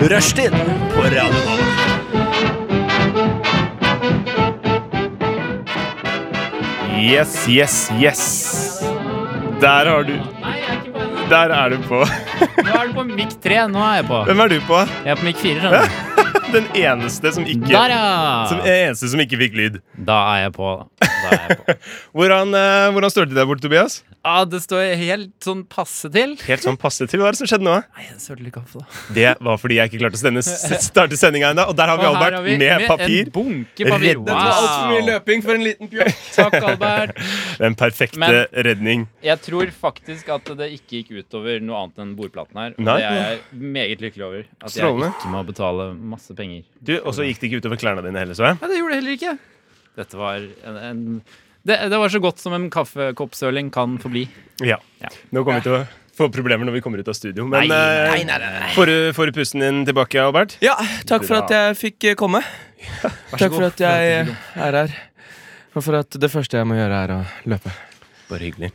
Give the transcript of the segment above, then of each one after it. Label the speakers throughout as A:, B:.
A: Rushtid på Radio Nova.
B: Yes, yes, yes. Der har du
C: Nei, jeg er ikke på den.
B: Der er du på.
C: Nå er du på mic 3. Nå er jeg på.
B: Hvem er du på?
C: Jeg er på mic 4, skjønner du.
B: Den eneste som ikke
C: Der,
B: Som
C: ja!
B: eneste som ikke fikk lyd.
C: Da er jeg på. Da er jeg på.
B: Hvordan, eh, hvordan står det til der borte, Tobias?
C: Ja, det står helt sånn passe til.
B: Helt sånn passe til. Hva er det som skjedde nå?
C: Nei, jeg sølte litt kaffe, da.
B: Det var fordi jeg ikke klarte å sende, s- starte sendinga ennå. Og der har vi
C: Og her
B: Albert
C: har vi
B: med papir.
C: En bunke papir.
B: Reddet
C: Wow.
B: var
D: løping for en liten pjokk.
C: Takk, Albert.
B: Den perfekte
C: Men-
B: redning.
C: Jeg tror faktisk at det ikke gikk utover noe annet enn bordplaten her. Og
B: Nei.
C: det er jeg meget lykkelig over. At jeg
B: Strålende.
C: ikke må betale masse penger.
B: Du, Og så gikk det ikke utover klærne dine heller, så jeg.
C: Nei, det gjorde det heller ikke. Dette var en, en det, det var så godt som en kaffekoppsøling kan forbli.
B: Ja.
C: Ja.
B: Nå kommer vi til å få problemer når vi kommer ut av studio. Men
C: Nei,
B: eh,
C: nei, nei, nei, nei.
B: får du- får du pusten din tilbake, Albert?
D: Ja, takk for at jeg fikk eh, komme. Takk for at jeg eh, er her. Og for at det første jeg må gjøre, er å løpe.
B: Bare hyggelig.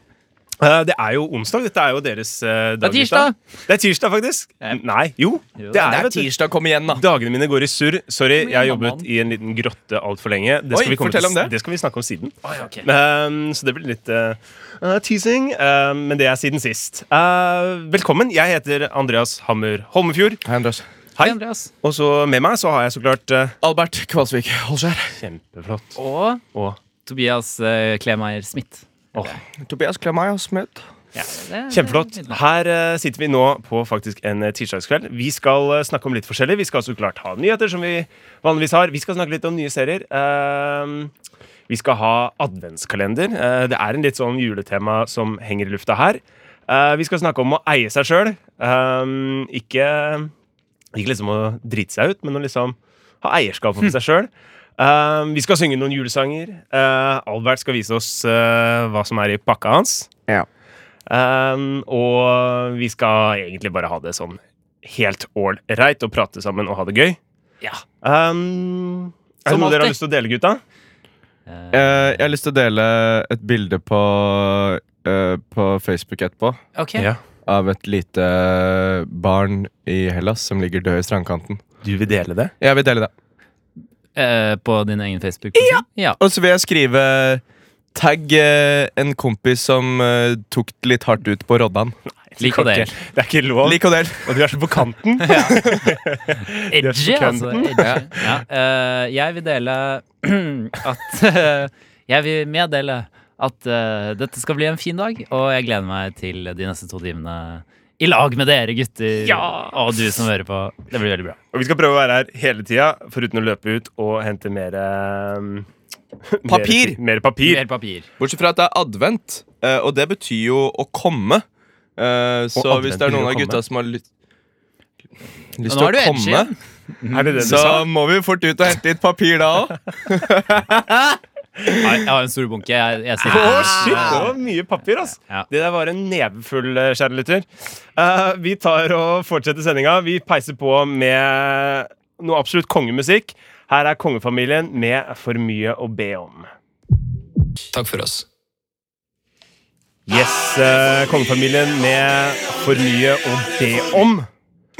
B: Eh, det er jo onsdag. Dette er jo deres eh, dag.
C: Det er tirsdag.
B: gutta. Det er tirsdag, faktisk.
C: Nei.
B: Nei, jo. Det
C: Jo,
B: er,
D: Det er
B: vet du.
D: tirsdag, kom igjen, da.
B: Dagene mine går i surr. Sorry,
C: Kom igjen,
B: jeg har jobbet
C: mann.
B: i en liten grotte altfor lenge. Det skal,
D: Oi,
B: vi komme til,
D: fortell om det.
B: det skal vi snakke om siden.
C: Oi, ok.
B: Um, så det blir litt uh, uh, teasing. uh, men det er siden sist. Uh, velkommen. Jeg heter Andreas Hammer Holmefjord.
D: Hei, Andreas.
B: Hei.
C: Andreas.
B: Og så med meg så har jeg så klart uh,
D: Albert Kvalsvik Holskjær.
B: Kjempeflott.
C: Og
B: Og
C: Tobias eh, Klemeier Smith.
B: Åh,
D: Tobias Klemai og Smøt.
C: Det-
B: Kjempeflott.
C: det er mitt navn.
B: Her eh, sitter vi nå på faktisk en eh, tirsdagskveld. Vi skal eh, snakke om litt forskjellig. Vi skal så klart ha nyheter, som vi vanligvis har. Vi skal snakke litt om nye serier. Ehm, vi skal ha adventskalender. Eh, det er en litt sånn juletema som henger i lufta her. Eh, vi skal snakke om å eie seg sjøl. Ehm, ikke, ikke liksom å drite seg ut, men å liksom ha eierskap over seg sjøl. Ehm, vi skal synge noen julesanger. Eh, Albert skal vise oss eh, hva som er i pakka hans. Um, og vi skal egentlig bare ha det sånn helt ålreit og prate sammen og ha det gøy.
C: Ja.
B: Um, er det
C: Som
B: noe dere har
C: alltid.
B: lyst til å dele, gutta?
C: Eh,
D: Jeg har lyst til å dele et bilde på, eh, på Facebook etterpå.
C: ok.
B: Ja.
D: Av et lite eh, barn i Hellas som ligger død i strandkanten.
B: Du vil dele det?
D: Jeg vil dele det.
C: Eh, på din egen Facebook-profil? Ja.
D: Og så vil jeg skrive tagg eh, en kompis som eh, tok det litt hardt ut på Roddan.
C: Lik og del.
B: Det er ikke lov.
D: Lik og del.
B: Og du er så på kanten. Det
C: Edgy,
B: er
C: altså. Edgy. Ja. eh, jeg vil dele at eh, Jeg vil meddele at eh, dette skal bli en fin dag, og jeg gleder meg til de neste to timene i lag med dere gutter og du som hører på. Det blir veldig bra.
B: Og vi skal prøve å være her hele tida, foruten å løpe ut og hente mer um, mer-
D: Papir.
B: Mer papir.
C: Mer papir.
D: Bortsett fra at det er advent, eh, og det betyr jo å komme. Eh, Så
B: advent
D: hvis det er noen
B: betyr å
D: av
B: komme.
D: gutta som har lyst Lyst
C: Nå
D: til
C: er du
D: å
C: edgy.
D: komme,
B: Er det det du
D: så
B: sa?
D: må vi fort ut og hente litt papir da òg.
C: Ja, Jeg har en stor bunke. Jeg, jeg
B: Å,
C: sier
B: shit, det var mye papir, ass.
C: Ja.
B: Det der var en nevefull, eh, kjære lytter. Eh, vi tar og fortsetter sendinga. Vi peiser på med noe absolutt kongemusikk. Her er kongefamilien med For mye å be om.
D: Takk for oss.
B: Yes, eh, kongefamilien med For mye å be om.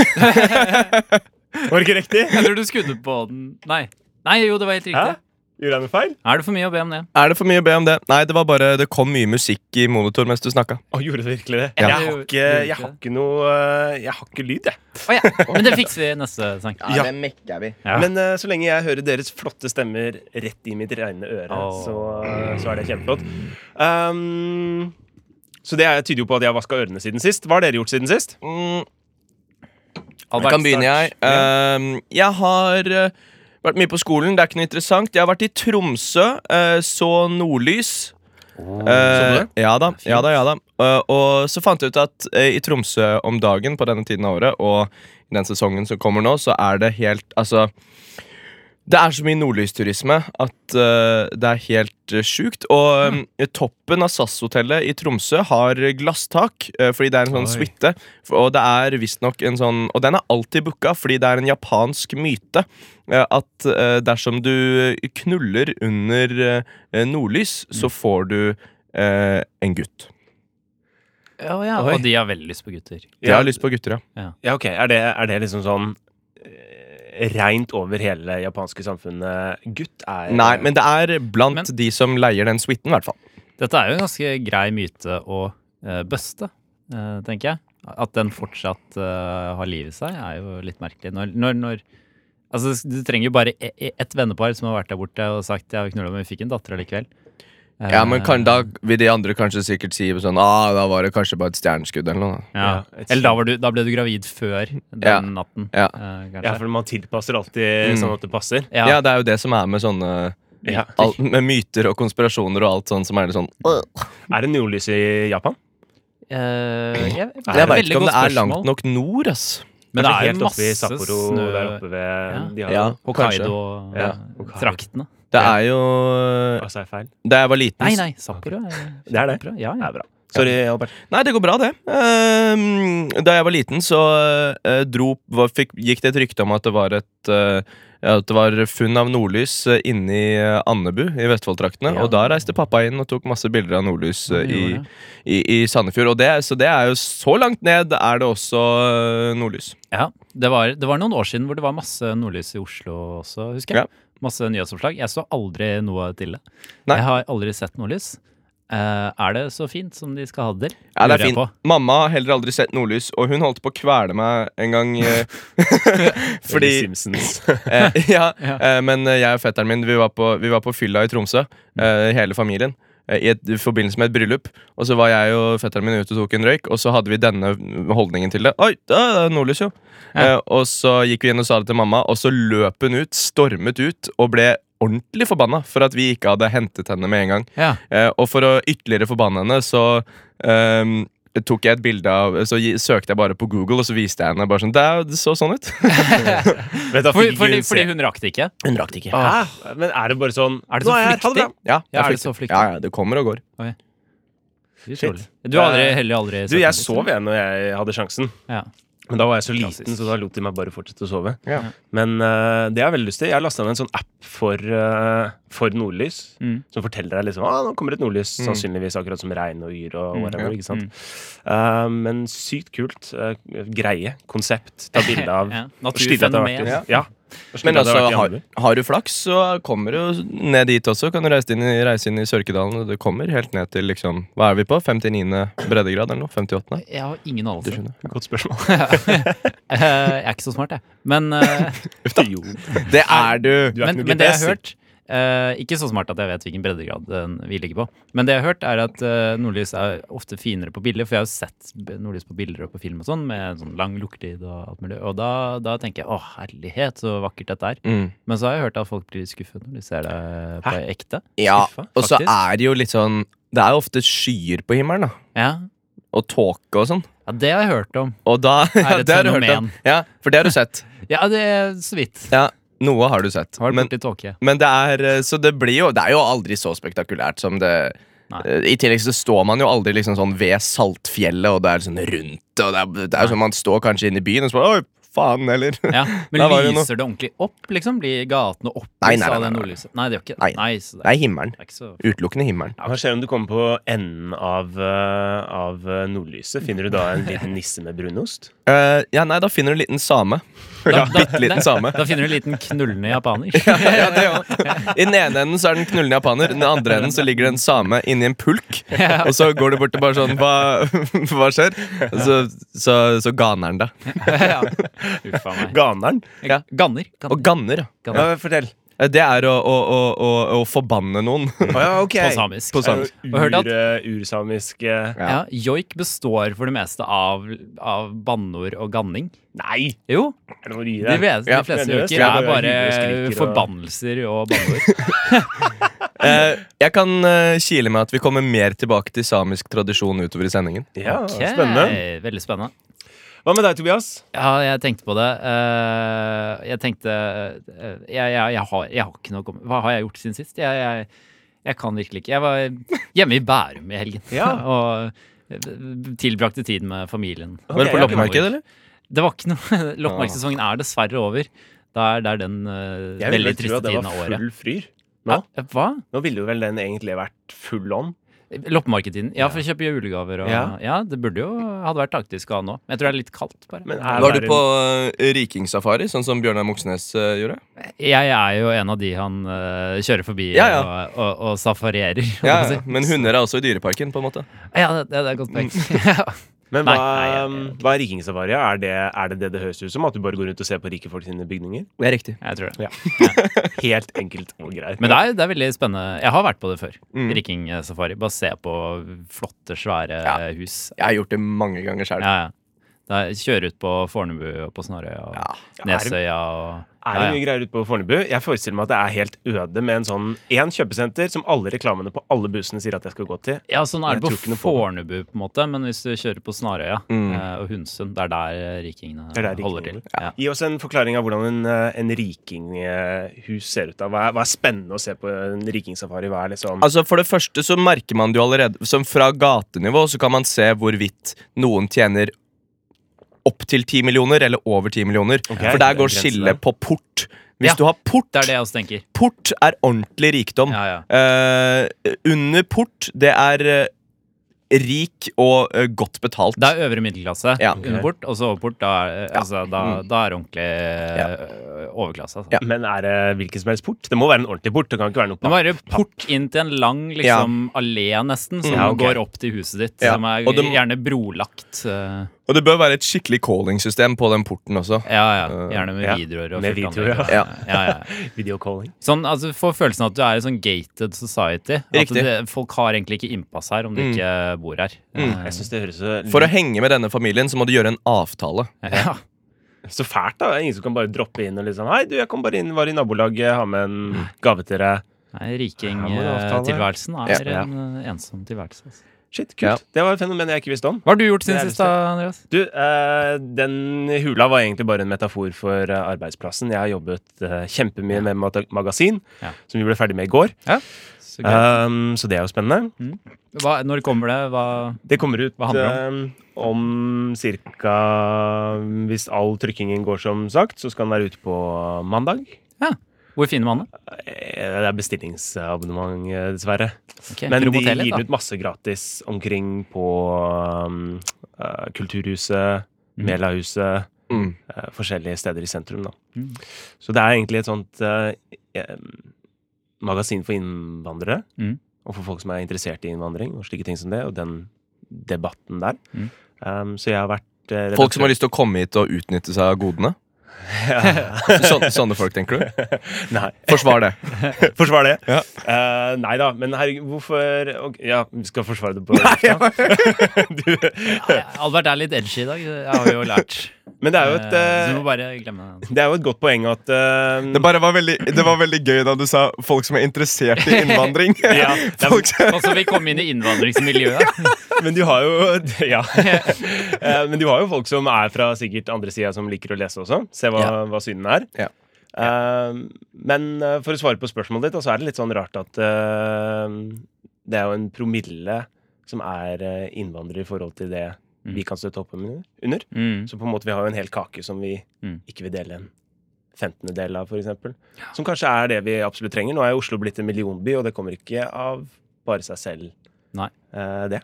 B: Var det ikke riktig?
C: Jeg tror du skudde på den. Nei. Nei, jo, det var helt riktig.
B: Hæ? Gjorde jeg noe feil?
C: Er det for mye å be om det?
D: Er det for mye å be om det? Nei, det var bare Det kom mye musikk i monitor mens du snakka.
B: Å, gjorde det virkelig det?
C: Ja.
B: Jeg, har ikke, jeg har ikke noe eh, Jeg har ikke lyd, jeg.
C: Å ja. Men det fikser vi i neste sang.
B: Ja.
D: det mekker vi.
C: Ja.
B: Men eh, så lenge jeg hører deres flotte stemmer rett i mitt rene øre,
C: Åh.
B: så, eh, så er det kjempeflott. Um, så det er- tyder jo på at jeg har vaska ørene siden sist. Hva har dere gjort siden sist?
D: Mm,
C: Albert,
D: jeg kan begynne, jeg.
B: start.
D: Ehm, jeg har eh, vært mye på skolen. Det er ikke noe interessant. Jeg har vært i Tromsø, eh, så nordlys. Eh,
B: sånn
D: ja da,
C: Fint.
D: ja da, ja da. Eh, og så fant jeg ut at eh, i Tromsø om dagen på denne tiden av året, og i den sesongen som kommer nå, så er det helt Altså. Det er så mye nordlysturisme at eh, det er helt uh, sjukt. Og eh, toppen av SAS-hotellet i Tromsø har glasstak, eh, fordi det er en sånn
B: Oi.
D: suite. F- Og det er visstnok en sånn Og den er alltid booka, fordi det er en japansk myte eh, at eh, dersom du knuller under eh, nordlys,
C: Mm.
D: så får du eh, en gutt.
C: Ja, ja. Og de har veldig lyst på gutter.
D: Jeg har lyst på gutter, ja.
B: Ja, ok. Er det, er det liksom sånn eh, reint over hele det japanske samfunnet. Gutt er
D: Nei, men det er blant
C: Men-
D: de som leier den suiten, i hvert fall.
C: Dette er jo en ganske grei myte å eh, bøste, eh, tenker jeg. At den fortsatt eh, har liv i seg, er jo litt merkelig. Når, når, når Altså, du trenger jo bare e- e- ett vennepar som har vært der borte og sagt 'jeg har knulla, men vi fikk en datter allikevel'. Eh,
D: Ja, men kan, da vil de andre kanskje sikkert si sånn ah, da var det kanskje bare et stjerneskudd eller noe. da.
C: ja.
B: Ja, et-
C: Eller da, var du, da ble du gravid før den
D: Ja.
C: natten,
D: Ja.
C: eh, kanskje.
B: Ja, for man tilpasser alltid
D: Mm.
B: sånn at det passer.
D: Ja. det er jo det som er med sånne
B: Ja.
D: all, Med myter og konspirasjoner og alt sånt som er litt sånn
B: Er det nordlys i Japan?
C: Eh, jeg, det er
D: Jeg
C: et
D: veit
C: veldig
D: ikke om
C: godt
D: det er
C: spørsmål.
D: langt nok nord, ass.
C: Men det
B: Kanskje
C: er
B: helt
C: jo
B: oppe i
C: masse
B: Sapporo
C: snø eh,
B: der oppe ved de har
D: Ja, kanskje. Ja,
C: Hokkaido-traktene.
D: Det er jo
B: Altså, er feil.
D: Da jeg var liten
C: Nei, nei, Sapporo er
B: Det er det.
C: Sapporo, Ja,
B: Det
C: ja.
B: er bra. Sorry, Albert.
D: Nei, det går bra, det. Ehm, da jeg var liten, så eh, dro, var, fikk, gikk det et rykte om at det var et eh, ja, at det var funn av nordlys eh, inni eh, Andebu i Vestfoldtraktene.
B: Ja.
D: Og da reiste pappa inn og tok masse bilder av nordlys eh, i,
C: Gjorde det.
D: i, i Sandefjord. Og det, så det er jo så langt ned er det også eh, nordlys.
C: Ja, det var, det var noen år siden hvor det var masse nordlys i Oslo også, husker jeg. Masse nyhetsoppslag. Jeg så aldri noe til det.
D: Nei.
C: Jeg har aldri sett nordlys. Eh, er det så fint som de skal ha det til?
D: Ja, det
C: Lurer
D: er
C: jeg
D: fint.
C: på.
D: Mamma har heller aldri sett nordlys, og hun holdt på å kvele meg en gang. eh,
B: Eller
D: fordi
B: Simpsons.
D: eh, ja,
C: Ja.
D: eh, Men jeg og fetteren min Vi var på, vi var på fylla i Tromsø,
C: Mm.
D: eh, hele familien. eh, I, et, I forbindelse med et bryllup. Og så var jeg og fetteren min ute og tok en røyk, og så hadde vi denne holdningen til det. Oi, da er det nordlys, jo! Eh, og så gikk vi inn og sa det til mamma, og så løp hun ut, stormet ut, og ble ordentlig forbanna for at vi ikke hadde hentet henne med en gang.
C: Ja.
D: Eh, og for å ytterligere forbanne henne, så ehm, tok jeg et bilde av Så gi, søkte jeg bare på Google, og så viste jeg henne bare sånn Det, er- det så sånn ut.
B: Men da
C: Fordi,
B: fikk hun
C: fordi,
B: se-
C: fordi hun rakk det ikke?
D: Hun rakk det ikke.
B: Hæ? Men er det bare sånn Ah.
C: Er det
B: Nå
C: så
B: jeg her, ha
C: flyktig?
B: bra.
C: Ja,
D: Ja,
C: er det
D: flyktig.
C: så flyktig?
D: Ja, ja, det kommer og går.
C: Utrolig. Du har aldri,
B: Eh,
C: heller aldri
B: Du,
C: sett
B: jeg
C: nordlys,
B: sov jeg når jeg hadde sjansen.
C: Ja.
B: Men da var jeg så liten,
C: Klassisk.
B: så da lot de meg bare fortsette å sove.
D: Ja.
B: Men eh, det har jeg veldig lyst til. Jeg har lasta ned en sånn app for, eh, for nordlys.
C: Mm.
B: Som forteller deg liksom, ah, nå kommer et nordlys, sannsynligvis akkurat som regn og yr. og whatever, ikke sant?
C: Mm.
B: Eh, men sykt kult. eh, greie. Konsept. Ta bilde av
C: Ja,
B: Sliter at det har vært
C: naturfenomen.
B: i- Ja. Og sliter
D: Men
B: at det
D: altså,
B: har vært i
D: har,
B: Andebu.
D: har du flaks, så kommer du ned dit også. Kan du reise inn i, reise inn i Sørkedalen, og du kommer helt ned til liksom Hva er vi på? 59. breddegrad eller noe? 58.?
C: Jeg har ingen
D: Du
C: anelse.
D: skjønner.
B: Godt spørsmål.
C: Eh, jeg er ikke så smart, jeg. Men eh,
B: Jo,
D: Det er du!
B: Du er ikke
C: men,
B: noe
C: men det jeg
B: GPS,
C: har hørt eh, Ikke så smart at jeg vet hvilken breddegrad eh, vi ligger på. Men det jeg har hørt, er at eh, nordlys er ofte finere på bilder. For jeg har jo sett b- nordlys på bilder og på film og sånn, med sånn lang lukketid og alt mulig. Og da, da tenker jeg å herlighet, så vakkert dette er.
D: Mm.
C: Men så har jeg hørt at folk blir skuffet når de ser det på ekte.
D: Ja,
C: Skuffa,
D: og så
C: faktisk.
D: er det jo litt sånn Det er jo ofte skyer på himmelen, da.
C: Ja.
D: Og tåke og sånn.
C: ja, det har jeg hørt om.
D: Og da
C: Er et
D: det har du hørt om.
C: fenomen.
D: Ja, for det har du sett.
C: Ja, det er så vidt.
D: Ja, noe har du sett.
C: Har
D: Men,
C: vært borti tåke.
D: men det er eh, Så det blir jo Det er jo aldri så spektakulært som det
C: Nei.
D: eh, I tillegg så står man jo aldri liksom sånn ved Saltfjellet, og det er sånn rundt og Det er, det er jo sånn man står kanskje inne i byen og så bare Oi, faen, eller
C: Ja, men
D: Der var det noe.
C: lyser det ordentlig opp, liksom? Blir gatene
D: Nei,
C: opplyst
D: nei, nei,
C: av det
D: nei, nei.
C: nordlyset? Nei, det gjør ikke det.
D: Nei.
C: Nei, så det
D: Det
C: er,
D: er himmelen.
C: det er ikke så
D: Utelukkende himmelen.
B: Hva skjer om du kommer på enden av, eh, av eh, nordlyset? Finner du da en liten nisse med brunost?
D: Eh, ja, nei, da finner du en liten same.
C: Da- da-
D: Bitte liten same.
C: Da finner du en liten knullende japaner.
D: ja, det også. I den ene enden så er det en knullende japaner, i den andre enden så ligger det en same inni en pulk. Og så går du bort og bare sånn Hva, hva skjer? Og Så, så, så ganer han deg.
C: ja. Uffa meg.
B: Ganeren?
D: Ja.
C: Ganner.
D: Og ganner, ja.
C: Ganner.
B: fortell.
D: Eh, Det er å, å, å, å, å forbanne noen.
C: På samisk.
D: På samisk.
C: Og hørte at-
B: Sånn Ur, eh, ursamisk eh,
C: Ja, Joik består for det meste av, av banneord og ganning.
B: Nei!
C: Jo,
B: Er det noe å gi
C: de,
B: deg?
C: ves-
D: Ja.
C: de fleste
B: Mener du det?
C: joiker
B: Ja,
C: er bare
B: hyler og skriker og-
C: forbannelser og banneord.
D: Eh, jeg kan eh, kile med at vi kommer mer tilbake til samisk tradisjon utover i sendingen.
B: Ja,
C: Ok,
B: Spennende.
C: Veldig spennende.
B: Hva med deg, Tobias?
C: Ja, jeg tenkte på det. Eh, jeg tenkte eh, jeg, jeg, jeg, har, jeg har ikke noe å komme Hva har jeg gjort siden sist? Jeg, jeg, jeg kan virkelig ikke. Jeg var hjemme i Bærum i helgen og eh, tilbrakte tid med familien.
D: Var det på
B: ja,
D: loppemarked, eller?
C: Det var ikke noe Loppemarkedssesongen er dessverre over. Det er, det er den eh,
B: Jeg ville
C: veldig
B: vel tro
C: triste
B: at det
C: tiden av
B: var
C: året.
B: full fryr.
C: Ja,
B: Nå,
C: Ah, eh, hva?
B: nå ville jo vel den egentlig vært full on.
C: Loppemarkedtiden. Ja, for å kjøpe julegaver og Ja,
B: Ja.
C: det burde jo hadde vært taktisk å ha nå. Men jeg tror det er litt kaldt, bare.
B: Men er
D: Var du
B: været-
D: på eh, rikingsafari, sånn som Bjørnar Moxnes eh, gjorde?
C: Jeg er jo en av de han eh, kjører forbi
D: Ja, ja.
C: Og, og, og safarierer. holdt
D: Ja,
C: jeg på å si.
D: Men hunder er også i Dyreparken, på en måte.
C: ja det, det er godt poeng.
B: Men
C: Nei,
B: hva, um,
C: nei, jeg-
B: hva er rikingsavaria? Er det, er det det det høres ut som? At du bare går rundt og ser på rike folk sine bygninger?
D: Det er riktig.
C: jeg tror det.
B: Helt enkelt og greit.
C: Men det er, det er veldig spennende. Jeg har vært på det før.
D: Mm.
C: Riking-safari. Bare se på flotte, svære
D: Ja.
C: hus.
D: Jeg har gjort det mange ganger sjøl.
C: Ja, ja. Da kjøre ut på Fornebu og på Snarøya og
D: Ja.
C: Nesøya og
B: Er det mye greier ute på Fornebu? Jeg forestiller meg at det er helt øde med en sånn én kjøpesenter som alle reklamene på alle bussene sier at jeg skal gå til.
C: Ja, sånn er
B: Jeg
C: det
B: tror ikke
C: på
B: noe på
C: Fornebu, på en måte, men hvis du kjører på Snarøya
D: Mm.
C: eh, og Hundsund, det er der eh, rikingene
B: Det er der
C: holder til.
B: rikingene
C: Ja.
B: Gi oss en forklaring av hvordan en, eh, en rikinghus ser ut. da. Hva er, hva er spennende å se på en rikingsafari? Hva er liksom
D: Altså For det første så merker man det jo allerede Som fra gatenivå så kan man se hvorvidt noen tjener opp til 10 millioner eller over 10 millioner. For der
B: det er
D: går
B: grensen
D: skillet
B: der.
D: på port.
C: Ja,
D: Hvis du har port,
C: Det er det jeg også tenker.
D: port er ordentlig rikdom.
C: Ja, ja.
D: Eh, under port, det er eh, rik og eh, godt betalt.
C: Det er øvre middelklasse
D: Ja.
C: underport, og så overport. Da er, eh, altså, da,
B: Mm.
C: da er ordentlig eh, overklasse. Altså.
D: Ja.
B: Men er det hvilken som helst port? Det må være en ordentlig port. Det kan ikke være noe
C: Det må være port inn til en lang liksom, allé, nesten, som
B: Ja, ok.
C: går opp til huset ditt.
D: Ja,
C: Som er
D: og det-
C: gjerne brolagt. eh,
D: Og det bør være et skikkelig calling-system på den porten også.
C: Ja, ja. Gjerne med
B: Eh, ja,
C: videoer. Og
B: med
C: fullt
B: videoer,
C: anlegg.
D: ja.
C: ja, ja.
B: videocalling.
C: Sånn, altså, du får følelsen av at du er i sånn gated society. At
D: Riktig. Mm.
C: det, folk har egentlig ikke innpass her om de
B: Mm.
C: ikke bor her. Eh,
B: Jeg synes det høres så
D: For å henge med denne familien så må du gjøre en avtale.
C: Eh, ja.
B: Så fælt, da. Ingen som kan bare droppe inn og liksom Hei, du, jeg kom bare inn, var i nabolaget, har med
D: Mm.
B: en gave til deg. Her
C: Nei,
B: må du avtale.
C: Rikingtilværelsen er
B: Ja.
C: en eh, ensom tilværelse. Altså.
B: Shit, kult.
D: Ja.
B: Det var et fenomen jeg ikke visste om.
C: Hva har du gjort siden
B: Det er
C: sist, da, Andreas?
B: Du, eh, den hula var egentlig bare en metafor for eh, arbeidsplassen. Jeg har jobbet eh, kjempemye med mat- magasin,
C: Ja.
B: som vi ble ferdig med i går.
C: Så gøy.
B: Um, så det er jo spennende. Eh,
C: hva, når kommer det? Hva
B: Det kommer ut
C: Hva handler det
B: um, om ca. Hvis all trykkingen går som sagt, så skal den være ute på mandag.
C: Hvor finner man det?
B: Eh, Det er bestillingsabonnement, eh, dessverre.
C: Ok,
B: Men de
C: promoter litt,
B: gir
C: da.
B: ut masse gratis omkring på um, eh, Kulturhuset, Melahuset,
D: Mm.
B: eh, forskjellige steder i sentrum. Da.
C: Mm.
B: Så det er egentlig et sånt eh, eh, magasin for innvandrere,
C: Mm.
B: og for folk som er interessert i innvandring og slike ting som det, og den debatten der.
C: Mm.
B: Um, så jeg har vært eh,
D: Folk som har lyst til å komme hit og utnytte seg av godene? Sånne, sånne folk, tenker du?
B: redaktør- Nei,
D: Forsvar det.
B: forsvar det.
D: Ja.
B: Eh, nei da, men herregud, hvorfor ok, Ja, vi skal forsvare det på du,
C: Ja, Albert er litt edgy i dag. Det har vi jo lært.
B: Men det er jo et
C: Eh,
B: eh,
C: så du må bare glemme det.
B: Det er jo et godt poeng at eh,
D: Det, bare var veldig, det var veldig gøy da du sa folk som er interessert i innvandring.
B: Ja, det er-
D: folk, som-
C: Og så vi kom inn i innvandringsmiljøet.
B: Men du har jo Ja. Eh, Men du har jo folk som er fra sikkert andre sida, som liker å lese også. Se hva,
D: Ja.
B: hva synene er.
D: Ja.
B: Eh, Men eh, for å svare på spørsmålet ditt, da, så er det litt sånn rart at eh, det er jo en promille som er eh, innvandrere i forhold til det
D: Mm.
B: vi kan støtte opp om under.
C: Mm.
B: Så på en måte vi har jo en hel kake som vi
C: Mm.
B: ikke vil dele en femtendedel av, f.eks. Som kanskje er det vi absolutt trenger. Nå er jo Oslo blitt en millionby, og det kommer ikke av bare seg selv,
C: Nei.
B: eh, det.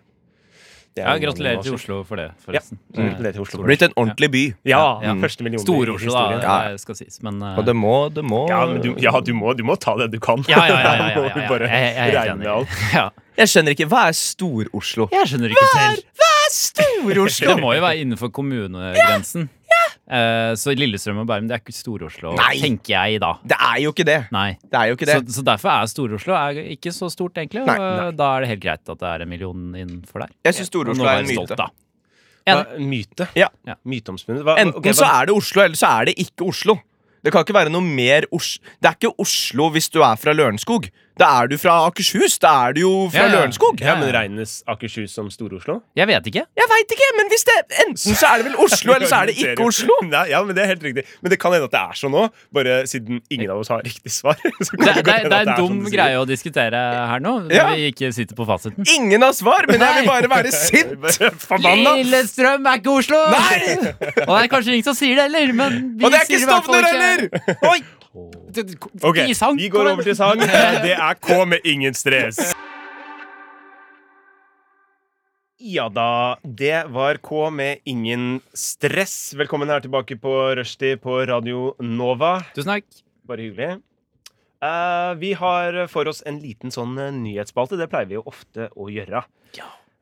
B: Det er
C: Ja,
B: jo
C: gratulerer til
B: noe-
C: Oslo for det,
B: Ja,
C: forresten.
B: så gratulerer til Oslo. for det.
D: Blitt en ordentlig by.
B: Ja,
C: Ja.
B: første millionby
C: Stor-Oslo, da,
B: historien.
D: Ja, ja.
C: det skal sies. Men eh,
D: Og det må, det må
B: Ja, men du, ja du, må, du må ta det du kan.
C: ja, ja, ja, ja, ja,
B: Må
C: ja,
B: du
C: ja.
B: bare
C: Jeg- jeg er helt
B: regne
C: enig.
B: med alt.
C: Ja.
D: Jeg skjønner ikke. Hva er Stor-Oslo?
C: Jeg skjønner ikke selv.
D: Stor-Oslo!
C: Det må jo være innenfor kommunegrensen. Eh, så Lillestrøm og Bærum, det er ikke Stor-Oslo,
D: Nei.
C: tenker jeg da.
D: Det er jo ikke det.
C: Nei.
D: Det er jo ikke det.
C: Så, så derfor er Stor-Oslo er ikke så stort, egentlig. Og
D: Nei,
C: da er det helt greit at det er en million innenfor der.
D: Jeg synes Stor-Oslo
C: Og nå
D: er en
C: være stolt,
D: myte.
C: da.
B: Hva- Myte?
D: Ja.
C: Ja.
B: Myteomspunnet? Hva-
D: Enten
B: ok, hva-
D: så er det Oslo, eller så er det ikke Oslo. Det kan ikke være noe mer Os Det er ikke Oslo hvis du er fra Lørenskog. Da er du fra Akershus. Da er du jo fra
C: Ja, ja.
D: Lørenskog.
B: Ja, men Regnes Akershus som Stor-Oslo?
C: Jeg vet ikke.
D: Jeg veit ikke, men hvis det enten så er det vel Oslo, eller så er det ikke Oslo.
B: Nei, ja, men Det er helt riktig Men det kan hende at det er sånn òg, bare siden ingen av oss har riktig svar. så kan
C: Det,
B: det
C: det,
B: godt hende
C: det
B: at
C: er en
B: som
C: dum
B: du sier.
C: greie å diskutere her nå, når
D: Ja.
C: vi ikke sitter på fasiten.
D: Ingen har svar, men jeg vil bare være sint.
B: Bare Forbanna!
C: Lillestrøm er ikke Oslo!
D: Nei!
C: Og det er kanskje ingen som sier det heller, men vi
D: Og det er ikke
C: sier i hvert fall
D: Stovner heller!
C: ikke-
D: Oi!
B: Ok,
C: I sang,
B: vi går
C: kom
B: over til sang. Det er K med ingen stress. Ja da, det var K med Ingen stress. Velkommen her tilbake på Rushdie på Radio Nova.
C: Tusen takk.
B: Bare hyggelig. Eh, vi har for oss en liten sånn eh, nyhetsspalte. Det pleier vi jo ofte å gjøre.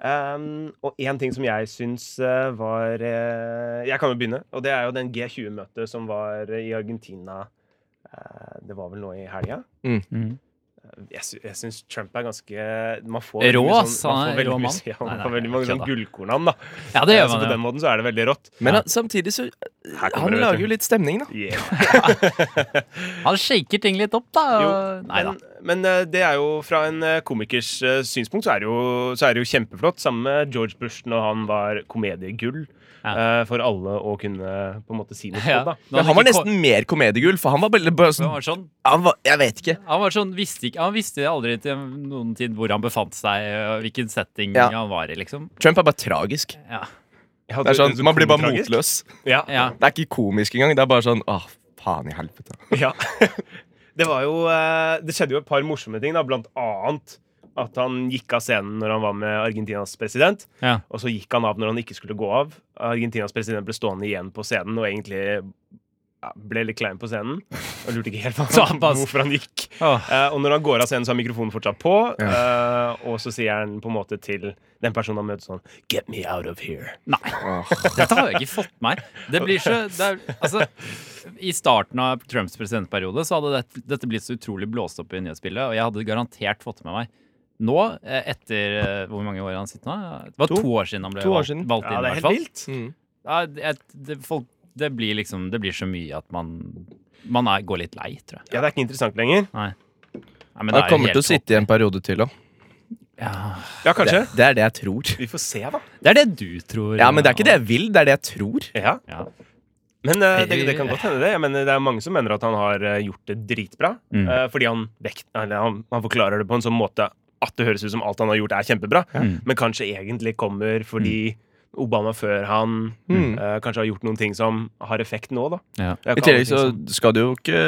B: Em, og én ting som jeg syns eh, var eh, Jeg kan jo begynne. Og det er jo den G20-møtet som var eh, i Argentina eh, Det var vel nå i helga?
D: Mm.
C: Mhm.
B: Jeg, sy jeg syns Trump er ganske Man får
C: Rå,
B: mye
C: ass.
B: sånn,
C: Han
B: man
C: er
B: får veldig,
C: rå
B: mye,
C: mann.
B: ja, man
C: Nei,
B: får
C: nei,
B: veldig
C: jeg
B: mange sånn
C: kødder.
B: gullkorn av han, da.
C: Ja, det
B: Eh,
C: gjør
B: så på
C: man
B: den
C: jo.
B: måten så er det veldig rått.
D: Men
C: Ja.
D: han- samtidig så
B: Her kommer
D: Han
B: det, vet
D: lager
B: du.
D: jo litt stemning, da.
B: Yeah.
C: Han shaker ting litt opp, da.
B: Jo,
C: Nei da.
B: men, men eh, det er jo fra en eh, komikers eh, synspunkt så er, det jo, så er det jo kjempeflott. Sammen med George Bush når han var komediegull
C: Ja.
B: eh, for alle å kunne på en måte si noe
C: Ja.
B: på. Da.
D: Men han var nesten mer komediegull, for han var bare, bare
C: han var sånn,
D: sånn han var, Jeg vet ikke.
C: han var sånn visste ikke, Han visste aldri til noen tid hvor han befant seg, og hvilken setting
D: Ja.
C: han var i, liksom.
D: Trump er bare tragisk.
C: Ja.
B: Ja,
D: Det er sånn,
B: du-
D: Man blir bare
B: komitragisk.
D: motløs.
B: Ja,
C: ja.
D: Det er ikke komisk engang. Det er bare sånn Åh, faen i helvete.
B: ja. Det var jo eh, Det skjedde jo et par morsomme ting, da, blant annet at han gikk av scenen når han var med Argentinas president.
C: Ja.
B: Og så gikk han av når han ikke skulle gå av. Argentinas president ble stående igjen på scenen og egentlig ja, ble litt klein på scenen. Og lurte ikke helt på
C: Så han bare-
B: hvorfor han gikk.
C: Åh.
B: Eh, og når han går av scenen, så er mikrofonen fortsatt på. eh, og så sier han på en måte til den personen han møter sånn Get me out of here.
C: Nei.
D: Åh.
C: Dette har jeg ikke fått med meg. Det blir så, det er, altså, I starten av Trumps presidentperiode så hadde dette, dette blitt så utrolig blåst opp i nyhetsbildet, og jeg hadde garantert fått med meg. Nå, eh, etter eh, hvor mange år han sitter nå? Det var
D: To.
C: to, år siden han ble
D: To år
C: valgt,
D: siden.
C: valgt inn.
B: Ja, det
C: i
B: er helt
C: hvert fall.
B: vilt.
D: Mm.
C: Ja, det, det, folk, det blir liksom Det blir så mye at man Man er, går litt lei, tror jeg.
B: Ja, det er ikke interessant lenger.
C: Nei, men det
D: Han
C: er jo
D: kommer
C: helt
D: til å sitte i en periode til òg.
C: topp. Ja.
B: Ja, kanskje.
D: Det, det er det jeg tror.
B: Vi får se, da.
C: Det er det du tror.
D: Ja, men det er ikke det jeg vil, det er det jeg tror.
B: Ja.
C: Ja.
B: Men eh, det, det kan godt hende, det. Jeg mener, det er mange som mener at han har eh, gjort det dritbra.
C: Mm.
B: eh, fordi han, vekt, eller han, han forklarer det på en sånn måte at det høres ut som alt han har gjort, er kjempebra.
C: Mm.
B: Men kanskje egentlig kommer fordi Obama før han
D: Mm.
B: eh, kanskje har gjort noen ting som har effekt nå, da.
C: Ja.
B: Det er
D: I
B: ikke alle
D: tillegg
B: ting
D: så
B: som-
D: skal du jo ikke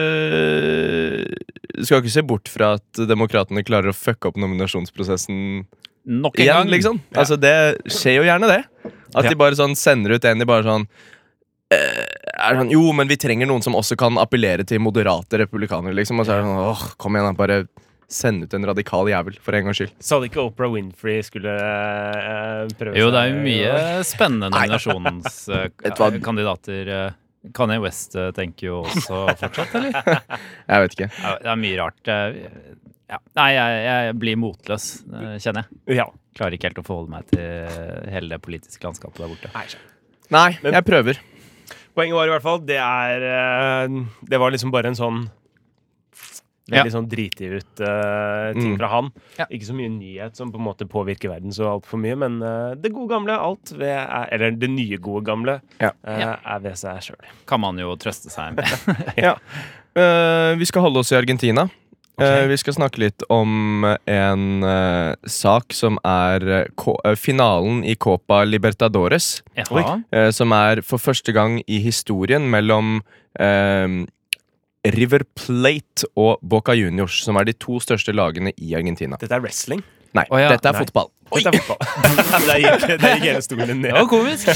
D: Du skal ikke se bort fra at demokratene klarer å fucke opp nominasjonsprosessen
C: Nok en
D: igjen,
C: gang.
D: liksom. Altså, det skjer jo gjerne, det. At de bare sånn sender ut en de bare sånn eh, er sånn, Jo, men vi trenger noen som også kan appellere til moderate republikanere, liksom. Og så er det sånn åh, kom igjen, da. Bare send ut en radikal jævel, for en gangs skyld.
B: Sa det ikke Oprah Winfrey skulle eh, prøve
C: Jo, det er
B: seg-
C: jo mye spennende
D: Nei. Vet du hva?
C: nominasjonskandidater. eh, Kanye West eh, tenker jo også fortsatt, eller?
D: Jeg vet ikke.
C: Ja, Det er mye rart. eh, Ja. Nei, jeg, jeg blir motløs, eh, kjenner jeg.
B: Ja.
C: Klarer ikke helt å forholde meg til hele det politiske landskapet der borte.
B: Nei,
D: Nei,
B: Men-
D: jeg prøver.
B: Poenget var i hvert fall Det er eh, Det var liksom bare en sånn
C: Ja.
B: Veldig sånn dritig ut eh, ting
D: Mm.
B: fra han.
C: Ja.
B: Ikke så mye nyhet som på en måte påvirker verden så altfor mye, men eh, det gode gamle alt ved er, Eller det nye gode gamle
D: Ja.
B: eh,
C: Ja.
B: er ved seg sjøl.
C: Kan man jo trøste seg med.
D: Eh, vi skal holde oss i Argentina. Eh,
B: Ok.
D: vi skal snakke litt om en eh, sak som er eh, K- eh, finalen i Copa Libertadores.
C: Jaha.
D: eh, som er for første gang i historien mellom eh, River Plate og Boca Juniors, som er de to største lagene i Argentina.
B: Dette er wrestling.
D: Nei,
C: Å ja,
D: dette er
B: nei.
D: fotball. Oi!
B: Dette er fotball. Der gikk, der gikk hele stolen
C: Det var
B: ned.
C: komisk!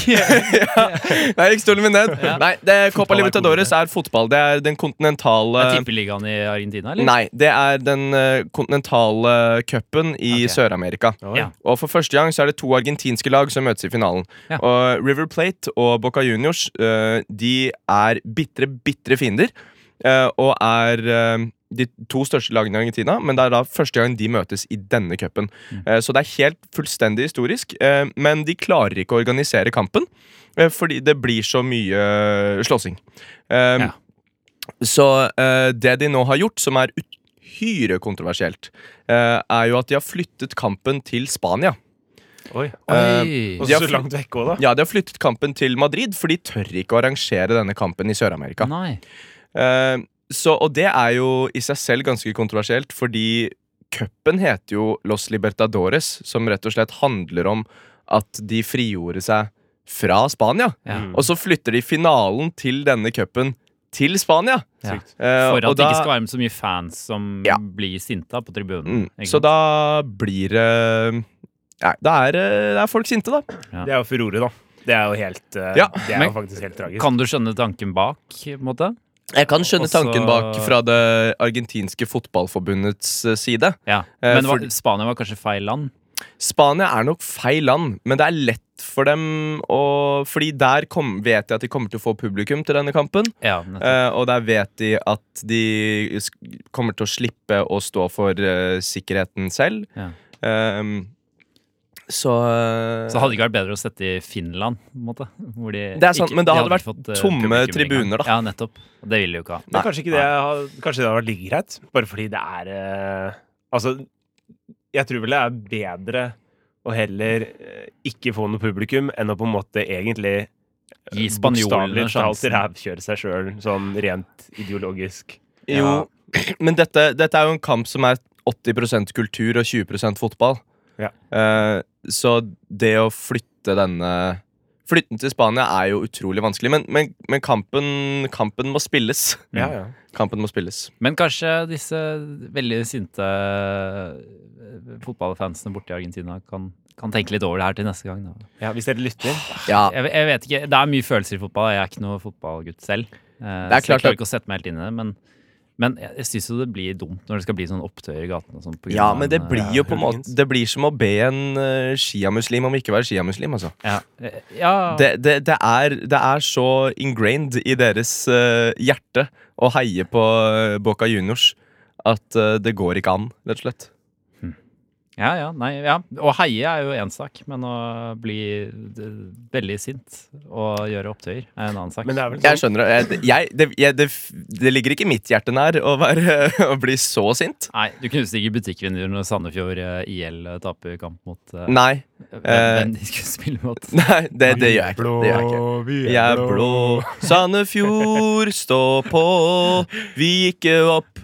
D: Nei, ikke stolen min ned. Nei, det, Copa
B: Fotball er
D: Libertadores er fotball. Det er den kontinentale
C: Er tippeligaen i Argentina, eller?
D: Nei, det er den eh, kontinentale cupen i
C: Ok.
D: Sør-Amerika.
B: Oi.
C: Ja.
D: Og for første gang så er det to argentinske lag som møtes i finalen.
C: Ja.
D: Og River Plate og Boca Juniors eh, de er bitre, bitre fiender. eh, og er eh, de to største lagene i Argentina, men det er da første gang de møtes i denne cupen.
C: Mm.
D: Eh, så det er helt fullstendig historisk. eh, men de klarer ikke å organisere kampen, eh, fordi det blir så mye slåssing. Eh,
C: Ja.
D: Så eh, det de nå har gjort, som er uhyre kontroversielt, eh, er jo at de har flyttet kampen til Spania.
B: Oi.
C: Oi.
B: Og
D: de har
B: så
D: fl-
B: langt vekk òg, da.
D: Ja, de har flyttet kampen til Madrid, for de tør ikke å arrangere denne kampen i Sør-Amerika.
C: Nei.
D: Eh, så, og det er jo i seg selv ganske kontroversielt, fordi cupen heter jo Los Libertadores, som rett og slett handler om at de frigjorde seg fra Spania.
C: Ja.
B: Mm.
D: Og så flytter de finalen til denne cupen til Spania.
C: Ja.
B: Sykt.
D: Eh,
C: For at
D: og
C: det
D: da-
C: ikke skal være så mye fans som
D: Ja.
C: blir sinta på tribunen.
D: Mm.
C: ikke
D: Så
C: sant?
D: da blir det Nei, da er, eh, da er folk sinte, da.
B: Det er jo furore, da. Det er jo helt eh,
D: Ja,
B: Det er
C: men-
B: jo faktisk helt tragisk.
C: Kan du skjønne tanken bak, på en måte?
D: Jeg kan skjønne
C: Også-
D: tanken bak fra det argentinske fotballforbundets eh, side.
C: Ja.
D: Eh,
C: Men var,
D: fordi-
C: Spania var kanskje feil land?
D: Spania er nok feil land, men det er lett for dem å Fordi der kom, vet de at de kommer til å få publikum til denne kampen.
C: Ja, nettopp.
D: eh, og der vet de at de sk- kommer til å slippe å stå for eh, sikkerheten selv.
C: Ja.
D: Ehm, så eh,
C: Så det hadde ikke vært bedre å sette i Finland, på en måte? Hvor de
D: Det er sant, men da hadde det
C: ikke
D: vært
C: fått, eh,
D: tomme
C: publikum
D: tribuner, da.
C: engang. Ja, nettopp. Og det vil de jo ikke ha.
B: Men kanskje, ikke det, har- kanskje det hadde vært like greit? Bare fordi det er eh, Altså, jeg tror vel det er bedre å heller eh, ikke få noe publikum enn å på en måte egentlig
C: Gi spanjolene
B: bokstavelig talt
C: sjansen.
B: rævkjøre seg sjøl, sånn rent ideologisk.
D: Jo, men dette, dette er jo en kamp som er 80 kultur og 20 fotball.
B: Ja.
D: Eh, så det å flytte denne Flytten til Spania er jo utrolig vanskelig, men, men, men kampen, kampen må spilles.
B: Ja, ja.
D: Kampen må spilles.
C: Men kanskje disse veldig sinte eh, fotballfansene borte i Argentina kan, kan tenke litt over det her til neste gang. Da.
B: ja hvis dere lytter.
D: Ja,
C: Jeg, jeg vet ikke, Det er mye følelser i fotball. Jeg er ikke noe fotballgutt selv. eh,
D: Det
C: så
D: er
C: jeg
D: klart at-
C: klarer ikke å sette meg helt inn i det. Men, men jeg, jeg syns jo det blir dumt når det skal bli sånn opptøyer i gatene. og sånn på grunn
D: ja
C: av
D: men
C: en,
D: det
C: eh,
D: blir jo på en
B: hooligans.
D: måte Det blir som å be en eh, sjiamuslim om ikke å være sjiamuslim, altså.
C: Ja, eh, ja,
D: Det, det, det, er, det er så ingrained i deres eh, hjerte å heie på eh, Boca Juniors at eh, det går ikke an, rett og slett.
C: ja, ja, nei, ja. Å heie er jo én sak, men å bli eh, veldig sint og gjøre opptøyer er en annen sak.
B: Men det er vel
D: Jeg
B: sånn
D: skjønner det. Jeg, jeg, det, jeg, det. Det ligger ikke mitt hjerte nær å, være, å bli så sint.
C: Nei, du knuste ikke butikkvinduer når Sandefjord eh, IL taper kamp mot eh,
D: Nei,
C: hvem,
D: eh,
C: hvem de skulle spille mot.
D: nei det, det gjør jeg ikke. Det gjør jeg ikke.
B: vi
D: Jeg er blå, Sandefjord, stå på, vi gikk opp.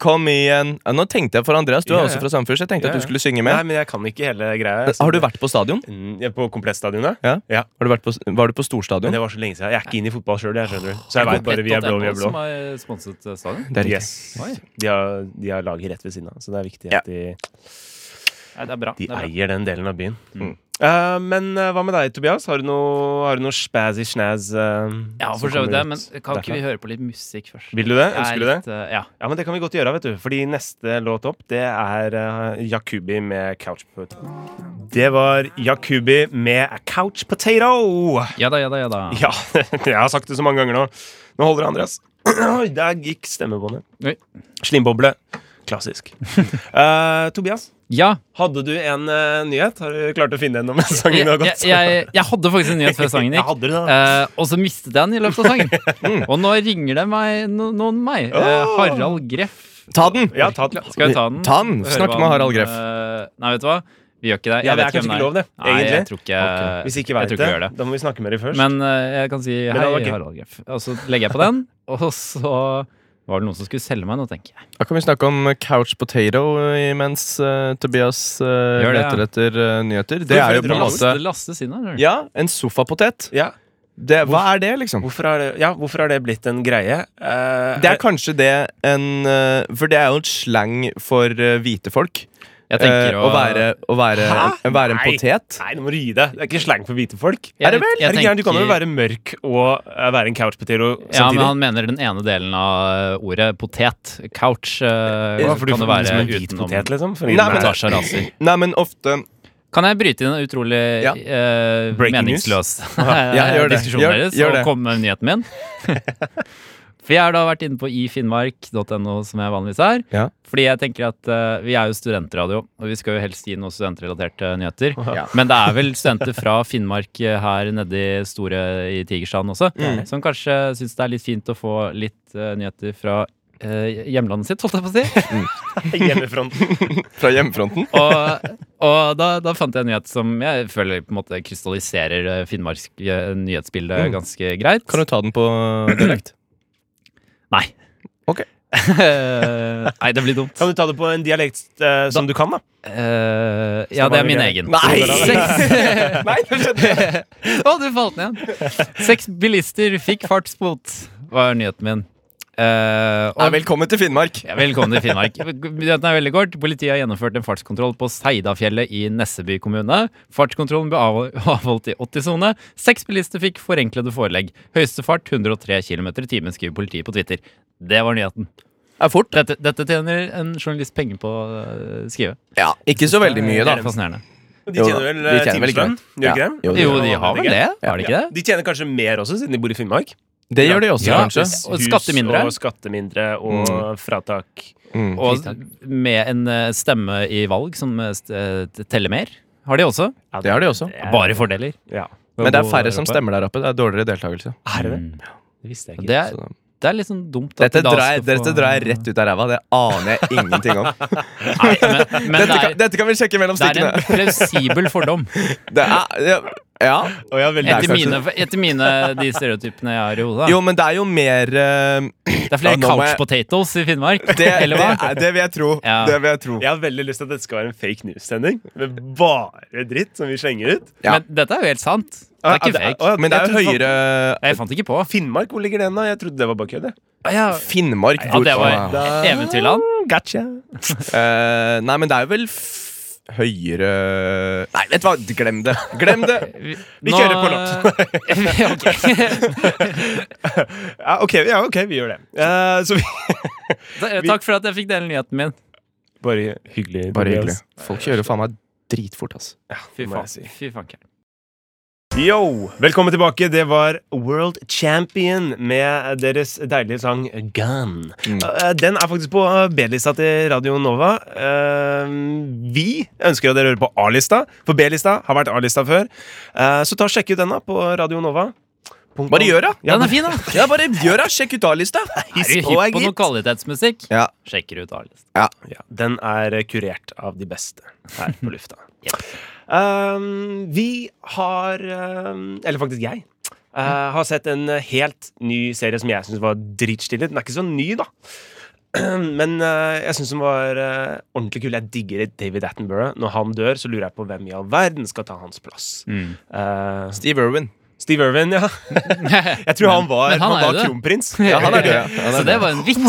D: Kom igjen. Ja, nå tenkte jeg for Andreas, du er
B: Ja, ja.
D: også fra Sandefjord, så jeg tenkte
B: Ja,
D: at du
B: ja.
D: skulle synge
B: Nei,
D: med.
B: men jeg kan ikke hele greia.
D: Har du vært på stadion?
B: vært På Komplettstadionet?
D: Har du vært på, var du på
B: Men
D: storstadion?
B: det var så lenge siden. Jeg er ikke inne i fotball sjøl, jeg skjønner du. Så jeg veit bare vi er blå, vi er blå.
C: Som har sponset eh, stadion.
D: Det er riktig.
B: Yes.
C: Oi.
B: De har, de har laget rett ved siden av, så det er viktig
D: Ja.
B: at de
C: Nei, det er bra.
B: De
C: det er bra.
B: eier den delen av byen.
D: Mm.
B: Eh, men eh, hva med deg, Tobias? Har du noe, har du noe spazzy snaz? eh,
C: Ja,
B: som
C: for så vidt
B: kommer
C: det,
B: ut
C: men kan ikke vi
B: derfra?
C: høre på litt musikk først?
B: Vil du det?
C: Jeg er
B: Ønsker du det?
C: litt, eh, Ja.
B: Ja, men Det kan vi godt gjøre, vet du. Fordi neste låt opp, det er eh, Jakubi med Couch Potato. Det var Jakubi med A Couch Potato!
C: ja da, ja da, ja da.
B: Ja, jeg har sagt det så mange ganger nå. Nå holder det, Andreas. Oi, der gikk stemmebåndet.
C: Oi.
B: Slimboble. Klassisk. Eh, Tobias,
C: Ja,
B: hadde du en eh, nyhet? Har du klart å finne en om sangen
C: jeg,
B: har
C: jeg,
B: gått?
C: jeg, jeg hadde faktisk en nyhet før sangen
B: Jeg
C: gikk.
B: hadde det da. Mm.
C: eh, og så mistet jeg den i løpet av sangen. Og nå ringer det meg, no, noen meg. Eh,
B: Åh!
C: Harald Greff.
D: Ta den!
B: Ja, ta den.
C: Skal vi ta den?
D: Ta den!
C: Høre
D: Snakk
C: hva
D: med
C: han,
D: Harald Greff.
C: eh, nei, vet du hva? Vi gjør ikke det.
B: Ja, det
C: vet
B: er kanskje
C: hvem
B: ikke lov, det.
C: Nei, jeg
B: Egentlig.
C: tror ikke,
B: Hvis ikke
C: eh, jeg
B: veit
C: tror
B: det,
C: ikke vi gjør det.
B: da må vi snakke med dem først.
C: Men eh, jeg kan si hei,
B: det var gøy.
C: Harald Greff. Og så legger jeg på den, og så var det noen som skulle selge meg noe, tenker jeg.
D: Da kan vi snakke om couch potato eh, mens eh, Tobias eh,
C: Gjør det, ja.
D: leter etter eh, nyheter. Det
B: Hvorfor
D: er jo
B: heter
D: på en
B: det
D: måte
C: Det lastes inn her.
D: Ja, en sofapotet.
B: ja,
D: Det, hva er det, liksom?
B: hvorfor har det, ja, hvorfor har det blitt en greie? Eh,
D: Det er kanskje det en eh, For det er jo en slang for eh, hvite folk.
C: Jeg tenker
D: Eh, å være, å være, å være en
B: Nei.
D: potet.
B: Nei, nå må du gi deg. Det er ikke slang for hvite folk.
C: Jeg-
B: er det vel?
C: jeg
B: er det gæren? Du kan jo
C: tenker-
B: være mørk og eh, være en couch potato
C: Ja, men
B: samtidig.
C: han mener den ene delen av ordet potet. Couch eh,
B: Ja, for du
C: kan
B: får liksom
C: det være
B: en hvit
C: utenom
B: potet, liksom? For
D: Nei,
B: ingen
D: men-
B: er-
C: Natasha Razi.
D: Nei, men ofte
C: Kan jeg bryte inn en utrolig
D: Ja.
C: eh,
B: Breaking news?
C: meningsløs eh,
D: Ja, gjør det.
C: diskusjon
D: Gjør-
C: deres?
D: gjør
C: og
D: det.
C: komme med nyheten min? For jeg har da vært inne på ifinnmark.no, som jeg vanligvis er.
D: Ja.
C: Fordi jeg tenker at eh, vi er jo studentradio, og vi skal jo helst gi noen studentrelaterte nyheter.
D: Ja.
C: Men det er vel studenter fra Finnmark eh, her nede i store i Tigerstrand også,
D: Mm.
C: som kanskje syns det er litt fint å få litt eh, nyheter fra eh, hjemlandet sitt, holdt jeg på å si.
B: Hjemmefronten.
D: fra hjemmefronten.
C: og, og da, da fant jeg en nyhet som jeg føler på en måte krystalliserer eh, finnmarksk eh, nyhetsbilde
D: Mm.
C: ganske greit.
D: Kan du ta den på dialekt?
C: Nei.
D: Ok.
C: Nei, det blir dumt.
B: Kan du ta det på en dialekt eh, som du kan, da?
C: Eh, ja, det er min
B: Stavanger.
C: egen.
D: Nei!
C: Seks-
D: Nei, det skjedde ikke.
C: Å, du falt ned igjen. Seks bilister fikk fartsbot, var nyheten min. Eh, Eh,
D: Nei,
C: og
D: velkommen til Finnmark!
C: Ja, velkommen til Finnmark. Nyheten er veldig kort. Politiet har gjennomført en fartskontroll på Seidafjellet i Nesseby kommune. Fartskontrollen ble avhol- avholdt i 80-sone. Seks bilister fikk forenklede forelegg. Høyeste fart 103 km i timen, skriver politiet på Twitter. Det var nyheten.
D: Det er fort.
C: Dette, dette tjener en journalist penger på å øh, skrive.
D: Ja, ikke så veldig mye,
C: Det er
D: da.
C: fascinerende.
B: De
D: Jo da,
B: tjener vel
D: de
B: eh,
D: tjener vel
B: timelønn? Gjør
D: greit. Ja.
B: ikke det?
D: Jo,
C: Jo, de
B: Ja,
C: har
B: det er
C: vel det?
B: greit.
C: Har de ikke det?
B: De tjener kanskje mer også, siden de bor i Finnmark.
D: Det gjør de også,
C: Ja.
D: kanskje.
C: Og skattemindre.
B: Hus og skattemindre og fratak.
D: Mm.
C: Og med en øh, stemme i valg som øh, st- øh, teller mer, har de også.
D: Det har de også.
C: Bare fordeler.
B: Ja.
D: Men det
C: Å
D: er
C: bo
D: færre
C: der
D: som
C: oppe.
D: stemmer der oppe. Det er dårligere deltakelse.
B: Er det det?
C: Mm.
B: Det visste jeg
C: Og
B: ikke.
C: Det er,
D: Så da-
C: Det er litt sånn dumt at
D: Dette
C: de da
D: drar, jeg,
C: skal få-
D: dette drar jeg rett ut av ræva. Det aner jeg ingenting om.
C: Nei, men, men
D: Dette
C: det,
D: kan,
C: er,
D: dette kan vi sjekke mellom
C: det er en
D: stikkene.
C: plausibel fordom.
D: Det er, ja, ja.
B: Å, ja, veldig.
D: Det er
C: Etter
D: kanskje-
C: mine, etter mine de stereotypene jeg har i hodet.
D: Jo, men det er jo mer eh,
C: det er flere
D: ja, nå må
C: couch
D: jeg-
C: potatoes i Finnmark.
D: det,
C: eller
D: det,
C: hva?
D: er- det vil jeg tro.
C: Ja.
D: Det vil jeg tro.
B: Jeg har veldig lyst til at dette skal være en fake news-sending med bare dritt som vi slenger ut.
D: Ja.
C: Men dette er jo helt sant. Det er
B: Ah,
C: ikke
B: ah,
C: fake.
B: ah,
D: Men det er jo
B: jeg trodde-
D: høyere
C: Jeg fant ikke på.
B: Finnmark, hvor ligger den da? Jeg trodde det var bare kødd. jeg.
C: Ja,
D: Finnmark. hvor-
C: det var
D: Wow.
C: Eventyrland.
B: Gotcha.
D: Eh, nei, men det er jo vel f høyere Nei, vet du hva, glem det! Glem det!
C: Vi,
B: Vi kjører
C: låt.
B: Ja, ok, ja, ok, vi gjør det. Eh, så vi
C: eh, Takk for at jeg fikk dele nyheten min.
B: Bare hyggelig.
D: Bare hyggelig. Folk kjører faen meg dritfort, ass.
C: Fy
B: må jeg si.
C: faen. Fy faen.
B: Yo! Velkommen tilbake. Det var World Champion med deres deilige sang Gun.
D: Mm.
B: Eh, Den er faktisk på eh, B-lista til Radio Nova. Eh, Vi ønsker at dere hører på A-lista, for B-lista har vært A-lista før. Eh, Så ta og sjekk ut den da på Radio Nova. Punktum.
D: Bare gjør det!
B: Ja,
C: Den er fin, da.
D: Ja, bare gjør det! Sjekk ut A-lista!
C: Er du hypp på noe kvalitetsmusikk?
D: Ja.
C: Sjekker ut Arlest.
B: Ja, den er kurert av de beste her på lufta. um, vi har um, Eller faktisk jeg. Uh,
C: Mm.
B: har sett en uh, helt ny serie som jeg syns var dritstille. Den er ikke så ny, da. Men uh, jeg syns den var uh, ordentlig kul. Jeg digger David Attenborough. Når han dør, så lurer jeg på hvem i all verden skal ta hans plass.
C: Mm.
B: Uh,
D: Steve Irwin.
B: Steve Irwin, ja. Jeg tror han var,
C: men han
B: han
C: er jo
B: var
C: det.
B: kronprins.
D: Ja, han er død. Ja. Han er
C: Så
D: død.
C: det var en vits.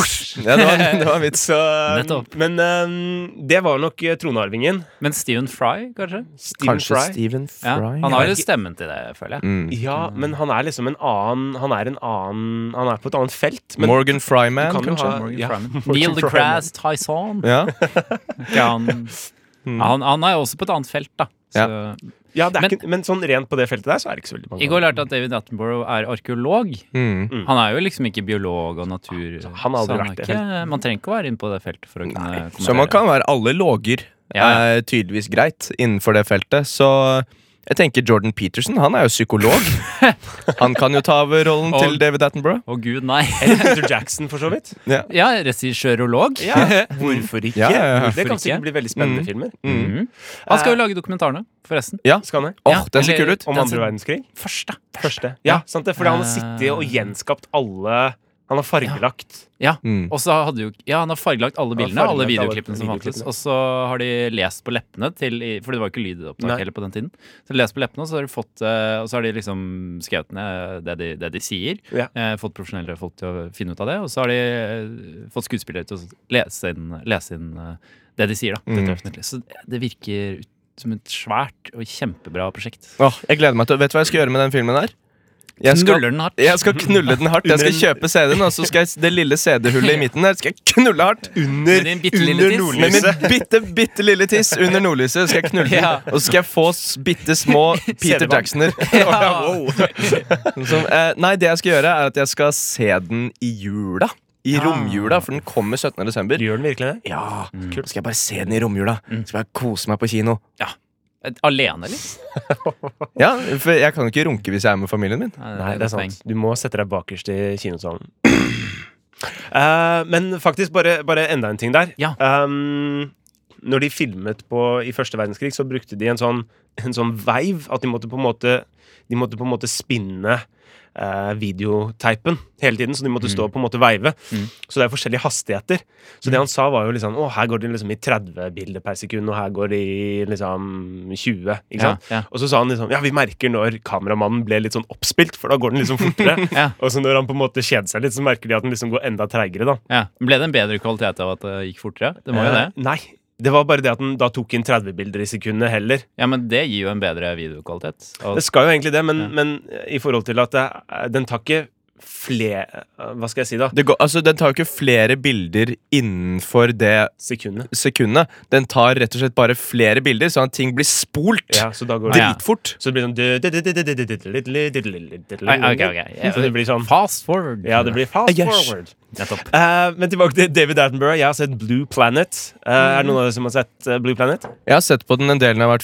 D: Ja, det var, det var en vits.
B: Så, uh,
C: Nettopp.
B: men uh, det var nok uh, tronarvingen.
C: Men Stephen Fry, kanskje?
B: Stephen Fry.
D: Stephen
C: Ja, han har jo stemmen til det, føler jeg.
D: Mm.
B: Ja, men han er liksom en annen Han er en annen Han er på et annet felt. Men
D: Morgan Fryman,
B: Du kan jo
D: kanskje?
B: ha-
C: Morgan
B: ja,
C: Freeman.
B: Morgan
C: Neil
B: Freeman.
C: deGrasse Tyson.
D: Ja.
C: Ja, han, han, han er jo også på et annet felt, da. Så,
B: Mm. ja, det er
C: Men-
B: men, ikke, men sånn rent på det feltet der, så er det ikke så veldig mange.
C: I går lærte jeg at David Attenborough er arkeolog.
D: Mm.
C: Han er jo liksom ikke biolog og natur...
B: han har aldri
C: så
B: vært det
C: er ikke, Man trenger ikke å være inne på det feltet for å kunne kommentere.
D: Så man kan være alle låger.
C: Ja,
D: Er tydeligvis greit innenfor det feltet. Så jeg tenker Jordan Peterson, han er jo psykolog. han kan jo ta over rollen
C: Og-
D: til David Attenborough.
C: Å gud, nei.
B: Eller Peter Jackson, for så vidt.
C: Ja, regissørolog.
B: Ja, hvorfor ikke?
D: Ja, ja, ja.
B: Det kan
C: Hvorfor ikke?
B: sikkert bli veldig spennende
D: Mm.
B: filmer.
D: Mm.
C: Mhm. Han skal jo lage dokumentarene, forresten.
B: Skal han det?
D: Åh,
C: Ja,
D: den ser
C: eller-
D: kul ut!
B: Om
C: Den
B: andre
C: som-
B: verdenskrig?
C: Første.
B: Første. Ja, sant det? Fordi han har sittet og
C: Eh.
B: gjenskapt alle Han har fargelagt.
C: Ja.
D: Mm.
C: Og så hadde jo, ja, Han har fargelagt alle
B: har
C: bildene, alle
B: fargelagt alle
C: videoklippene som fantes.
B: videoklippene.
C: Og så har de lest på leppene til For det var jo ikke lydopptak
B: Nei.
C: heller på den tiden. Så de lest på leppene, og så har de, fått, eh, og så har de liksom skrevet ned det de, det de sier.
B: Ja.
C: Eh, fått profesjonelle folk til å finne ut av det. Og så har de eh, fått skuespillere til å lese inn, lese inn eh, det de sier. da
D: Mm.
C: Detaljert. Så det virker ut som et svært og kjempebra prosjekt.
D: Åh, jeg gleder meg til Vet du hva jeg skal gjøre med den filmen her? Jeg skal,
C: Knuller den hardt.
D: jeg skal knulle den hardt. Jeg skal
B: Under en-
D: kjøpe CD-en, og så skal jeg, det lille CD-hullet i midten der skal jeg knulle hardt.
B: Under,
C: Med din bitte lille tiss.
D: Med min bitte, bitte lille tiss under nordlyset skal jeg knulle den.
C: Ja.
D: Og så skal jeg få s- bitte små Peter
B: CD-band.
D: Jacksoner. Som, eh, nei, det jeg skal gjøre, er at jeg skal se den i jula. I romjula, for den kommer 17. desember.
B: Gjør den virkelig det?
D: Ja, kult. Skal jeg bare se den i romjula?
B: Mm.
D: Skal jeg kose meg på kino?
C: Alene, eller?
D: Ja, for jeg kan jo ikke runke hvis jeg er med familien min.
B: Nei, det
C: et
B: er
C: poeng.
B: sant. Du må sette deg bakerst i kinosalen. Eh, men faktisk, bare, bare enda en ting der.
C: Ja.
B: Um, når de filmet på, i første verdenskrig, så brukte de en sånn, en sånn veiv. At de måtte på en måte de måtte på en måte spinne eh, videoteipen hele tiden, så de
C: Mm.
B: måtte stå og på en måte veive. Så det er forskjellige hastigheter. Så
C: Mm.
B: det han sa, var jo liksom Å, her går det liksom i 30 bilder per sekund, og her går det i liksom 20. Ikke
C: Ja,
B: sant?
C: ja.
B: Og så sa han liksom Ja, vi merker når kameramannen ble litt sånn oppspilt, for da går den liksom fortere.
C: Ja.
B: Og så når han på en måte kjeder seg litt, så merker de at den liksom går enda treigere, da.
C: Ja. Ble det en bedre kvalitet av at det gikk fortere? Det må jo det.
B: Eh, Nei. Det var bare det at den da tok inn 30 bilder i sekundet heller.
C: Ja, men det gir jo en bedre videokvalitet. Og,
B: Det skal jo egentlig det, men,
C: Ja.
B: men i forhold til at det, den tar ikke flere Hva skal jeg si, da?
D: Det går, altså, den tar jo ikke flere bilder innenfor det
B: Sekundet.
D: sekundet. Den tar rett og slett bare flere bilder, sånn at ting blir spolt
B: Ja, så da går det
C: Ja.
D: dritfort.
B: Så det blir sånn
C: Nei, ok, ok. Ja,
B: Så det blir sånn
C: Fast forward.
B: Ja, det blir fast
D: Yes.
B: forward.
C: Nettopp.
B: Eh, men tilbake til David Attenborough. Jeg har sett Blue Planet. Eh, er det noen av dere som har sett eh, Blue Planet?
D: Jeg har sett på den en del når jeg har vært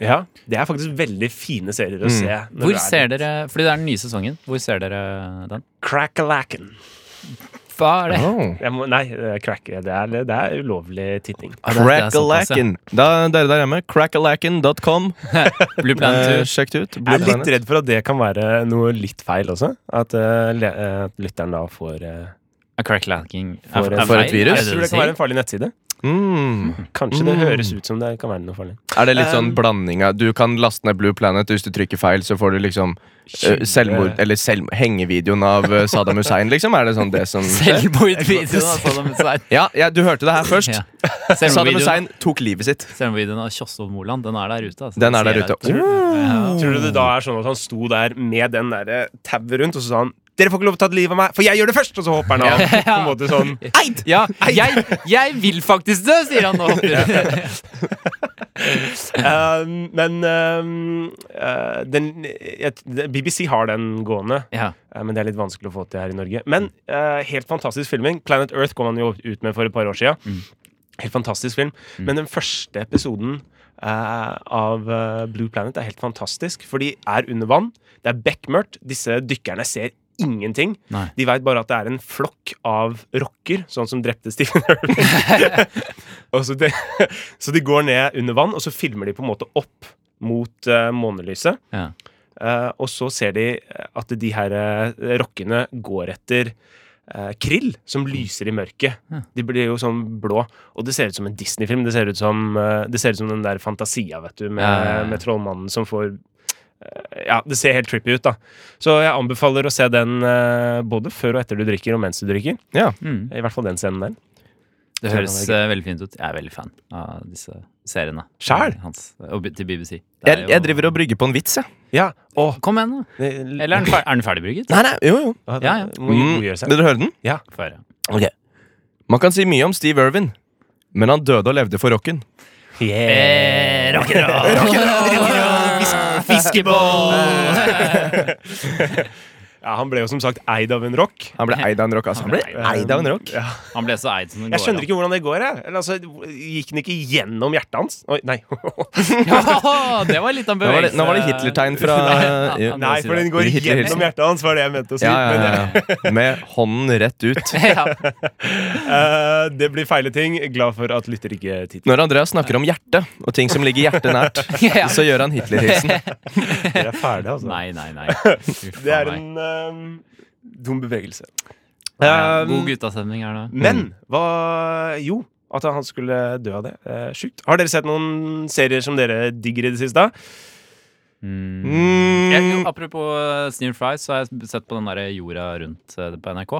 B: Ja, Det er faktisk veldig fine serier å se. når du
C: Hvor
B: er
C: ser dere Fordi det er den nye sesongen. Hvor ser dere den?
B: Crack-a-lacken.
C: Hva er det?
D: Oh.
B: Jeg må, nei, det er crack, det er, det er ulovlig titting.
C: Ah, det er- det er såpass, ja.
D: Crackalacken. Da, dere der hjemme, crackalacken.com.
C: Blue
D: Eh,
C: Planet 2.
D: sjekk det ut. Blue
B: Jeg er litt
D: Planet.
B: redd for at det kan være noe litt feil også. At eh, le- eh, at lytteren da får eh,
C: Crack Lacking.
B: For-
D: for et virus?
B: Jeg tror det kan være en farlig nettside.
D: Mm.
B: Kanskje det
D: Mm.
B: høres ut som det kan være noe farlig.
D: Er det litt sånn
B: Um,
D: blanding av Du kan laste ned Blue Planet, og hvis du trykker feil, så får du liksom eh, selvmord Eller selv, hengevideoen av eh, Saddam Hussein, liksom? Er det sånn det som skjer?
C: Selvmordvideoen av Saddam Hussein.
D: Ja, ja, du hørte det her først.
C: Ja.
D: Saddam
C: Selvmordvideoen
D: Hussein tok livet sitt.
C: Selvmordvideoen av Kjosvold Moland. Den er der ute. Altså.
D: Den er der
C: ser
D: ute.
C: jeg. Ja.
B: Tror du det da er sånn at han sto der med den derre tauet rundt, og så sa han dere får ikke lov til å ta livet av meg, for jeg gjør det først! Og så hopper han av. På en måte sånn
C: Eid! Ja, jeg, jeg vil faktisk dø, sier han nå.
B: Um, Men um, eh, den, jeg, BBC har den gående.
C: Ja.
B: Eh, Men det er litt vanskelig å få til her i Norge. Men eh, helt fantastisk filming. Planet Earth kom han jo ut med for et par år siden. Helt fantastisk film. Men den første episoden eh, av eh, Blue Planet er helt fantastisk, for de er under vann. Det er bekmørkt. Disse dykkerne ser ingenting.
C: Nei.
B: De veit bare at det er en flokk av rocker, sånn som drepte Stephen Irwin. Og så, de, så de går ned under vann, og så filmer de på en måte opp mot eh, månelyset.
C: Ja.
B: Eh, og så ser de eh, at de her eh, rockene går etter eh, krill som lyser i mørket. De blir jo sånn blå. Og det ser ut som en Disney-film. Det ser ut som, eh, det ser ut som den der Fantasia, vet du, med,
C: Ja, ja, ja.
B: med trollmannen som får eh, ja, Det ser helt trippy ut, da. Så jeg anbefaler å se den eh, både før og etter du drikker, og mens du drikker.
D: Ja.
C: Mm.
B: I hvert fall den scenen der.
C: Det høres eh, veldig fint ut. Jeg er veldig fan av disse seriene. Eh,
B: Skjær?
C: Hans, og b- til BBC. Det er
D: Jeg,
C: jo-
D: jeg driver og brygger på en vits, jeg.
B: Ja, og
C: Kom igjen, da. Eller er den, fer er den ferdigbrygget?
D: Nei, nei, jo, jo. Mm.
C: Ja, ja.
B: Må, må gjøre seg.
D: Vil dere høre den?
C: Få høre.
D: Man kan si mye om Steve Irwin, men han døde og levde for rocken.
C: Eh, rock'n'roll! Eh,
B: Ja, han ble jo som sagt eid av en rock.
D: Han ble eid av en rock. Altså. Han ble eid av en rock.
C: Han ble så eid som det
B: Jeg skjønner ikke hvordan det går. Jeg. Eller, altså, gikk den ikke gjennom hjertet hans? Oi, nei.
C: Ja, det var litt av en
D: Nå var det,
C: bevegelse.
D: nå var det Hitler-tegn fra ja.
B: nei, for den går
D: Hitler hilsen.
B: gjennom hjertet hans, var det jeg mente å si.
D: Ja, ja, ja. Med hånden rett ut.
C: Ja.
B: Men eh, det blir feile ting. Glad for at lytter ikke titter.
D: Når Andreas snakker om hjerte og ting som ligger hjertet nært,
C: Ja.
D: så gjør han Hitler-hilsen.
B: Dere er ferdig, altså.
C: Nei, nei, nei. Uff,
B: det er
C: nei.
B: en eh, dum bevegelse.
C: Ja, God
B: Um,
C: guttastemning her nå.
B: men hva Jo, at han skulle dø av det. Uh, Sjukt. Har dere sett noen serier som dere digger i det siste?
C: Mm. Jeg, jo,
D: Mm,
C: apropos uh, Sneer Fries, så har jeg sett på den der Jorda rundt eh, på NRK.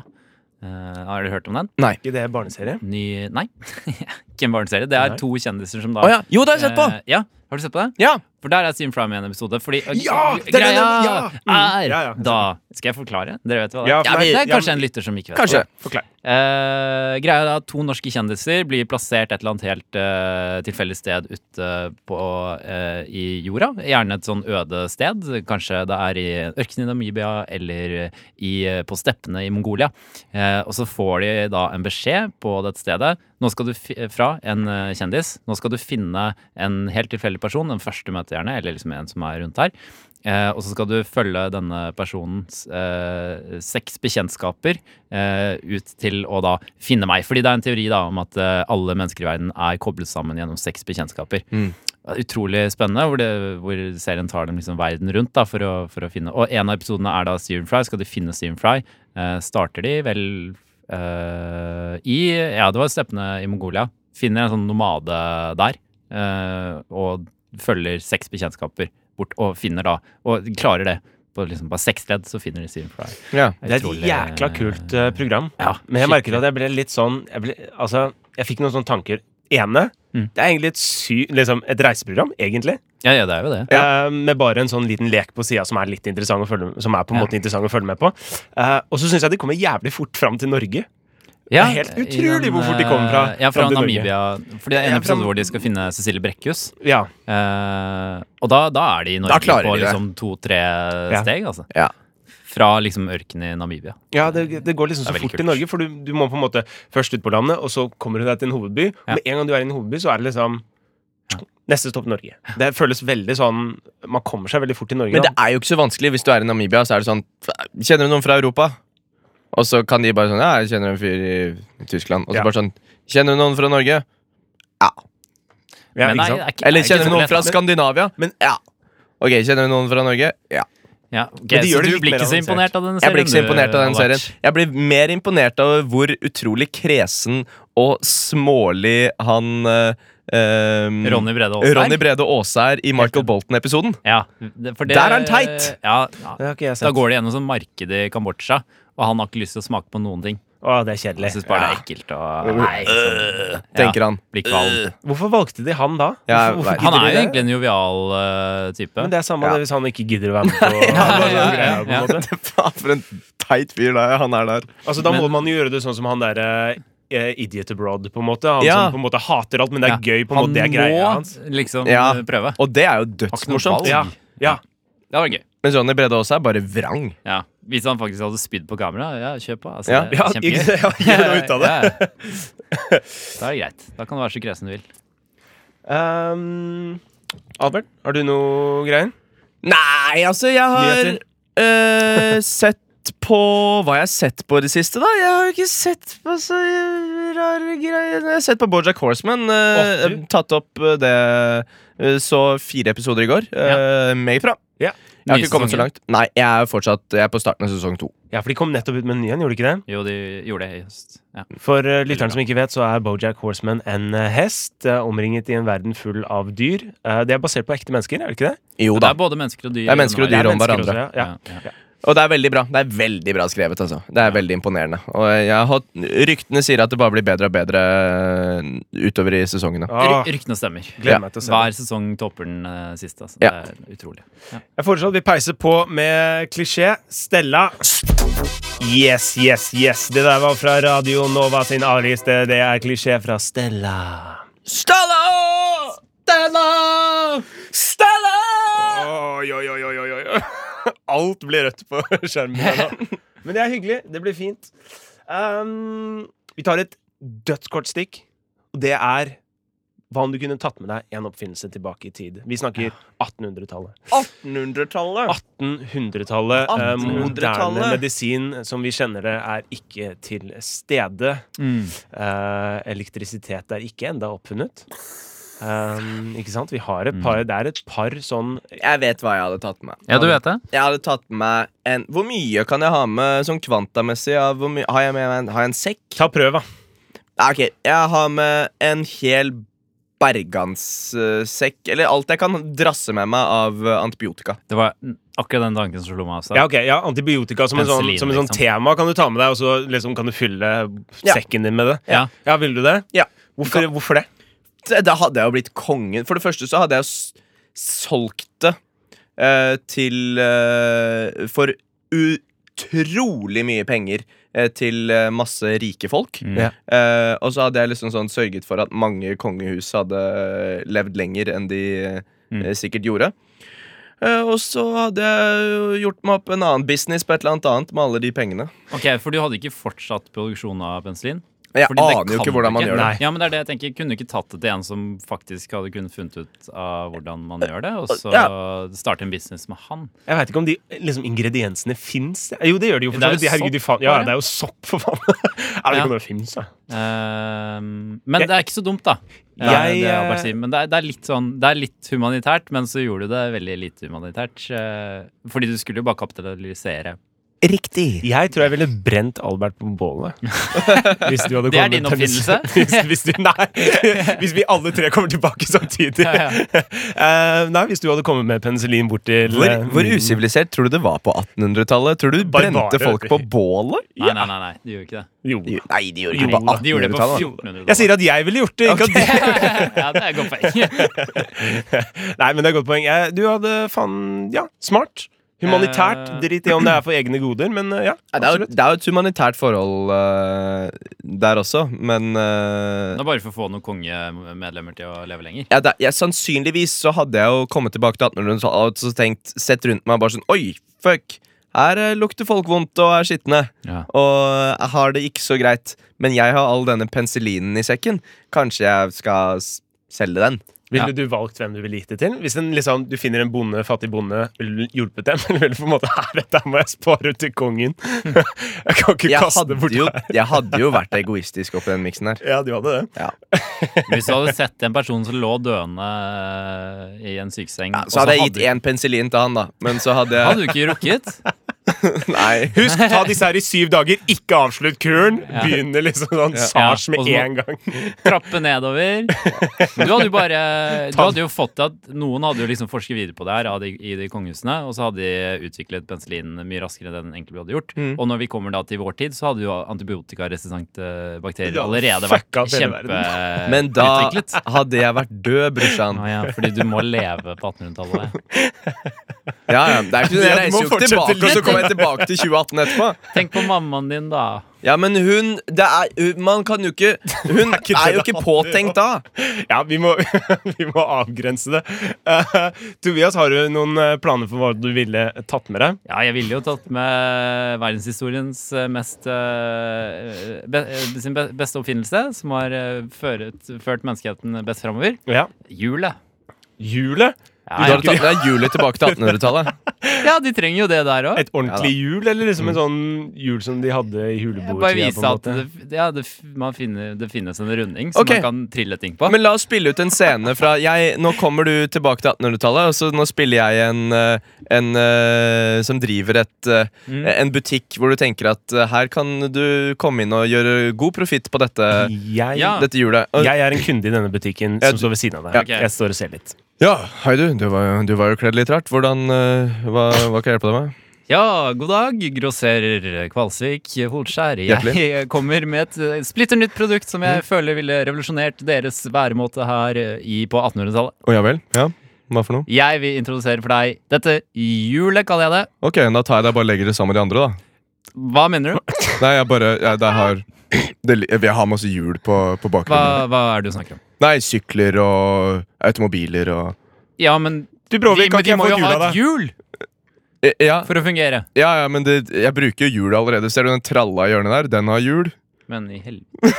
C: Eh, har dere hørt om den?
B: Ikke det barneserie?
C: Ny Nei. ikke en barneserie. Det er
B: Nei.
C: to kjendiser som da
D: Å ja. Jo, det har jeg sett på!
C: Eh, ja, Har du sett på det?
D: Ja.
C: For der er Steam Fry med i en episode. Fordi eh,
B: Ja, det er
C: greia
B: den- ja. Mm,
C: er
B: ja, ja.
C: Da skal jeg forklare. Dere vet hva det er.
B: Ja,
C: Ja,
B: for
C: men
B: meg-
C: det er
B: ja,
C: kanskje
B: men-
C: en lytter som ikke vet
D: Kanskje.
B: Forklar.
C: Eh, greia er at to norske kjendiser blir plassert et eller annet helt eh, tilfeldig sted ute på, eh, i jorda. Gjerne et sånn øde sted. Kanskje det er i ørkenen i Namibia eller i, eh, på steppene i Mongolia. Eh, og så får de da en beskjed på dette stedet. Nå skal du fi fra en eh, kjendis. Nå skal du finne en helt tilfeldig person, den første møtet gjerne, eller liksom en som er rundt her. Eh, og så skal du følge denne personens eh, seks bekjentskaper eh, ut til å da finne meg. Fordi det er en teori da om at eh, alle mennesker i verden er koblet sammen gjennom seks bekjentskaper. det er utrolig spennende, hvor, det, hvor serien tar dem liksom verden rundt da, for, å, for å finne Og en av episodene er da Steven Fry. Skal de finne Steven Fry? Eh, starter de vel eh, i Ja, det var steppene i Mongolia. Finner en sånn nomade der eh, og følger seks bekjentskaper bort, og finner da Og klarer det. På liksom bare seks ledd så finner de Steven Fry.
D: Ja.
B: Det er et
C: Utrolig-
B: jækla kult eh, program.
C: Ja,
B: Men jeg merket
C: skikkelig.
B: at jeg ble litt sånn Jeg, ble, altså, jeg fikk noen sånne tanker. Ene
C: Mm.
B: Det er egentlig et, sy, liksom et reiseprogram, egentlig.
C: Ja, ja, det er jo det.
B: Eh, med bare en sånn liten lek på sida som er litt interessant å følge, som er på en
C: Ja.
B: måte interessant å følge med på. Eh, og så syns jeg de kommer jævlig fort fram til Norge.
C: Ja,
B: Det er helt
C: i eh,
B: utrolig hvor fort de kommer fra-
C: Ja, fra
B: fram til Norge.
C: Namibia. For det er en
B: Ja,
C: episode
B: fra-
C: hvor de skal finne Cecilie Brekkhus.
B: Ja.
C: Eh, og da, da er de i
D: Da
C: Norge
D: klarer
C: på
D: de det.
C: liksom to-tre steg, altså.
D: Ja.
C: Fra liksom ørkenen i Namibia.
B: Ja, det, det går liksom
C: Det
B: så
C: er veldig
B: fort i
C: kult.
B: Norge, for du, du må på en måte først ut på landet, og så kommer du deg til en hovedby.
C: Ja.
B: Og med en gang du er i en hovedby, så er det liksom Neste stopp Norge. Det føles veldig sånn Man kommer seg veldig fort til Norge.
D: Men det
B: da.
D: er jo ikke så vanskelig. Hvis du er i Namibia, så er det sånn Kjenner du noen fra Europa? Og så kan de bare sånn Ja, jeg kjenner en fyr i Tyskland. Og
B: Ja.
D: så bare sånn Kjenner du noen fra Norge?
B: ja,
C: Men
B: ikke
C: nei,
B: sant?
C: det er ikke-
D: Eller
C: det er ikke
D: kjenner du
C: så
D: noen
C: lett.
D: fra Skandinavia? Men ja. Ok, kjenner du noen fra Norge? Ja.
C: Ja, ok,
B: Men de gjør
C: så
B: det
C: du
B: litt
C: blir
B: mer
C: ikke så
B: avansert.
C: imponert av denne serien?
D: Jeg blir ikke så
C: du,
D: imponert av den
C: Albert.
D: serien. Jeg blir mer imponert av hvor utrolig kresen og smålig han eh, ehm,
C: Ronny Brede Aasberg.
D: Ronny Brede Aase er i Michael Bolton-episoden.
C: Ja, det- for det,
D: Der er han teit!
C: Ja, ja.
B: Det har ikke jeg
C: Da
B: sett.
C: går det gjennom sånn marked i Kambodsja, og han har ikke lyst til å smake på noen ting.
B: Å, det er kjedelig.
C: Jeg synes bare det er ekkelt og Nei, sånn.
D: Tenker han.
C: Ja, blir kvalm.
B: Hvorfor valgte de han da?
D: Ja, jeg
B: hvorfor, hvorfor
D: vet.
C: Han er
B: gidder
C: jo
B: de det?
C: egentlig en jovial eh, type.
B: Men det er samme
D: Ja.
B: det hvis han ikke gidder å være med på
C: ja, ja,
B: greia, på en
C: ja.
B: måte.
D: Faen, for en teit fyr da, han er der.
B: Altså, da må
C: Men-
B: man jo gjøre det sånn som han derre Idiot abroad, på en måte. Han
D: Ja.
B: som på en måte hater alt, men det er gøy. på en måte, det er greia hans.
C: Han må liksom
D: Ja.
C: eh, prøve.
D: Og det er jo
C: ikke noe
D: dødsmorsomt.
C: valg.
B: Ja, ja.
C: Det var gøy.
D: Mens Ronny Brede Aase er bare vrang.
C: Ja. Hvis han faktisk hadde spydd på kamera, ja, kjør på. Altså,
D: Ja.
C: det er
B: ikke-
C: Kjempegøy.
B: ja, gjør noe ut av det.
C: Ja, ja. Da er det greit. Da kan du være så kresen du vil.
B: Ehm, Albert, har du noe greier?
D: Nei, altså, jeg har
B: Nyheter?
D: eh, sett på Hva jeg har sett på i det siste, da? Jeg har jo ikke sett på så rare greier. Jeg har sett på Bojack Horseman. eh,
B: Å, du.
D: tatt opp eh, det eh, Så fire episoder i går. Uh, Meget bra.
B: Ja.
D: Jeg har
C: Nye
D: ikke kommet så
C: sesongen.
D: langt. Nei, jeg er fortsatt jeg er på starten av sesong to.
B: Ja, for de kom nettopp ut med en ny en, gjorde de ikke det?
C: Jo, de gjorde det i høst. Ja.
B: For uh, lytteren som ikke vet, så er Bojack Horseman en eh, hest eh, omringet i en verden full av dyr. Eh, det er basert på ekte mennesker, er det ikke det?
D: Jo
C: Det
D: da.
C: er både mennesker og dyr.
D: Det er mennesker og
C: i denne
D: dyr om
C: verden.
B: mennesker
D: hverandre.
B: også, ja.
C: Ja, ja.
D: Og det er veldig bra. Det er veldig bra skrevet, altså. Det er veldig imponerende. Og jeg har, ryktene sier at det bare blir bedre og bedre eh, utover i sesongene.
B: Ah,
C: Ry- Ryktene stemmer.
B: gleder
D: Ja.
B: meg til å se det.
C: Hver sesong topper den eh, siste. Altså.
D: Ja.
C: Det er utrolig.
B: Jeg foreslår at vi peiser på med klisjé. Stella. Yes, yes, yes. Det der var fra Radio Nova sin A-liste. Det er klisjé fra Stella.
D: Stella! Stella! Stella!
B: Oi, oi, oi, oi, oi, oi. Alt blir rødt på skjermen her nå. Men det er hyggelig. Det blir fint. Um, vi tar et dødskort stikk, og det er hva om du kunne tatt med deg en oppfinnelse tilbake i tid? Vi snakker 1800-tallet.
D: 1800-tallet.
B: 1800-tallet. eh,
D: 1800-tallet.
B: moderne medisin som vi kjenner det, er ikke til stede.
C: Mm.
B: Eh, elektrisitet er ikke enda oppfunnet. Um, ikke sant? Vi har
C: Mm.
B: et par, Det er et par sånn
D: Jeg vet hva jeg hadde tatt med.
C: Ja, du vet det?
D: Jeg hadde tatt med en Hvor mye kan jeg ha med sånn kvantamessig? Av hvor mye, har, jeg med, en- har jeg en sekk?
B: Ta prøv, da.
D: Ja, ok, jeg har med en hel berganssekk. Eller alt jeg kan drasse med meg av eh, antibiotika.
C: Det var akkurat den tanken som slo meg også.
B: Ja, ok, ja, Antibiotika som en sånn,
C: Penicillin,
B: som en sånn
C: liksom.
B: tema kan du ta med deg, og så liksom kan du fylle
D: Ja.
B: sekken din med det.
C: Ja.
B: Ja, Ville du det?
D: Ja.
B: Hvorfor, hvorfor det?
D: det- Da hadde jeg jo blitt kongen. For det første så hadde jeg jo s- solgt det eh, til eh, For utrolig mye penger eh, til eh, masse rike folk.
C: Mm.
B: Ja.
D: Eh, og så hadde jeg liksom sånn sørget for at mange kongehus hadde levd lenger enn de eh,
C: Mm.
D: sikkert gjorde. Eh, og så hadde jeg jo gjort meg opp en annen business på et eller annet annet med alle de pengene.
C: Ok, For du hadde ikke fortsatt produksjon av penicillin?
D: Jeg
C: Fordi det
D: aner jo
C: kan
D: ikke hvordan
C: du
D: man gjør det.
B: Nei.
C: Ja, men det er det jeg tenker. Kunne du ikke tatt det til en som faktisk hadde kunnet funnet ut av hvordan man gjør det, og så starte en business med han?
B: Jeg veit ikke om de liksom, ingrediensene fins. Jo, det gjør de jo. for
C: Det
B: så
C: er jo
B: vidt. De- herregud, de faen-
C: sopp,
B: ja,
C: bare.
B: det er jo sopp, for faen. Jeg vet ikke om det fins, da.
C: Ehm, men det er ikke så dumt, da. Ja,
D: Jeg,
C: det er
D: eh,
C: appelsin, men det er, det, er litt sånn, det er litt humanitært, men så gjorde du det veldig lite humanitært. eh, Fordi du skulle jo bare kapitalisere.
D: Riktig.
B: Jeg tror jeg ville brent Albert på bålet. Hvis du hadde
C: Det
B: kommet
C: er din
B: til-
C: oppfinnelse?
B: Hvis, hvis du, nei. Hvis vi alle tre kommer tilbake samtidig.
C: Ja, ja.
B: Eh, nei, hvis du hadde kommet med penicillin bort til
D: Hvor,
B: eh,
D: hvor usivilisert tror du det var på 1800-tallet? Tror du
B: Barbarer.
D: brente folk på bålet?
C: Nei, nei, nei, nei, de gjorde ikke det.
B: Jo.
D: Nei, de gjorde
B: Jo,
D: ikke på
C: De gjorde det på
D: 1800-tallet.
C: 1400
B: Jeg sier at jeg ville gjort det. Ikke at du-
C: ja, det er et godt poeng.
B: Nei, men det er et godt poeng. Jeg, du hadde faen Ja, smart. Humanitært.
C: Eh.
B: Drit i om det er for egne goder, men eh, ja.
D: Nei, Det er, jo,
B: Absolutt.
D: det er jo et humanitært forhold eh, der også, men eh,
C: Det er bare for å få noen kongemedlemmer til å leve lenger.
D: ja, det, ja, Sannsynligvis så hadde jeg jo kommet tilbake til 1800-tallet og så tenkt, sett rundt meg og bare sånn Oi, fuck! Her eh, lukter folk vondt og er skitne.
C: Ja.
D: Og jeg har det ikke så greit. Men jeg har all denne penicillinen i sekken. Kanskje jeg skal s- selge den?
B: Ville
C: Ja.
B: du valgt hvem du ville gitt det til? Hvis en, liksom, du finner en bonde, fattig bonde, ville du hjulpet dem? Eller ville du på en måte Her, dette må jeg spare til kongen. Jeg kan ikke
D: Jeg
B: kaste det
D: hadde,
B: bort
D: jo,
B: her.
D: jeg hadde jo vært egoistisk oppi den miksen her.
B: Ja, du hadde det.
D: Ja.
C: Hvis du hadde sett en person som lå døende eh, i en sykeseng og
D: Så hadde jeg gitt én penicillin til han, da. Men så hadde jeg
C: Hadde du ikke rukket?
D: Nei.
B: Husk, ta disse her i syv dager, ikke avslutt kuren. Begynne liksom sånn sars
C: Ja,
B: med
C: og så-
B: en gang.
C: Trappe nedover. Men Du hadde jo bare Du hadde jo fått det at Noen hadde jo liksom forsket videre på det her av de, i de kongehusene, og så hadde de utviklet penicillin mye raskere enn den egentlig hadde gjort.
D: Mm.
C: Og når vi kommer da til vår tid, så hadde jo antibiotikaresistente bakterier
B: Ja,
C: allerede vært
B: fucka opp hele
D: Men da
C: kjempeutviklet.
D: hadde jeg vært død, brorsan.
C: Å ja, fordi du må leve på 1800-tallet.
D: Ja, ja. Det er ikke,
B: Ja, du
D: jeg
B: må
D: reiser jo ikke
B: fortsette
D: tilbake, og så kommer jeg tilbake til 2018 etterpå.
C: Tenk på mammaen din, da.
D: Ja, men hun det er, hun- Man kan jo ikke Hun
B: ikke det
D: er jo
B: det
D: ikke
B: handler om.
D: påtenkt da.
B: Ja, vi må, vi må avgrense det. Eh, Tobias, har du noen eh, planer for hva du ville tatt med deg?
C: Ja, jeg ville jo tatt med verdenshistoriens eh, mest eh, be, eh, sin be, beste oppfinnelse, som har eh, føret, ført menneskeheten best framover.
B: Ja.
C: Hjulet.
B: Hjulet?
D: Du
C: Ja,
D: har tatt med deg hjulet tilbake til 1800-tallet.
C: ja, de trenger jo det der òg.
B: Et ordentlig hjul, eller liksom en sånn hjul som de hadde i huleboertida?
C: Bare
B: på
C: vise
B: en
C: at
B: måte?
C: det, ja, det, f- man finner, det finnes en runding som
D: Ok.
C: man kan trille ting på.
D: Men la oss spille ut en scene fra jeg, Nå kommer du tilbake til 1800-tallet, og så nå spiller jeg en, eh, en eh, som driver et, eh, en butikk hvor du tenker at eh, her kan du komme inn og gjøre god profitt på dette,
B: Jeg,
C: Ja.
D: dette hjulet. Og-
B: jeg er en kunde i denne butikken
D: Ja,
B: som står ved siden av deg.
C: Ja.
B: Jeg står og ser litt.
D: Ja, hei du. Du var, jo- du var jo kledd litt rart. Hvordan, eh, hva, hva kan jeg hjelpe deg med?
C: Ja, god dag, grosserer Kvalsvik Holskjær. Jeg
D: Hjertelig.
C: kommer med et eh, splitter nytt produkt som
D: Mm.
C: jeg føler ville revolusjonert deres væremåte her eh, i, på 1800-tallet.
D: Å ja vel? Ja, hva for noe?
C: Jeg vil introdusere for deg dette hjulet, kaller jeg det.
D: Ok, da tar jeg deg og bare legger det sammen med de andre, da.
C: Hva mener du?
D: Nei, jeg bare jeg, det har, det, li- Jeg har masse hjul på, på
C: Hva,
D: bakgrunnen.
C: hva er det du snakker om?
D: Nei, sykler og automobiler og
C: Ja, men
B: Du, Bråvik, kan
C: men
B: ikke jeg
C: må
B: få
C: jo
B: et hjul
C: ha
B: av
C: et
B: deg?
C: hjul
D: Eh, Ja,
C: for å fungere.
D: ja, ja men det, jeg bruker jo hjul allerede. Ser du den tralla i hjørnet der? Den har hjul.
C: Men i helvete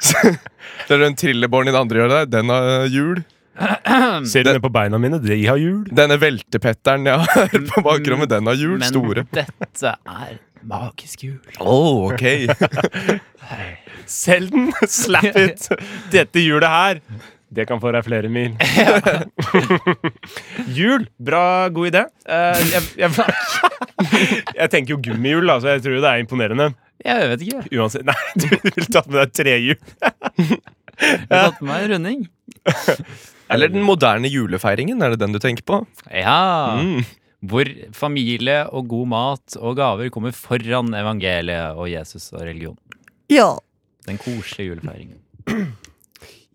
D: Ser du den trillebåren i det andre hjørnet der? Den har hjul.
C: Mm.
B: Ser du ned på beina mine? De har hjul.
D: Denne veltepetteren jeg har på bakrommet, den har hjul.
C: Men
D: Store.
C: dette er magisk hjul.
D: Oh, ok
B: Selg den! Slap it! Dette hjulet her, det kan få deg flere mil. Hjul. Bra, god idé. Eh, jeg, jeg, jeg tenker jo gummihjul, da, så jeg tror jo det er imponerende.
C: Jeg vet ikke.
B: Uansett Nei, du ville tatt med deg trehjul.
C: Jeg har tatt med meg en runding.
D: Eller den moderne julefeiringen, er det den du tenker på?
C: Ja.
D: Mm.
C: Hvor familie og god mat og gaver kommer foran evangeliet og Jesus og religion.
E: Ja.
C: Den koselige julefeiringen.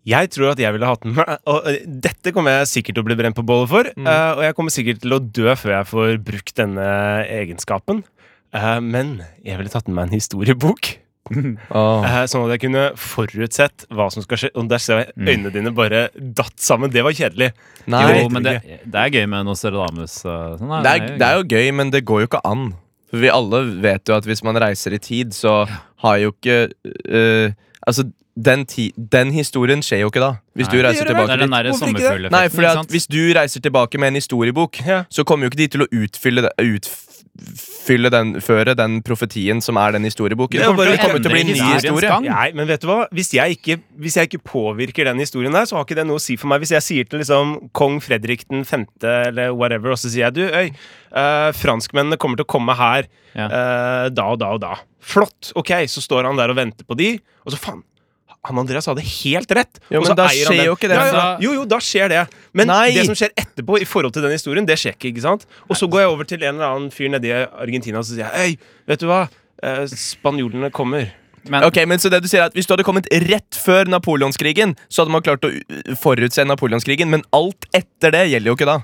B: Jeg tror at jeg ville hatt med Og eh, dette kommer jeg sikkert til å bli brent på bålet for. eh, og jeg kommer sikkert til å dø før jeg får brukt denne egenskapen. Eh, men jeg ville tatt med meg en historiebok,
D: Oh.
B: eh, sånn at jeg kunne forutsett hva som skal skje. Og der ser jeg øynene dine bare datt sammen. Det var kjedelig.
D: Nei.
C: Jo, men det, det er gøy med Nostradamus. og Sånn,
D: Det er, det er jo gøy, men det går jo ikke an. For vi alle vet jo at hvis man reiser i tid, så har jo ikke øh, Altså, den, ti den historien skjer jo ikke da. Hvis
C: Nei.
D: du reiser
B: Det gjør det vel.
C: Det
D: tilbake
C: er den
D: dit.
C: derre
B: Hvorfor ikke det?
C: sommerfugleffekten.
D: Nei, fordi
C: ikke
D: at
C: sant?
D: Hvis du reiser tilbake med en historiebok,
B: Ja.
D: så kommer jo ikke de til å utfylle, det- utfylle den, føre den profetien som er den historieboken.
B: Det er
D: Det
B: jo
D: kommer
B: bare
D: til, det kommer til å bli en
C: endre
D: ny
C: historiens
D: historie.
C: gang.
B: Nei, men vet du hva? Hvis jeg, ikke, hvis jeg ikke påvirker den historien der, så har ikke det noe å si for meg. Hvis jeg sier til liksom kong Fredrik den femte eller whatever, og så sier jeg du, øy, eh, franskmennene kommer til å komme her
C: Ja.
B: eh, da og da og da. Flott! Ok, så står han der og venter på de, og så faen. Han Andreas hadde helt rett!
D: Jo,
B: og
D: men
B: så
D: da
B: eier han
D: skjer
B: den.
D: jo ikke det. Altså-
B: Ja, ja,
C: Da-
B: jo, jo, da skjer det. Men
D: Nei.
B: det som skjer etterpå, i forhold til den historien, det skjer ikke. ikke sant? Og så går jeg over til en eller annen fyr nede i Argentina og så sier jeg, øy, vet du hva? Eh, spanjolene kommer.
C: Men
D: Ok, men så det du sier er at Hvis du hadde kommet rett før napoleonskrigen, så hadde man klart å u- forutse napoleonskrigen, men alt etter det gjelder jo ikke da.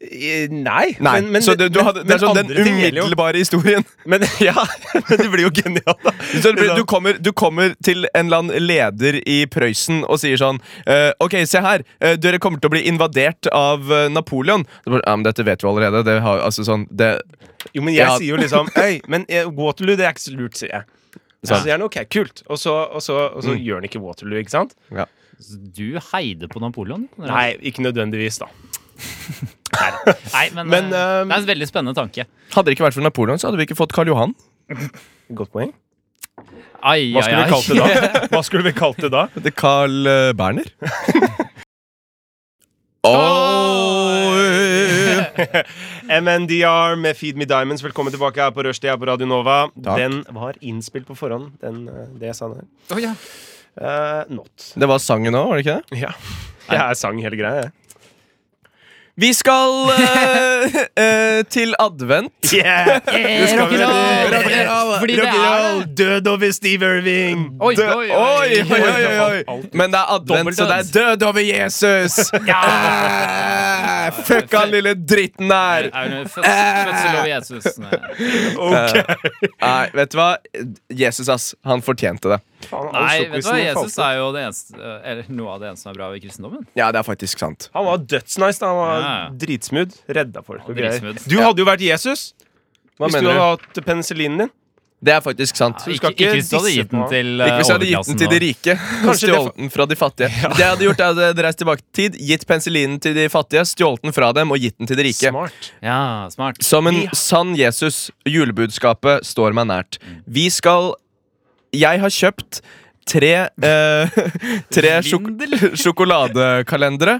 B: Eh, Nei,
D: Nei,
B: men, men,
D: så det, du
B: men-
D: hadde, det er
B: men
D: sånn den
B: andre ting gjelder jo.
D: umiddelbare historien.
B: Men ja, men det blir jo genialt, da.
D: Så det blir, du, kommer, du kommer til en eller annen leder i Prøysen og sier sånn eh, Ok, se her. eh, dere kommer til å bli invadert av eh, Napoleon. Så bare, Ja, men Dette vet vi allerede. Det har, altså sånn det,
B: Jo, men jeg
D: Ja.
B: sier jo liksom Øy, men eh, Waterloo, det er ikke så lurt, sier jeg. Så
D: Sant.
B: sier han ok, kult, og så, og så, og så gjør han ikke Waterloo, ikke sant?
C: du heide på Napoleon?
B: Nei, ikke nødvendigvis, da.
C: Nei men,
B: Men,
C: eh,
B: ehm,
C: det er en veldig spennende tanke.
D: Hadde det ikke vært for Napoleon, så hadde vi ikke fått Karl Johan.
B: Godt poeng.
C: Ai,
B: Hva skulle
C: ai,
B: vi kalt
C: ai.
B: det da? Hva skulle vi kalt det da?
D: Det er Carl eh, Berner. Oi.
B: MNDR med Feed Me Diamonds, velkommen tilbake her på Rushdie her på Radio Nova.
D: Takk.
B: Den var innspilt på forhånd, den, eh, det jeg sa der.
C: Å, ja.
B: Eh, not.
D: Det var sangen òg, var det ikke det?
B: Ja. Jeg sang hele greia, jeg.
D: Vi skal eh, eh, til advent.
B: Yeah!
C: Eh,
B: Det skal vi-
C: rock'n'roll!
B: Rock'n'roll!
C: Fordi det er
B: Rock'n'roll! Død over Steve Irving!
C: Oi,
D: Dø-
C: oi, oi,
D: oi, oi, oi, oi. Men det er advent, så det er død over Jesus! Eh, Fuck han lille dritten der!
C: Er det fødsel- Fødsel over Jesus.
D: Eh.
C: Nei,
D: Nei, vet du hva? Jesus, ass. Han fortjente det.
B: Faen, all
C: Nei, vet du hva?
B: sjokoisen falt
C: Jesus
B: ut.
C: er jo det eneste, eller noe av det eneste som er bra ved kristendommen.
D: Ja, det er faktisk sant.
B: Han var dødsnice. da Han var
C: Ja, ja.
B: dritsmooth. Redda folk og
C: Ja,
B: greier.
C: dritsmooth.
B: Du hadde jo vært Jesus
D: Hva
B: hvis du
D: mener
B: hadde
D: du?
B: hatt penicillinen din.
D: Det er faktisk sant.
B: du
C: Ikke,
B: skal
C: ikke
B: ikke
C: hvis du hadde
B: disse
C: gitt den
B: på-
C: til eh,
D: Ikke hvis jeg hadde gitt den til de
C: overklassen.
D: rike. og
B: Kanskje det
D: Stjålet den fra de fattige. Det jeg hadde gjort, er at jeg hadde reist tilbake i tid, gitt penicillinen til de fattige, stjålet den fra dem og gitt den til de rike.
B: Smart.
C: og- Ja, smart.
D: Som en sann Jesus. Julebudskapet står meg nært. Vi skal Jeg har kjøpt tre eh, Tre sjok sjokoladekalendere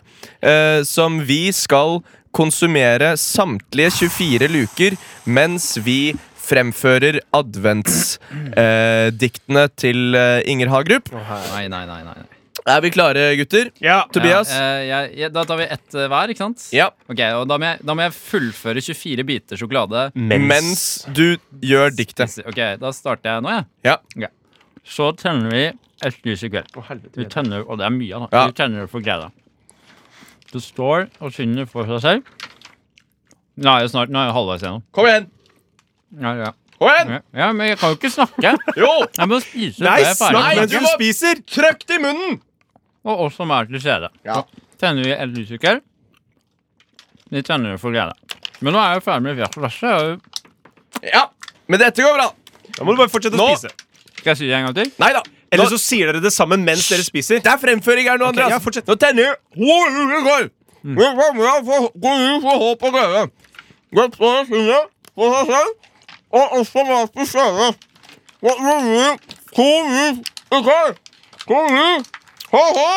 D: eh, som vi skal konsumere samtlige 24 luker mens vi fremfører adventsdiktene eh, diktene til eh, Inger Hagerup.
C: Nei, nei, nei. nei. nei.
D: Er vi klare, gutter?
B: Ja.
D: Tobias?
C: Ja, eh, jeg, jeg, da tar vi ett eh, hver, ikke sant?
D: Ja.
C: Ok, og da må, jeg, da må jeg fullføre 24 biter sjokolade.
D: Mens du gjør diktet.
C: Ok, Da starter jeg nå, jeg.
D: Ja.
C: Så tenner vi et lys i kveld.
B: Å, helvete.
C: Vi tenner, og det er mye, da.
D: Ja.
C: Vi tenner for gleda. Du står og synger for seg selv. Nå er jeg snart, nå er jeg halvveis gjennom.
D: Kom igjen!
C: Ja, ja.
D: Kom igjen!
C: Ja, Ja, men jeg kan jo ikke snakke.
D: Jo!
C: Jeg må spise
B: Nei,
C: før jeg er ferdig.
B: snakk
D: Nei,
B: mens
D: du
B: du
D: må-
B: spiser!
D: Trykk det i munnen!
C: Og oss som er til stede.
D: Ja.
C: Tenner vi et lys i kveld. Vi tenner for gleda. Men nå er jeg ferdig med hvert vers. og
D: Ja, men dette går bra.
B: Da må du bare fortsette å
D: Nå-
B: spise.
C: Skal jeg si det en gang til?
D: Nei da.
B: Eller så sier dere det sammen mens dere spiser.
D: Det er fremføring her nå, Andreas.
B: ja, fortsett.
D: nå tenner vi Hvor jula går. Mm. Vi kommer for god jul for håp og glede. Godt for å synge for seg selv og også være til stede. Godt for jul, god jul i kveld. God jul, ha ha,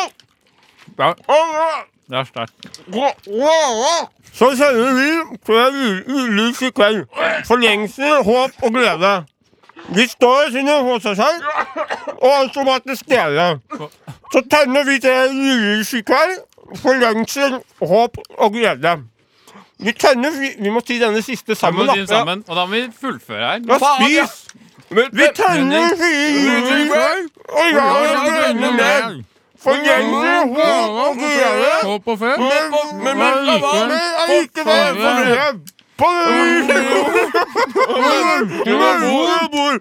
C: Ja,
D: og glede.
C: det er sterkt.
D: God glede. Så sender vi flere ulys i kveld. Forlengsel, håp og glede. Vi står og synger for seg selv og alt som var til stede. Så tenner vi tre julelys i kveld for lengsel, håp og glede. Vi tenner Vi, vi må si denne siste
C: Da må
D: sammen,
C: vi si det sammen, og da må vi fullføre
D: Ja,
C: her.
D: spis! Vi tenner fire julelys i kveld, og la oss brenne mer. For lengsel, håp og glede.
C: Håp og fred.
D: Men men- men- men allikevel for glede. På jul!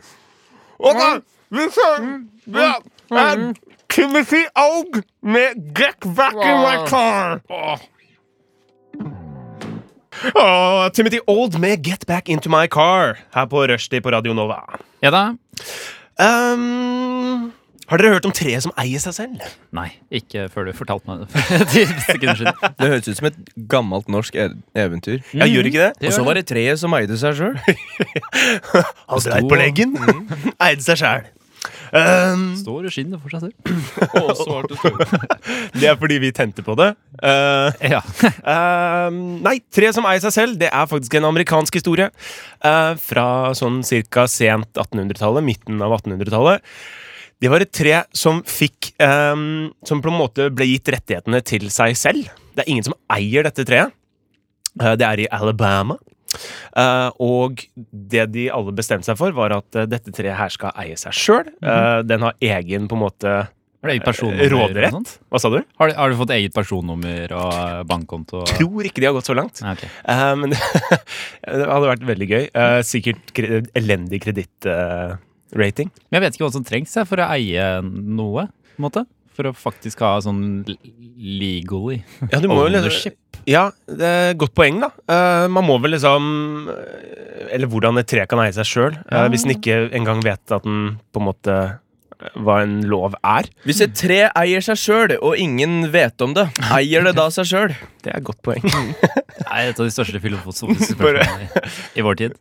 D: Ok, vi kjører. Ja. Timothy Aug med 'Get Back in My Car'.
B: Å, Timothy Old med 'Get Back Into My Car' her på Rushdie på Radio Nova.
C: Ja da.
B: Um, Har dere hørt om treet som eier seg selv?
C: Nei, ikke før du fortalte meg det. for ti sekunder siden.
D: Det høres ut som et gammelt norsk e eventyr.
B: Ja, gjør ikke det?
C: Det
D: Og så
C: gjør
D: var det treet som eide seg sjøl.
B: Han dreit på leggen. Eide seg Ehm, sjæl.
C: Står og skinner for seg selv.
B: det er fordi vi tente på det. Eh,
C: Ja.
B: Ehm, nei, Tre som eier seg selv, det er faktisk en amerikansk historie. eh, fra sånn ca. sent 1800-tallet, midten av 1800-tallet. Det var et tre som fikk ehm, Som på en måte ble gitt rettighetene til seg selv. Det er ingen som eier dette treet. Eh, det er i Alabama. Eh, og det de alle bestemte seg for, var at eh, dette treet her skal eie seg sjøl. den har egen på en måte
C: Har du eget personnummer? og
B: råderett.
C: sånt?
B: Hva sa du?
C: Har du, har du fått eget personnummer og eh, bankkonto? og-
B: Tror ikke de har gått så langt.
C: Ja, ok.
B: Eh, men det hadde vært veldig gøy. Eh, sikkert kre elendig kredittrating.
C: Men jeg vet ikke hva som trengs jeg, for å eie noe, på en måte. For å faktisk ha sånn l- legally
B: ja, du må jo liksom
C: ownership.
B: Ja, det er et godt poeng, da. Eh, man må vel liksom eh, Eller hvordan et tre kan eie seg sjøl, eh, hvis den ikke engang vet at den på en måte eh, hva en lov er.
D: Hvis et tre eier seg sjøl, og ingen vet om det, eier det da seg sjøl?
B: Det er et godt poeng.
C: Det er et av de største filosofiske spørsmålene i, i vår tid.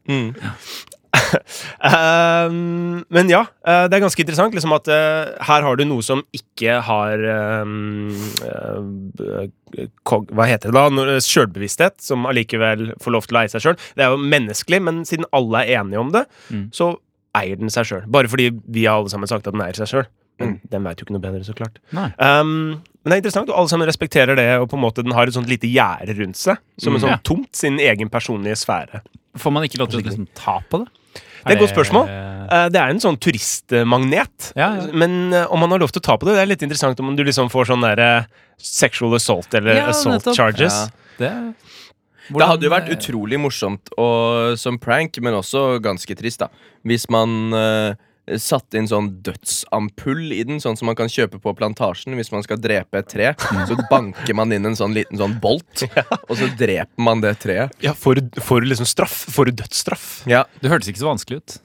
B: Ehm, men ja, eh, det er ganske interessant liksom at eh, her har du noe som ikke har ehm, eh, b- kog, Hva heter det da? Når- eh, Sjølbevissthet, som allikevel får lov til å eie seg sjøl. Det er jo menneskelig, men siden alle er enige om det,
C: Mm.
B: så eier den seg sjøl. Bare fordi vi har alle sammen sagt at den eier seg sjøl. Men
C: Mm.
B: den veit jo ikke noe bedre, så klart.
C: Nei.
B: Ehm, men det er interessant, og alle sammen respekterer det, og på en måte den har et sånt lite gjerde rundt seg. Som en
C: Mm. Ja.
B: sånn tomt, sin egen personlige sfære.
C: Får man ikke lov til å liksom, ta på det?
B: Det er et godt spørsmål. Eh, Det er en sånn turistmagnet.
C: Ja, ja.
B: Men eh, om man har lov til å ta på det, det er litt interessant om du liksom får sånn der eh, sexual assault eller
C: Ja,
B: assault
C: nettopp.
B: charges.
D: Ja.
C: Det,
D: Det hadde jo vært
C: Hvordan, eh,
D: utrolig morsomt og, som prank, men også ganske trist, da. Hvis man uh, satte inn sånn dødsampull i den, sånn som man kan kjøpe på plantasjen hvis man skal drepe et tre. Så banker man inn en sånn liten sånn bolt, og så dreper man det treet.
B: Ja, får du- får du liksom straff? Får du dødsstraff?
D: Ja,
C: Det hørtes ikke så vanskelig ut.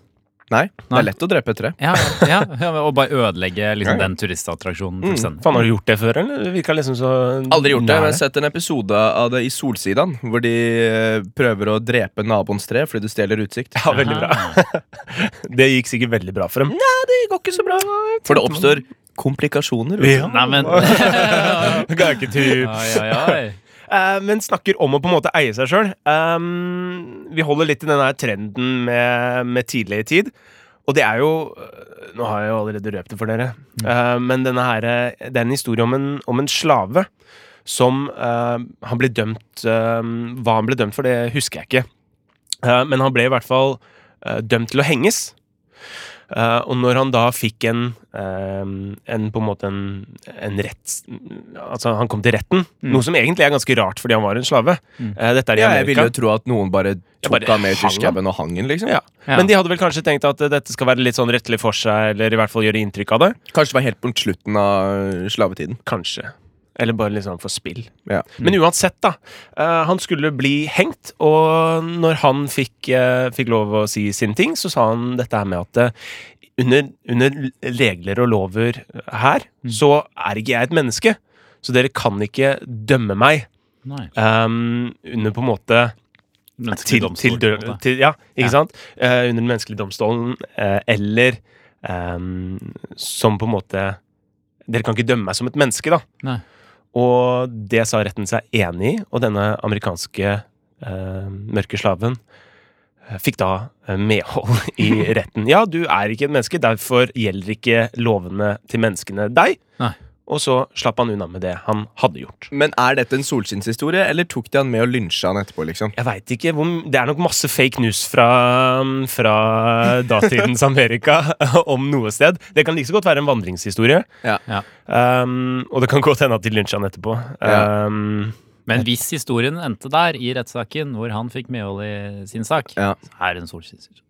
D: Nei, det
C: Nei.
D: er lett å drepe et tre.
C: Ja, ja, ja, men Å bare ødelegge liksom,
D: Ja, ja.
C: den turistattraksjonen fullstendig.
B: Faen, har du gjort det før, eller? Det virka liksom så
D: Aldri gjort det,
B: Nei.
D: men jeg har sett en episode av det i Solsidan, hvor de eh, prøver å drepe naboens tre fordi du stjeler utsikt.
B: Ja, veldig bra. Det gikk sikkert veldig bra for dem.
D: Det går ikke så bra. For det oppstår komplikasjoner. vet du.
B: Ja.
C: Nei, men
B: Det ga jeg ikke til.
C: Oi, oi, oi.
B: Eh, men snakker om å på en måte eie seg sjøl. Um, vi holder litt i denne her trenden med, med tidligere tid. Og det er jo øh, Nå har jeg jo allerede røpt det for dere. Eh, men denne her, eh, det er en historie om en, om en slave som eh, Han ble dømt eh, Hva han ble dømt for, det husker jeg ikke. Eh, men han ble i hvert fall eh, dømt til å henges. Eh, og når han da fikk en, eh, en på en måte en, en rett Altså, han kom til retten, noe som egentlig er ganske rart, fordi han var en slave. Eh, dette er i
D: Mm. Ja, jeg ville
B: Amerika.
D: jo tro at noen bare tok
B: bare
D: han med i
B: hang han.
D: tyrskauen og hang han, liksom.
B: Ja.
C: Ja.
B: Men de hadde vel kanskje tenkt at eh, dette skal være litt sånn rettelig for seg, eller i hvert fall gjøre inntrykk av det?
D: Kanskje det var helt på slutten av eh, slavetiden.
B: Kanskje. Eller bare litt sånn for spill.
D: Ja.
B: Men uansett, da. eh, han skulle bli hengt, og når han fikk, eh, fikk lov å si sin ting, så sa han dette her med at eh, under, under regler og lover her, så er ikke jeg et menneske. Så dere kan ikke dømme meg
C: Nei.
B: ehm, under på en måte
C: Menneskelig
B: til,
C: domstol,
B: til, dø-
C: på en måte.
B: til Ja, ikke
C: Ja.
B: sant? Eh, under den menneskelige domstolen, eh, eller ehm, som på en måte Dere kan ikke dømme meg som et menneske, da.
C: Nei.
B: Og det sa retten seg enig i, og denne amerikanske eh, mørke slaven eh, fikk da eh, medhold i retten. Ja, du er ikke et menneske, derfor gjelder ikke lovene til menneskene deg.
C: Nei.
B: Og så slapp han unna med det han hadde gjort.
D: Men er dette en solskinnshistorie, eller tok de han med og lynsja han etterpå, liksom?
B: Jeg veit ikke. Hvor, m- det er nok masse fake news fra, fra datidens Amerika om noe sted. Det kan like så godt være en vandringshistorie.
D: Ja.
C: Ja.
B: Um, og det kan godt hende at de lynsja han etterpå.
D: Ja.
B: Um,
C: Men hvis historien endte der, i rettssaken, hvor han fikk medhold i sin sak,
D: Ja.
C: så er det en solskinnshistorie.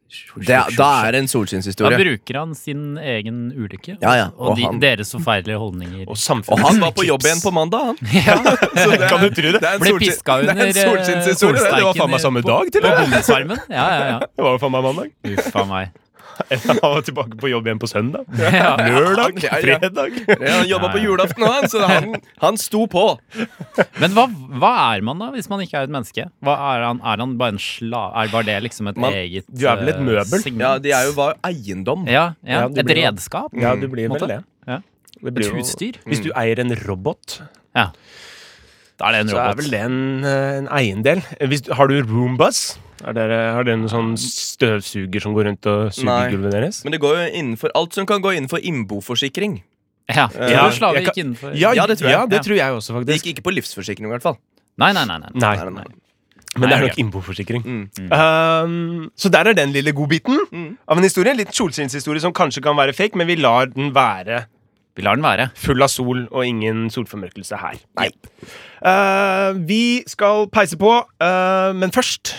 D: Det, da er det en
C: Da
D: solskinnshistorie.
C: bruker han sin egen ulykke
D: Ja, ja,
C: og,
D: og
C: de,
D: han-
C: deres forferdelige holdninger.
B: og
D: Og
B: samfunnet
D: han var på jobb igjen på mandag, han. Så det er-
B: Kan du tro det?
D: Det er en
C: Ble
D: solskin-
C: piska
D: det er en
C: under, eh,
D: solskinnshistorie, det. Det var
C: solsteiken
D: faen meg
C: i-
D: samme
C: på-
D: dag, til
C: På
D: og med.
C: bondesarmen. Ja, ja, ja.
B: Det var jo faen meg mandag.
C: Uff a meg.
B: Han var tilbake på jobb igjen på søndag.
C: Ja.
B: Lørdag.
D: Ja, Mm. ja.
B: Fredag.
D: Ja, han jobba på julaften òg, han, så han, han sto på.
C: Men hva, hva er man, da, hvis man ikke er et menneske? Hva er, han, er han bare en sla... Er bare det liksom et
D: Man-
C: eget
B: du er vel et
C: eh,
B: møbel?
C: segment?
D: Ja, De er jo var eiendom.
C: Ja, ja,
B: Ja, du
C: Et
B: blir jo-
C: redskap?
B: Ja, du blir
C: Måte.
B: vel det.
C: Ja.
B: Det
C: Et
B: blir jo-
C: utstyr?
B: Hvis
D: Mm.
B: du eier en robot,
C: Ja. Da er det en
B: så er
C: robot.
B: vel det en, eh, en eiendel. Hvis, du- har du roombus? Er dere, har dere en sånn støvsuger som går rundt og
D: Nei.
B: suger gulvet deres?
D: Men det går jo innenfor alt som kan gå innenfor innboforsikring.
C: Ja, jeg
D: Ja,
C: tror slaver
B: jeg kan-
C: gikk innenfor
D: Ja, det tror jeg.
B: Ja, det
C: Ja.
B: tror jeg også,
D: Det
B: faktisk.
D: gikk ikke på livsforsikring, i hvert fall.
C: Nei, nei, nei.
B: Nei,
C: nei.
D: Nei, nei, nei.
B: men det er
C: Nei,
B: nok
C: ok.
B: innboforsikring.
D: Mm.
B: Um, så der er den lille godbiten
D: Mm.
B: av en historie. En liten solskinnshistorie som kanskje kan være fake, men vi lar den være
C: Vi lar den være.
B: full av sol og ingen solformørkelse her. Nei. vi skal peise på, eh, men først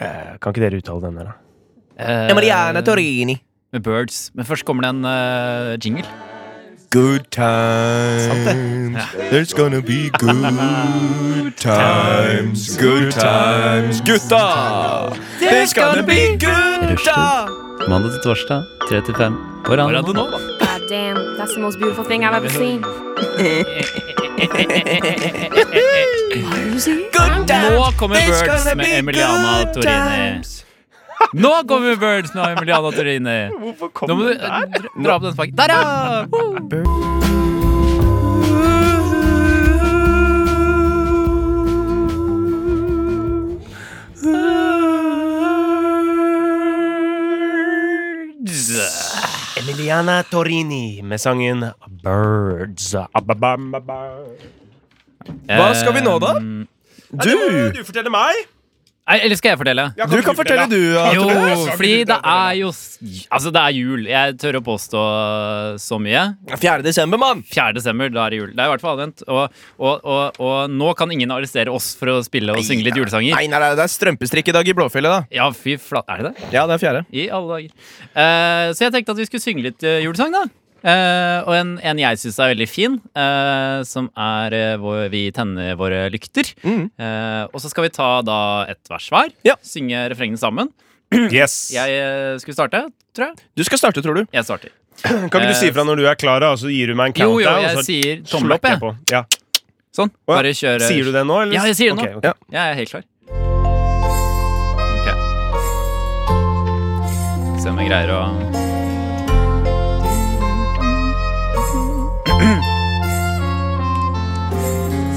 B: eh, Kan ikke dere uttale den der, da?
C: Eh,
D: Torini.
C: med Birds. Men først kommer det en eh, jingle.
D: Good times. There's gonna be good times. Good times, gutta. There's gonna be gutta.
C: Mandag til torsdag, 3 til 5. Hvor er det nå?
E: God damn, that's the most beautiful thing I've ever seen.
D: Good times.
C: Nå kommer
D: There's
C: Birds
D: gonna
C: med
D: be
C: Emiliana
D: good
C: Torini.
D: times.
C: Nå kommer Birds med Emiliana Torini.
B: Hvorfor
C: Nå
B: kom
C: må du eh, dra dra opp den pakken. Der, ja! Woo!
B: Emiliana Torini med sangen Birds.
D: Hva skal vi nå, da?
C: Eh,
D: Du,
B: Du forteller meg!
C: Nei, eller skal jeg fortelle?
D: du kan fortelle, du. at-
C: Jo,
B: Andreas.
C: fordi det er jo s- Altså, det er jul. Jeg tør å påstå så mye.
D: 4. eh, desember, mann.
C: 4. desember, da er det jul. Det er i hvert fall advent. Og, og, og, og nå kan ingen arrestere oss for å spille og synge litt julesanger.
D: Nei, nei, nei, det er strømpestrikk i dag i Blåfjellet, da.
C: Ja, fy flate. Er det det?
D: Ja, det er fjerde.
C: I alle dager. Eh, så jeg tenkte at vi skulle synge litt eh, julesang, da. Eh, og en, en jeg syns er veldig fin, eh, som er eh, hvor vi tenner våre lykter.
B: Mm.
C: Eh, og så skal vi ta da et vers hver.
D: Ja.
C: Synge refrengene sammen.
B: Yes.
C: Jeg eh, skulle starte, tror jeg.
D: Du skal starte, tror du.
C: Jeg starter.
B: Kan ikke du si ifra når du er klar, da, og så gir du meg en
C: Eh, Jo,
B: countdown?
C: jo,
B: og
C: jeg
B: så
C: sier tommel opp,
B: smekker
C: jeg.
B: jeg på. Ja.
C: Sånn.
B: Å, ja.
C: Bare kjør. eh,
B: Sier du det nå? Eller?
C: Ja, jeg sier det nå.
B: Ok, ok.
D: Ja.
C: Jeg er helt klar. Ok. Se om jeg greier å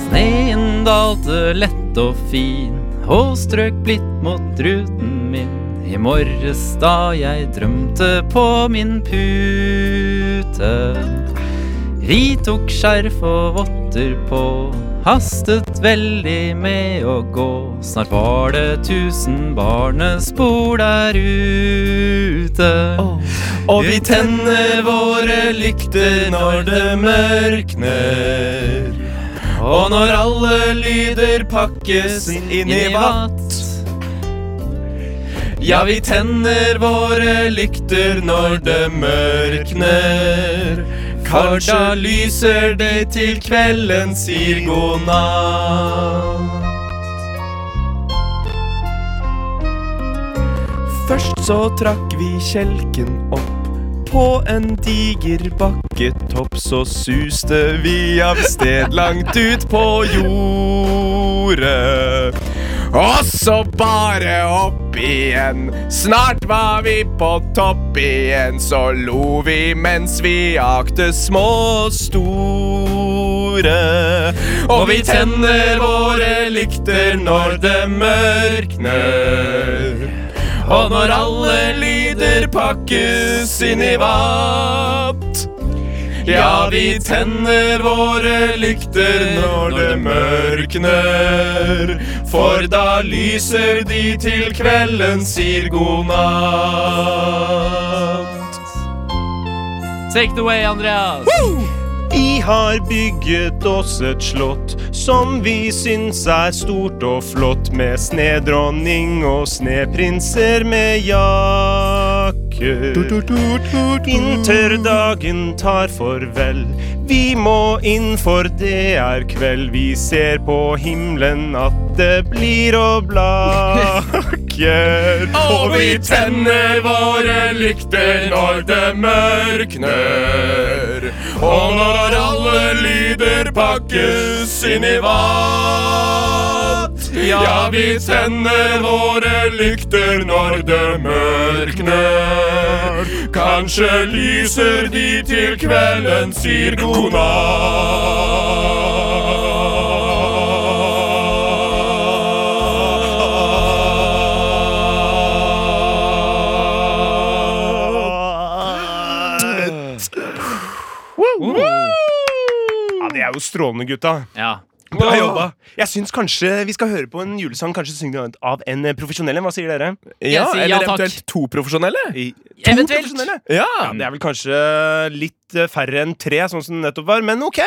C: Sneen dalte lett og fin og strøk blitt mot ruten min. I morges da jeg drømte på min pute. Vi tok skjerf og votter på, hastet veldig med å gå. Snart var det tusen barnespor der ute.
D: Og vi tenner våre lykter når det mørkner. Og når alle lyder pakkes inn i vatt. Ja, vi tenner våre lykter når det mørkner. Kanskje lyser det til kvelden sier god natt. Først så trakk vi kjelken opp på en diger bakketopp. Så suste vi av sted langt ut på jordet. Og så bare opp igjen. Snart var vi på topp igjen. Så lo vi mens vi akte små og store. Og vi tenner våre lykter når det mørkner. Og når alle lyder pakkes inn i vatt Ja, vi tenner våre lykter når det mørkner For da lyser de til kvelden sier god natt
C: Take it away, Andreas!
B: Vi har bygget oss et slott som vi syns er stort og flott, med snedronning og sneprinser med jakker. Vinterdagen tar farvel. Vi må inn, for det er kveld. Vi ser på himmelen at det blir å blak. vekker.
D: Og vi tenner våre lykter når det mørkner. Og når alle lyder pakkes inn i vatt. Ja, vi tenner våre lykter når det mørkner. Kanskje lyser de til kvelden sier god
B: Ja, det er jo strålende, gutta.
C: Ja.
B: Bra jobba. Jeg syns kanskje vi skal høre på en julesang kanskje syngt av en profesjonell en. Hva sier dere?
C: Jeg sier ja takk.
D: to profesjonelle.
B: I- To
C: Eventuelt.
B: profesjonelle.
D: Ja.
B: Ja, det er vel kanskje litt eh, færre enn tre, sånn som det nettopp var, men OK.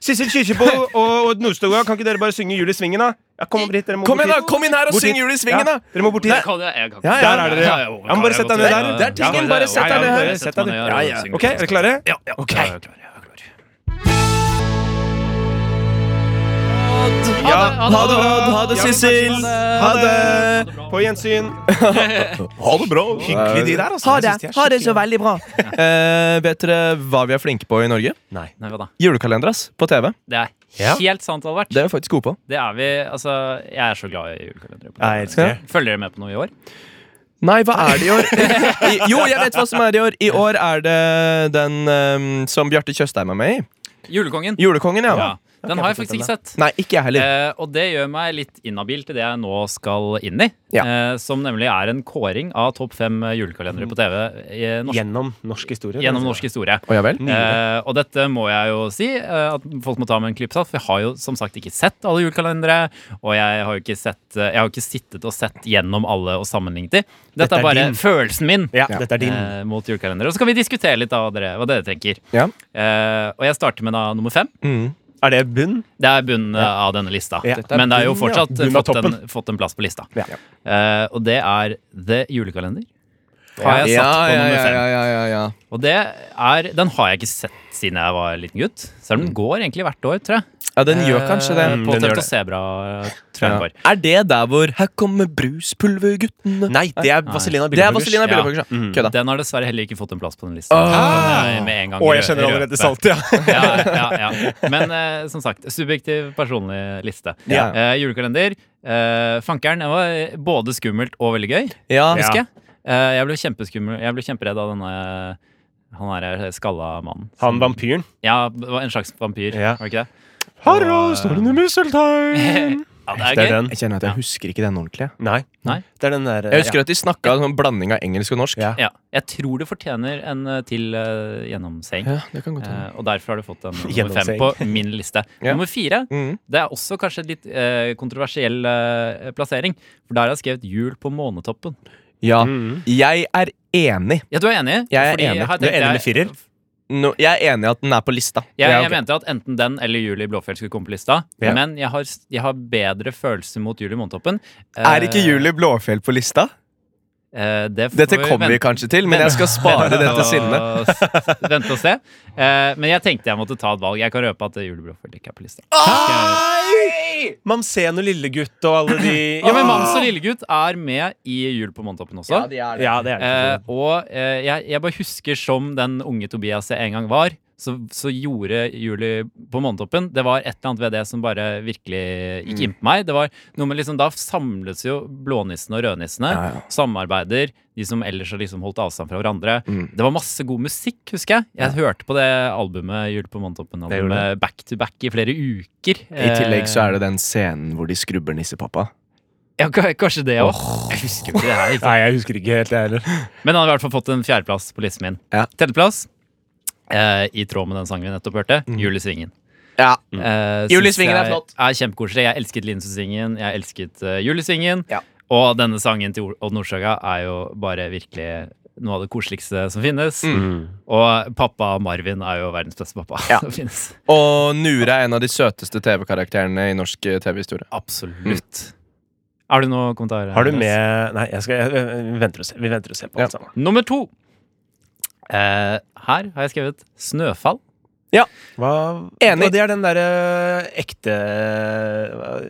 B: Sissel Kyrkjebø og, og Nordstoga, kan ikke dere bare synge Jul i svingen, da? Ja, kom opp dit, dere må
D: Kom igjen,
B: bort
D: da!
B: hit.
D: Kom inn her og
B: Bort
D: syng
B: hit.
D: jul i svingen,
B: Ja,
D: da!
B: Dere må bort
C: Jeg
B: hit.
C: kan, jeg kan.
D: Ja, ja,
B: Der er dere.
C: Ja, ja,
B: Ja, men bare sett deg ned der.
D: Det er tingen,
C: Ja,
D: bare
C: ja,
D: sett
C: ja,
D: deg
C: ja,
D: ned her.
C: bare sett meg ned her og
D: Ja, ja.
C: syng.
B: OK, er dere klare?
C: Ja, ja.
B: Ok.
C: Ja, jeg er klar, jeg er klar.
D: Ja,
C: Ha det, ha det,
D: Odd. Ha det, Sissel.
C: Ha det.
B: På gjensyn.
A: Ha det bra.
B: Hyggelig, de der. altså.
D: Ha
B: Jeg
D: det.
B: synes de er
D: Ha det så
B: skikkelig-
D: veldig bra. Eh, vet dere hva vi er flinke på i Norge?
C: Nei, hva da?
D: Julekalender, ass. På TV.
C: Det er
B: Ja.
C: helt sant, Albert.
D: Det er vi faktisk gode på.
C: Det er vi. Altså, jeg er så glad i julekalendere. på
B: Ja, jeg elsker det.
C: Følger dere med på noe i år?
D: Nei, hva er det i år? I, jo, jeg vet hva som er i år. I år er det den ehm, som Bjarte Tjøstheim er med i.
C: Julekongen.
D: Julekongen, ja.
C: Ja. Den har jeg
D: jeg
C: faktisk ikke sett.
D: Nei, ikke jeg heller.
C: Eh, og det gjør meg litt inhabil til det jeg nå skal inn i.
D: Ja.
C: Eh, som nemlig er en kåring av topp fem eh, julekalendere på TV i norsk,
B: Gjennom norsk historie.
C: gjennom norsk historie.
D: Å ja vel?
C: Eh, og dette må jeg jo si, eh, at folk må ta med en klype salt. For jeg har jo som sagt ikke sett alle julekalendere. Og jeg har jo ikke, sett, eh, jeg har jo ikke sittet og sett gjennom alle og sammenlignet de. Dette,
B: Dette er
C: er bare
B: din.
C: følelsen min
B: Ja, dette er din.
C: eh, mot julekalendere. Og så kan vi diskutere litt av dere, hva dere tenker.
D: Ja.
C: Eh, og jeg starter med da nummer fem.
D: Mm.
B: Er det bunn?
C: Det er bunnen eh, av denne lista.
B: Ja.
D: Dette er
C: Men det er jo
D: bunnen, ja.
C: fortsatt eh,
B: Bunnen av
C: fått en,
B: toppen.
C: fått en plass på lista.
B: Ja.
C: Eh, og det er The Julekalender. Har jeg satt
D: ja,
C: på
D: ja,
C: nummer
D: ja,
C: fem.
D: ja, ja, ja, ja.
C: Og det er, den har jeg ikke sett siden jeg var liten gutt. Selv om den går egentlig hvert år, tror jeg.
D: ja, den gjør kanskje det.
C: Eh,
B: Mm,
C: På
B: den gjør
C: TV2
B: det.
C: Sebra, tror jeg
D: Ja.
C: den går.
D: Er det der hvor 'Her kommer bruspulverguttene'?
B: Nei, det er Vazelina
D: Det er
B: Billebøggers.
D: Vazelina Billebøggers. Ja.
B: Mm.
D: Kødda.
C: Den har dessverre heller ikke fått en plass på den lista.
D: Ah!
C: Nei, med en gang
B: Å, jeg
C: rø-
B: kjenner allerede
C: røpe.
B: saltet, ja.
C: ja, ja, ja. Men eh, som sagt, subjektiv personlig liste.
D: Ja.
C: Eh, julekalender. eh, fankeren. Det var både skummelt og veldig gøy,
D: Ja.
B: Ja.
C: husker jeg. Eh, jeg ble kjempeskummel Jeg ble kjemperedd av denne han her eh, skalla mannen.
B: Han vampyren.
C: Ja, det var en slags vampyr,
B: Ja.
C: var det ikke det?
B: Harald står under misteltein.
C: Ja, det er gøy.
B: den.
D: Jeg kjenner at jeg husker ikke den ordentlig. jeg.
B: Nei.
C: Nei.
B: Det er den der
D: Jeg husker at de snakka en sånn blanding av engelsk og norsk.
B: Ja.
C: Ja, jeg tror det fortjener en eh, til eh, gjennomseing.
D: Ja, det kan godt hende.
C: Eh, og derfor har du fått en nummer fem
B: Gjennomseing.
C: på min liste.
D: Ja.
C: Nummer fire
D: Mm.
C: det er også kanskje en litt eh, kontroversiell eh, plassering. For der har jeg skrevet 'Jul på månetoppen'.
D: Ja,
B: Mm.
D: jeg er enig.
C: Ja, du er enig?
D: Jeg er
C: Fordi
D: enig.
C: her
B: Du er
C: tenkte
B: enig med
C: jeg-
B: firer?
D: No, jeg er enig i at den er på lista.
C: Jeg,
D: Ja,
C: jeg
D: ok.
C: mente at enten den eller Jul i Blåfjell skulle komme på lista.
B: Ja.
C: Men jeg har, jeg har bedre følelse mot Jul i månetoppen.
D: Er ikke Julie Blåfjell på lista?
C: Eh, det får
D: Dette
C: vi
D: kommer vi
C: vente-
D: kanskje til, men jeg skal spare det til sinne.
C: og- Vente og se. Eh, men jeg tenkte jeg måtte ta et valg. Jeg kan røpe at Jul i Blåfjell ikke er på lista.
D: Ah!
B: Mamsen og Lillegutt og alle de
C: Ja, men Mams og lillegutt er med i Jul på månetoppen også.
B: Ja, det er det.
C: Eh, og eh, jeg, jeg bare husker som den unge Tobias jeg en gang var, så, så gjorde Juli på Månetoppen Det var et eller annet ved det som bare virkelig gikk
D: Mm.
C: inn på meg. Det var noe med liksom, Da samles jo blånissene og rødnissene.
D: Ja, ja.
C: Samarbeider. De som ellers har liksom holdt avstand fra hverandre.
D: Mm.
C: Det var masse god musikk, husker jeg. Jeg hørte på det albumet
B: Det
C: Jul på
B: gjorde
C: Månetoppen-albumet back to back i flere uker.
D: I tillegg så er det den scenen hvor de skrubber nissepappa.
C: Eh, ja, k- Kanskje det òg. Jeg husker ikke det her.
B: Nei, jeg husker ikke helt, jeg heller.
C: Men han har i hvert fall fått en fjerdeplass på listen min.
D: Ja.
C: Tredjeplass, eh, i tråd med den sangen vi nettopp hørte, Jul i Svingen.
D: Ja.
C: Eh,
D: Mm. Jul i
C: syns
D: Svingen er
C: jeg
D: flott.
C: Er kjempekoselig. Jeg elsket Linsesvingen, jeg elsket eh, Jul i Svingen.
D: Ja.
C: Og denne sangen til Odd Nordstoga er jo bare virkelig noe av det koseligste som finnes.
D: Mm.
B: Mm.
C: Og pappa Marvin er jo verdens beste pappa
D: Ja.
C: som finnes.
D: Og Nure er en av de søteste TV-karakterene i norsk eh, TV-historie.
C: Absolutt. Mm. Har du noe kommentar?
B: Har du
C: Andreas?
B: med Nei, jeg skal, jeg, vi, venter og ser, vi venter og ser på
D: Ja.
B: alt sammen.
C: Nummer to. Eh, her har jeg skrevet 'Snøfall'.
B: Hva,
D: Enig.
B: Og det er den derre eh, ekte hva-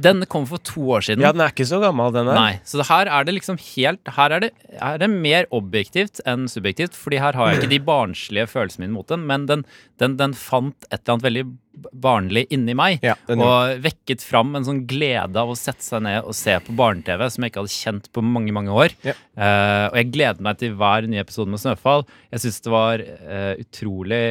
C: Den kom for to år siden.
B: Ja, den er ikke så gammel, den her.
C: Nei, så det her er det liksom helt Her er det, her er det mer objektivt enn subjektivt, Fordi her har jeg ikke de barnslige følelsene mine mot den, men den, den, den fant et eller annet veldig barnlig inni meg.
D: Ja, den
C: og vekket fram en sånn glede av å sette seg ned og se på barne-TV som jeg ikke hadde kjent på mange, mange år.
D: Ja.
C: Eh, og jeg gleder meg til hver nye episode med Snøfall. Jeg syns det var eh, utrolig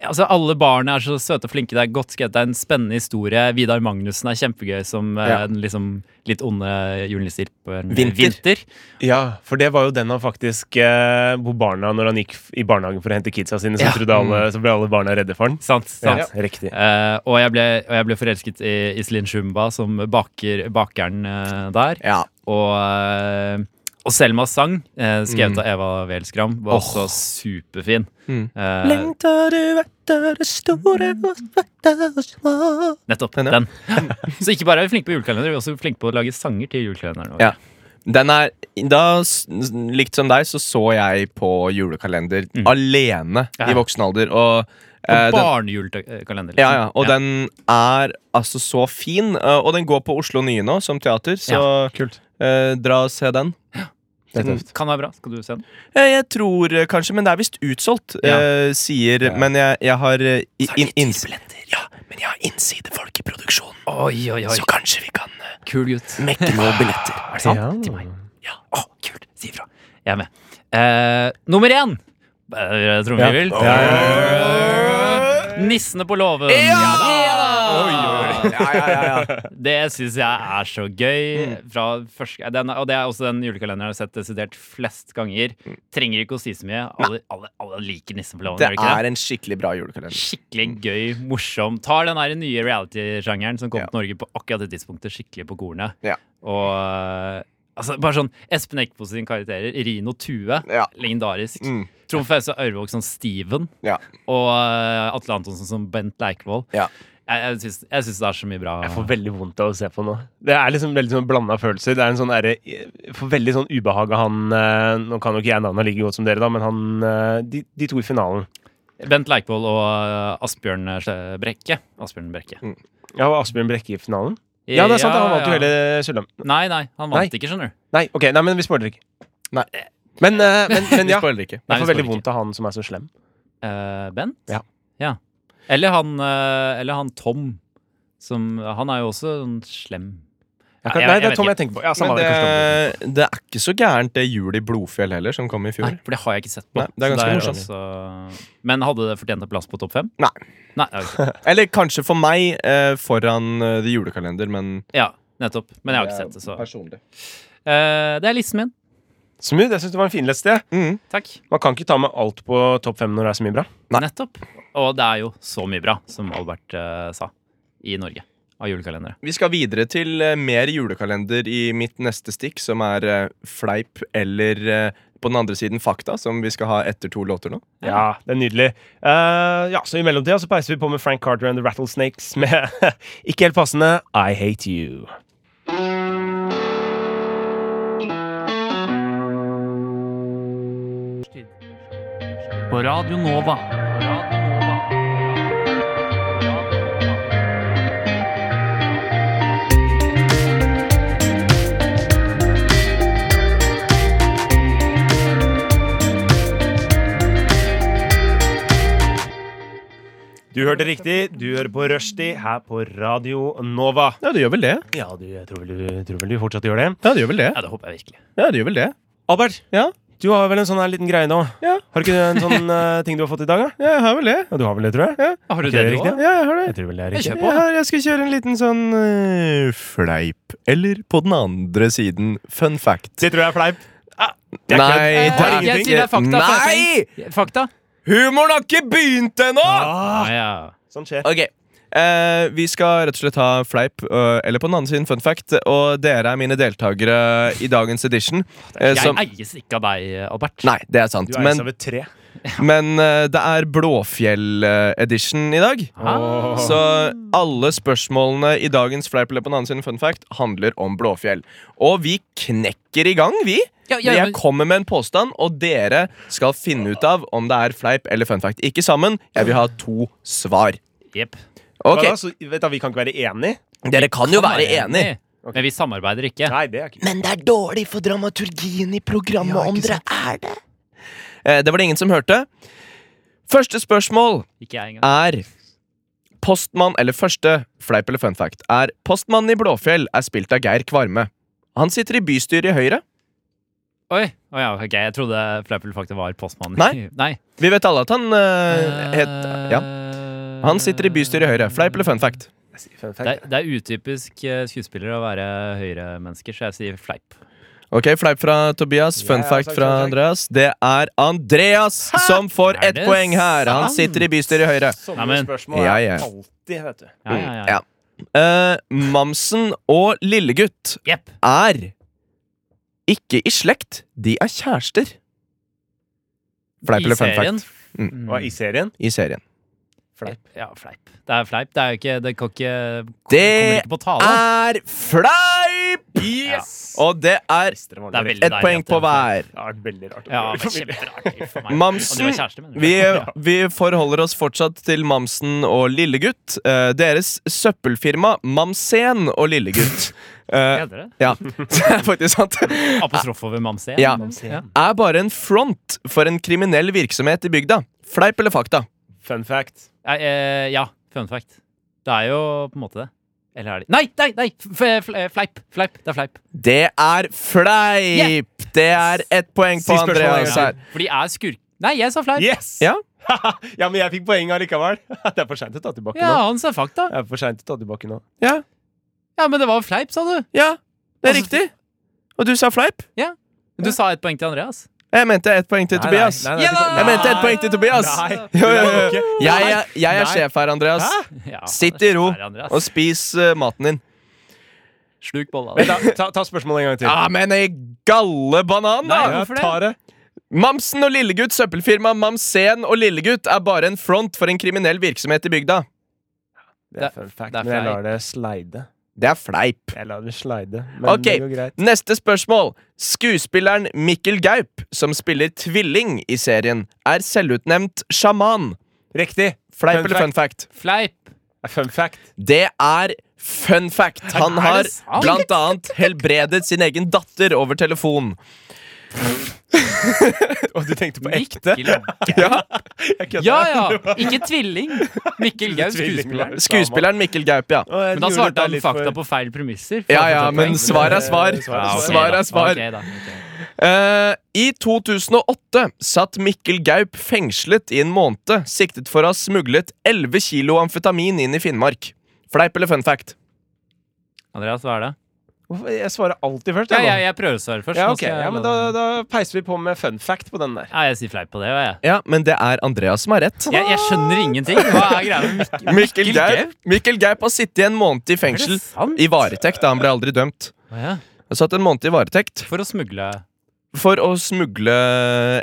C: Altså, Alle barna er så søte og flinke. Det er godt skrevet, det er en spennende historie. Vidar Magnussen er kjempegøy som eh,
D: Ja.
C: den liksom litt onde julenissen
D: Vinter.
B: Ja, for det var jo den han faktisk eh, Hvor barna, når han gikk f- i barnehagen for å hente kidsa sine, så,
C: Ja.
B: trodde alle, så ble alle barna redde for han.
C: Sant,
B: Mm.
C: sant.
B: Ja, riktig.
C: Eh, og, jeg ble, og jeg ble forelsket i Iselin Shumba som baker, bakeren eh, der.
D: Ja.
C: Og, eh, og Selma sang, eh, skrevet av Eva Welsgram, var også superfin.
D: Mm.
C: Eh,
D: Lengter du etter det store
C: nettopp.
D: Den, ja.
C: Den. Så ikke bare er vi flinke på julekalender, vi er også flinke på å lage sanger til julekalenderen. vår.
D: Ja. Den er Da, s- likt som deg, så så jeg på julekalender alene
C: Ja.
D: i voksen alder. Og,
C: Og
D: eh, den,
C: barnejulekalender.
D: ja, ja, og den er altså så fin. eh, og den går på Oslo Nye nå, som teater, så
B: Kult.
D: eh, dra og se den.
B: Det er
D: Den-
B: tøft.
C: Kan være bra. Skal du se den?
D: Eh, jeg tror eh, kanskje, men det er visst utsolgt,
C: Ja.
D: eh, sier
B: Ja.
D: Men jeg, jeg har eh, i-
C: Så er det
D: in,
C: litt
D: inns- Ja, men jeg har innsidefolk i produksjonen,
C: Oi, oi, oi.
D: så kanskje vi kan eh,
C: Kul gutt.
D: mekke noen billetter.
C: Er det sant?
B: Ja.
C: Til meg. Ja. Å, kult. Si ifra. Jeg er med. Eh, nummer én. Eh, Trommevirvel.
B: Ja. Ja,
C: Nissene på låven.
D: Oi, oi, oi. Ja, ja, ja, ja.
C: Det syns jeg er så
D: Mm.
C: gøy. Fra første, den, og det er også den julekalenderen jeg har sett desidert flest ganger. Trenger ikke å si så mye. Alle, alle, alle liker Nissen på låven.
D: Mm. Det
C: gjør de ikke
D: er en skikkelig bra julekalender.
C: Skikkelig gøy, morsom. Tar den her nye reality-sjangeren som kom
D: Ja.
C: til Norge på akkurat det tidspunktet, skikkelig på kornet.
D: Ja.
C: Og eh, altså, bare sånn Espen Eckbo sin karakterer. Rino Tue.
D: Ja.
C: Legendarisk.
D: Mm.
C: Trond Fause Ørvåg som Steven.
D: Ja.
C: Og eh, Atle Antonsen som Bent Leikvoll.
D: Ja.
C: Jeg, jeg, syns, jeg syns det er så mye bra.
B: Jeg får veldig vondt av å se på nå. Det er liksom veldig sånn blanda følelser. Det er en sånn derre- Jeg får veldig sånn ubehag av han eh, Nå kan jo ikke jeg navnet like godt som dere, da, men han eh, De, de to i finalen.
C: Bent Leikvoll og eh, Asbjørn Sj- Brekke. Asbjørn Brekke.
B: Ja, var Asbjørn Brekke i finalen? Mm. Ja, det er sant, han vant jo
C: ja.
B: hele Sølvland.
C: Nei, nei, han vant
B: Nei.
C: ikke, skjønner du.
B: Nei, ok, nei, men vi spoiler ikke.
D: Nei.
B: Men, eh, men, men
D: Vi
B: ja.
D: spoiler ikke.
C: Nei,
B: Jeg
C: vi
B: får veldig
C: spoiler
B: vondt av han som er så slem.
C: Eh, Bent?
B: Ja.
C: Ja. Eller, han, eh, eller han Tom. Som, han er jo også sånn slem.
B: Jeg kan,
C: jeg-
B: nei,
C: jeg
B: det
C: vet
B: er Tom
C: ikke.
B: jeg tenker på. Ja, samme
D: Men
B: det, Kristoffer.
D: det, det er ikke så gærent det jul i Blodfjell heller, som kom i fjor.
C: Nei, for det har jeg ikke sett på.
D: Nei, det er
C: Så
D: ganske
C: altså- Men hadde det fortjent en plass på topp fem?
D: Nei.
C: Nei, det har jeg ikke.
D: Eller kanskje for meg eh, foran eh, The Julekalender, men
C: ja, nettopp. Men jeg har ikke sett det, så
D: Personlig.
C: Eh, Det er listen min.
B: Smooth, jeg syns det var en fin liste.
D: Mm.
C: Takk.
B: Man kan ikke ta med alt på topp fem når det er så mye bra.
D: Nei.
C: Nettopp. Og det er jo så mye bra, som Albert eh, sa, i Norge. Av julekalendere.
D: Vi skal videre til eh, mer julekalender i mitt neste stikk, som er eh, fleip eller eh, på den andre siden fakta, som vi skal ha etter to låter nå.
C: Ja.
B: Ja, det er nydelig. Eh, ja, så I mellomtida så peiser vi på med Frank Carter and The Rattlesnakes med ikke helt passende I Hate You.
F: På Radio Nova.
B: Du hørte riktig. Du hører på Rushdie her på Radio Nova.
D: Ja, det gjør vel det.
B: Ja, du, jeg tror vel, du tror vel du fortsatt gjør det.
D: Ja, det gjør vel det.
C: ja, det håper jeg virkelig.
D: Ja, det gjør vel det.
B: Albert,
D: Ja.
B: du har vel en sånn her liten greie nå?
D: Ja.
B: Har du ikke en sånn eh, ting du har fått i dag, da?
D: Ja, jeg har vel det.
B: Ja, du har vel det, tror jeg?
C: Har du
B: Ikke
C: det,
B: det
C: du
B: riktig?
C: òg?
D: Ja, jeg har det.
B: Jeg tror vel det er riktig.
C: kjøper.
D: Jeg, har, jeg skal kjøre en liten sånn eh, fleip. Eller på den andre siden, fun fact.
B: Det tror jeg er fleip.
D: Nei,
B: kødd.
D: det er
C: Eh, jeg
D: ingenting.
C: sier det er fakta, for jeg
D: Nei!
C: Fakta?
D: Humoren har ikke begynt ennå!
C: Ah, ja.
B: Sånn skjer.
D: Ok, eh, vi skal rett og slett ha fleip, eh, eller på den andre siden fun fact. Og dere er mine deltakere i dagens edition. eh,
C: Jeg
D: som,
C: eies ikke av deg, Albert.
D: nei, det er sant.
B: Du er
D: Men,
B: av et tre.
D: men eh, det er Blåfjell-edition i dag.
C: Ah.
D: Så alle spørsmålene i dagens fleip eller på den andre siden fun fact handler om Blåfjell. Og vi knekker i gang, vi.
C: Ja, ja,
D: jeg
C: men-
D: kommer med en påstand, og dere skal finne ut av om det er fleip eller fun fact. Ikke sammen. Jeg vil ha to svar.
C: Jepp.
D: Ok,
B: Hva da? Så, vet du, vi kan ikke være enige?
D: Dere kan jo være enig.
B: Ok.
C: Men vi samarbeider ikke.
B: Nei, det er ikke
D: Men det er dårlig for dramaturgien i programmet om dere er det. Eh, det var det ingen som hørte. Første spørsmål
C: Ikke jeg engang.
D: er Postmann, eller første fleip eller fun fact, er Postmannen i Blåfjell er spilt av Geir Kvarme. Han sitter i bystyret i Høyre.
C: Oi, å ja, ok, Jeg trodde Fleipel faktisk var postmannen.
D: Nei.
C: Nei.
D: Vi vet alle at han eh, het Ja. Han sitter i bystyret i Høyre. Fleip eller fun fact?
B: Jeg sier fun fact.
C: Det, er- det er utypisk eh, skuespillere å være høyremennesker, så jeg sier fleip.
D: Ok, Fleip fra Tobias, fun
B: Jeg har
D: fact
B: sagt
D: fra
B: fun fact.
D: Andreas. Det er Andreas som får
C: Er
D: ett
C: det
D: poeng her. Han
C: sant?
D: sitter i bystyret i Høyre.
B: Sånne
C: Nei, men-
B: spørsmål
D: Ja, ja.
B: er alltid, vet du.
C: Ja, ja, ja.
D: Mm, Ja. Eh, Mamsen og Lillegutt
C: Jepp.
D: er ikke i slekt, de er kjærester. Fleip eller fun fact? Mm.
B: Hva er i serien?
D: I serien.
B: Fleip.
C: Ja, fleip. Det er fleip. Det er jo ikke Det kan ikke
D: Det
C: kommer ikke på tale.
D: Er fleip!
B: Yes!
D: Og det er
B: Visste det var
C: Det er
B: litt-
C: veldig
D: ett
C: deilig
D: poeng
C: at
D: på
C: det er
D: hver.
B: Ja, veldig rart.
C: Ja, det var kjemperart for meg.
D: Mamsen,
C: Og du var kjæreste, mener du?
D: Vi, vi forholder oss fortsatt til Mamsen og Lillegutt. Eh, deres søppelfirma Mamsen og Lillegutt eh,
C: Heter det?
D: Ja, det er faktisk sant.
C: Apostrof over Mamsen?
D: Ja.
C: Ja.
D: Er bare en front for en kriminell virksomhet i bygda. Fleip eller fakta?
B: Fun fact.
C: Nei, eh, ja, fun fact. Det er jo på en måte det. Eller er det Nei, nei, nei! F f fleip. Fleip. Det er fleip.
D: Det er fleip! Det er ett poeng
B: Si
D: på
B: spørsmålet en
D: Andreas her.
B: gang
C: For de er skurk... Nei, jeg sa fleip!
B: Yes!
D: Ja.
B: ja, men jeg fikk poeng allikevel. Det er for seint å ta tilbake
C: Ja,
B: nå.
C: han sa fakta.
B: Det er for sent å ta tilbake nå.
D: Ja,
C: Ja, men det var fleip, sa du.
D: ja, det er
C: Altså-
D: riktig. Og du sa fleip?
C: Du sa ett poeng til Andreas.
D: Jeg mente ett poeng til
B: Nei, nei,
D: Tobias.
B: nei, nei, du kan-
D: Jeg mente ett poeng til Tobias.
B: Nei,
D: Jo, jo, jo.
B: det er ikke-
D: Jeg, er- jeg er
B: Nei.
D: sjef her, Andreas.
C: Ja,
D: Sitt i ro
C: det er Andreas.
D: og spis eh, maten din.
C: Sluk bolla.
B: Vent da, ta, ta spørsmålet en gang til.
D: Ja, Ah, men ei gallebanan, da!
C: Nei, hvorfor det?
D: Ta Mamsen og Lillegutt søppelfirma Mamsen og Lillegutt er bare en front for en kriminell virksomhet i bygda.
B: Det er
C: Det-
B: fun fact,
C: det er
B: men jeg
C: fleip.
B: lar det slide.
D: Det er fleip.
B: Jeg lar det slide, men
D: Ok.
B: det går greit.
D: Neste spørsmål. Skuespilleren Mikkel Gaup, som spiller tvilling i serien, er selvutnevnt sjaman.
B: Riktig!
D: Fleip
B: Fun
D: eller fun fact?
C: Fleip.
B: Fun fact.
D: Det er fun fact. Han
C: det
D: har
C: sant?
D: blant annet helbredet sin egen datter over telefon.
B: Og du tenkte på ekte?
C: Mikkel Gaup.
D: Ja.
B: Jeg kødder.
C: Ja ja! Ikke tvilling. Mikkel Gaup,
B: Tvilling,
C: skuespiller.
D: Skuespilleren Mikkel Gaup, ja.
B: Å, jeg
C: Men
B: gjorde
C: da
B: dette
C: svarte han
B: litt
C: fakta
B: for-
C: på feil premisser.
D: Ja, ja, men
B: poeng.
D: svar er svar.
B: Eh,
C: Ja, ok,
D: Svar
C: da.
D: er svar.
C: Ok, da, ok.
D: Eh, I 2008 satt Mikkel Gaup fengslet i en måned, siktet for å ha smuglet 11 kilo amfetamin inn i Finnmark. Fleip eller fun fact?
C: Andreas, hva er det?
B: Hvorfor- Jeg svarer alltid først.
C: Ja,
B: jeg, nå.
C: jeg, jeg prøver å svare først.
B: Ja,
C: nå
B: ok.
C: skal jeg
B: Ja,
C: la
B: men
C: det-
B: da, da peiser vi på med fun fact på den der.
C: Ja, jeg sier fleip på det, og jeg.
D: Ja, men det er Andreas som har rett.
C: jeg. Jeg skjønner ingenting. Hva er greia med Mikkel?
D: Mikkel
C: Mikkel
D: Gaup Mikkel Gaup har sittet i en måned i
C: Er
D: fengsel.
C: det sant?
D: I varetekt, da. Han ble aldri dømt.
C: Å, ja.
D: Han satt en måned i varetekt
C: For å smugle
D: for å smugle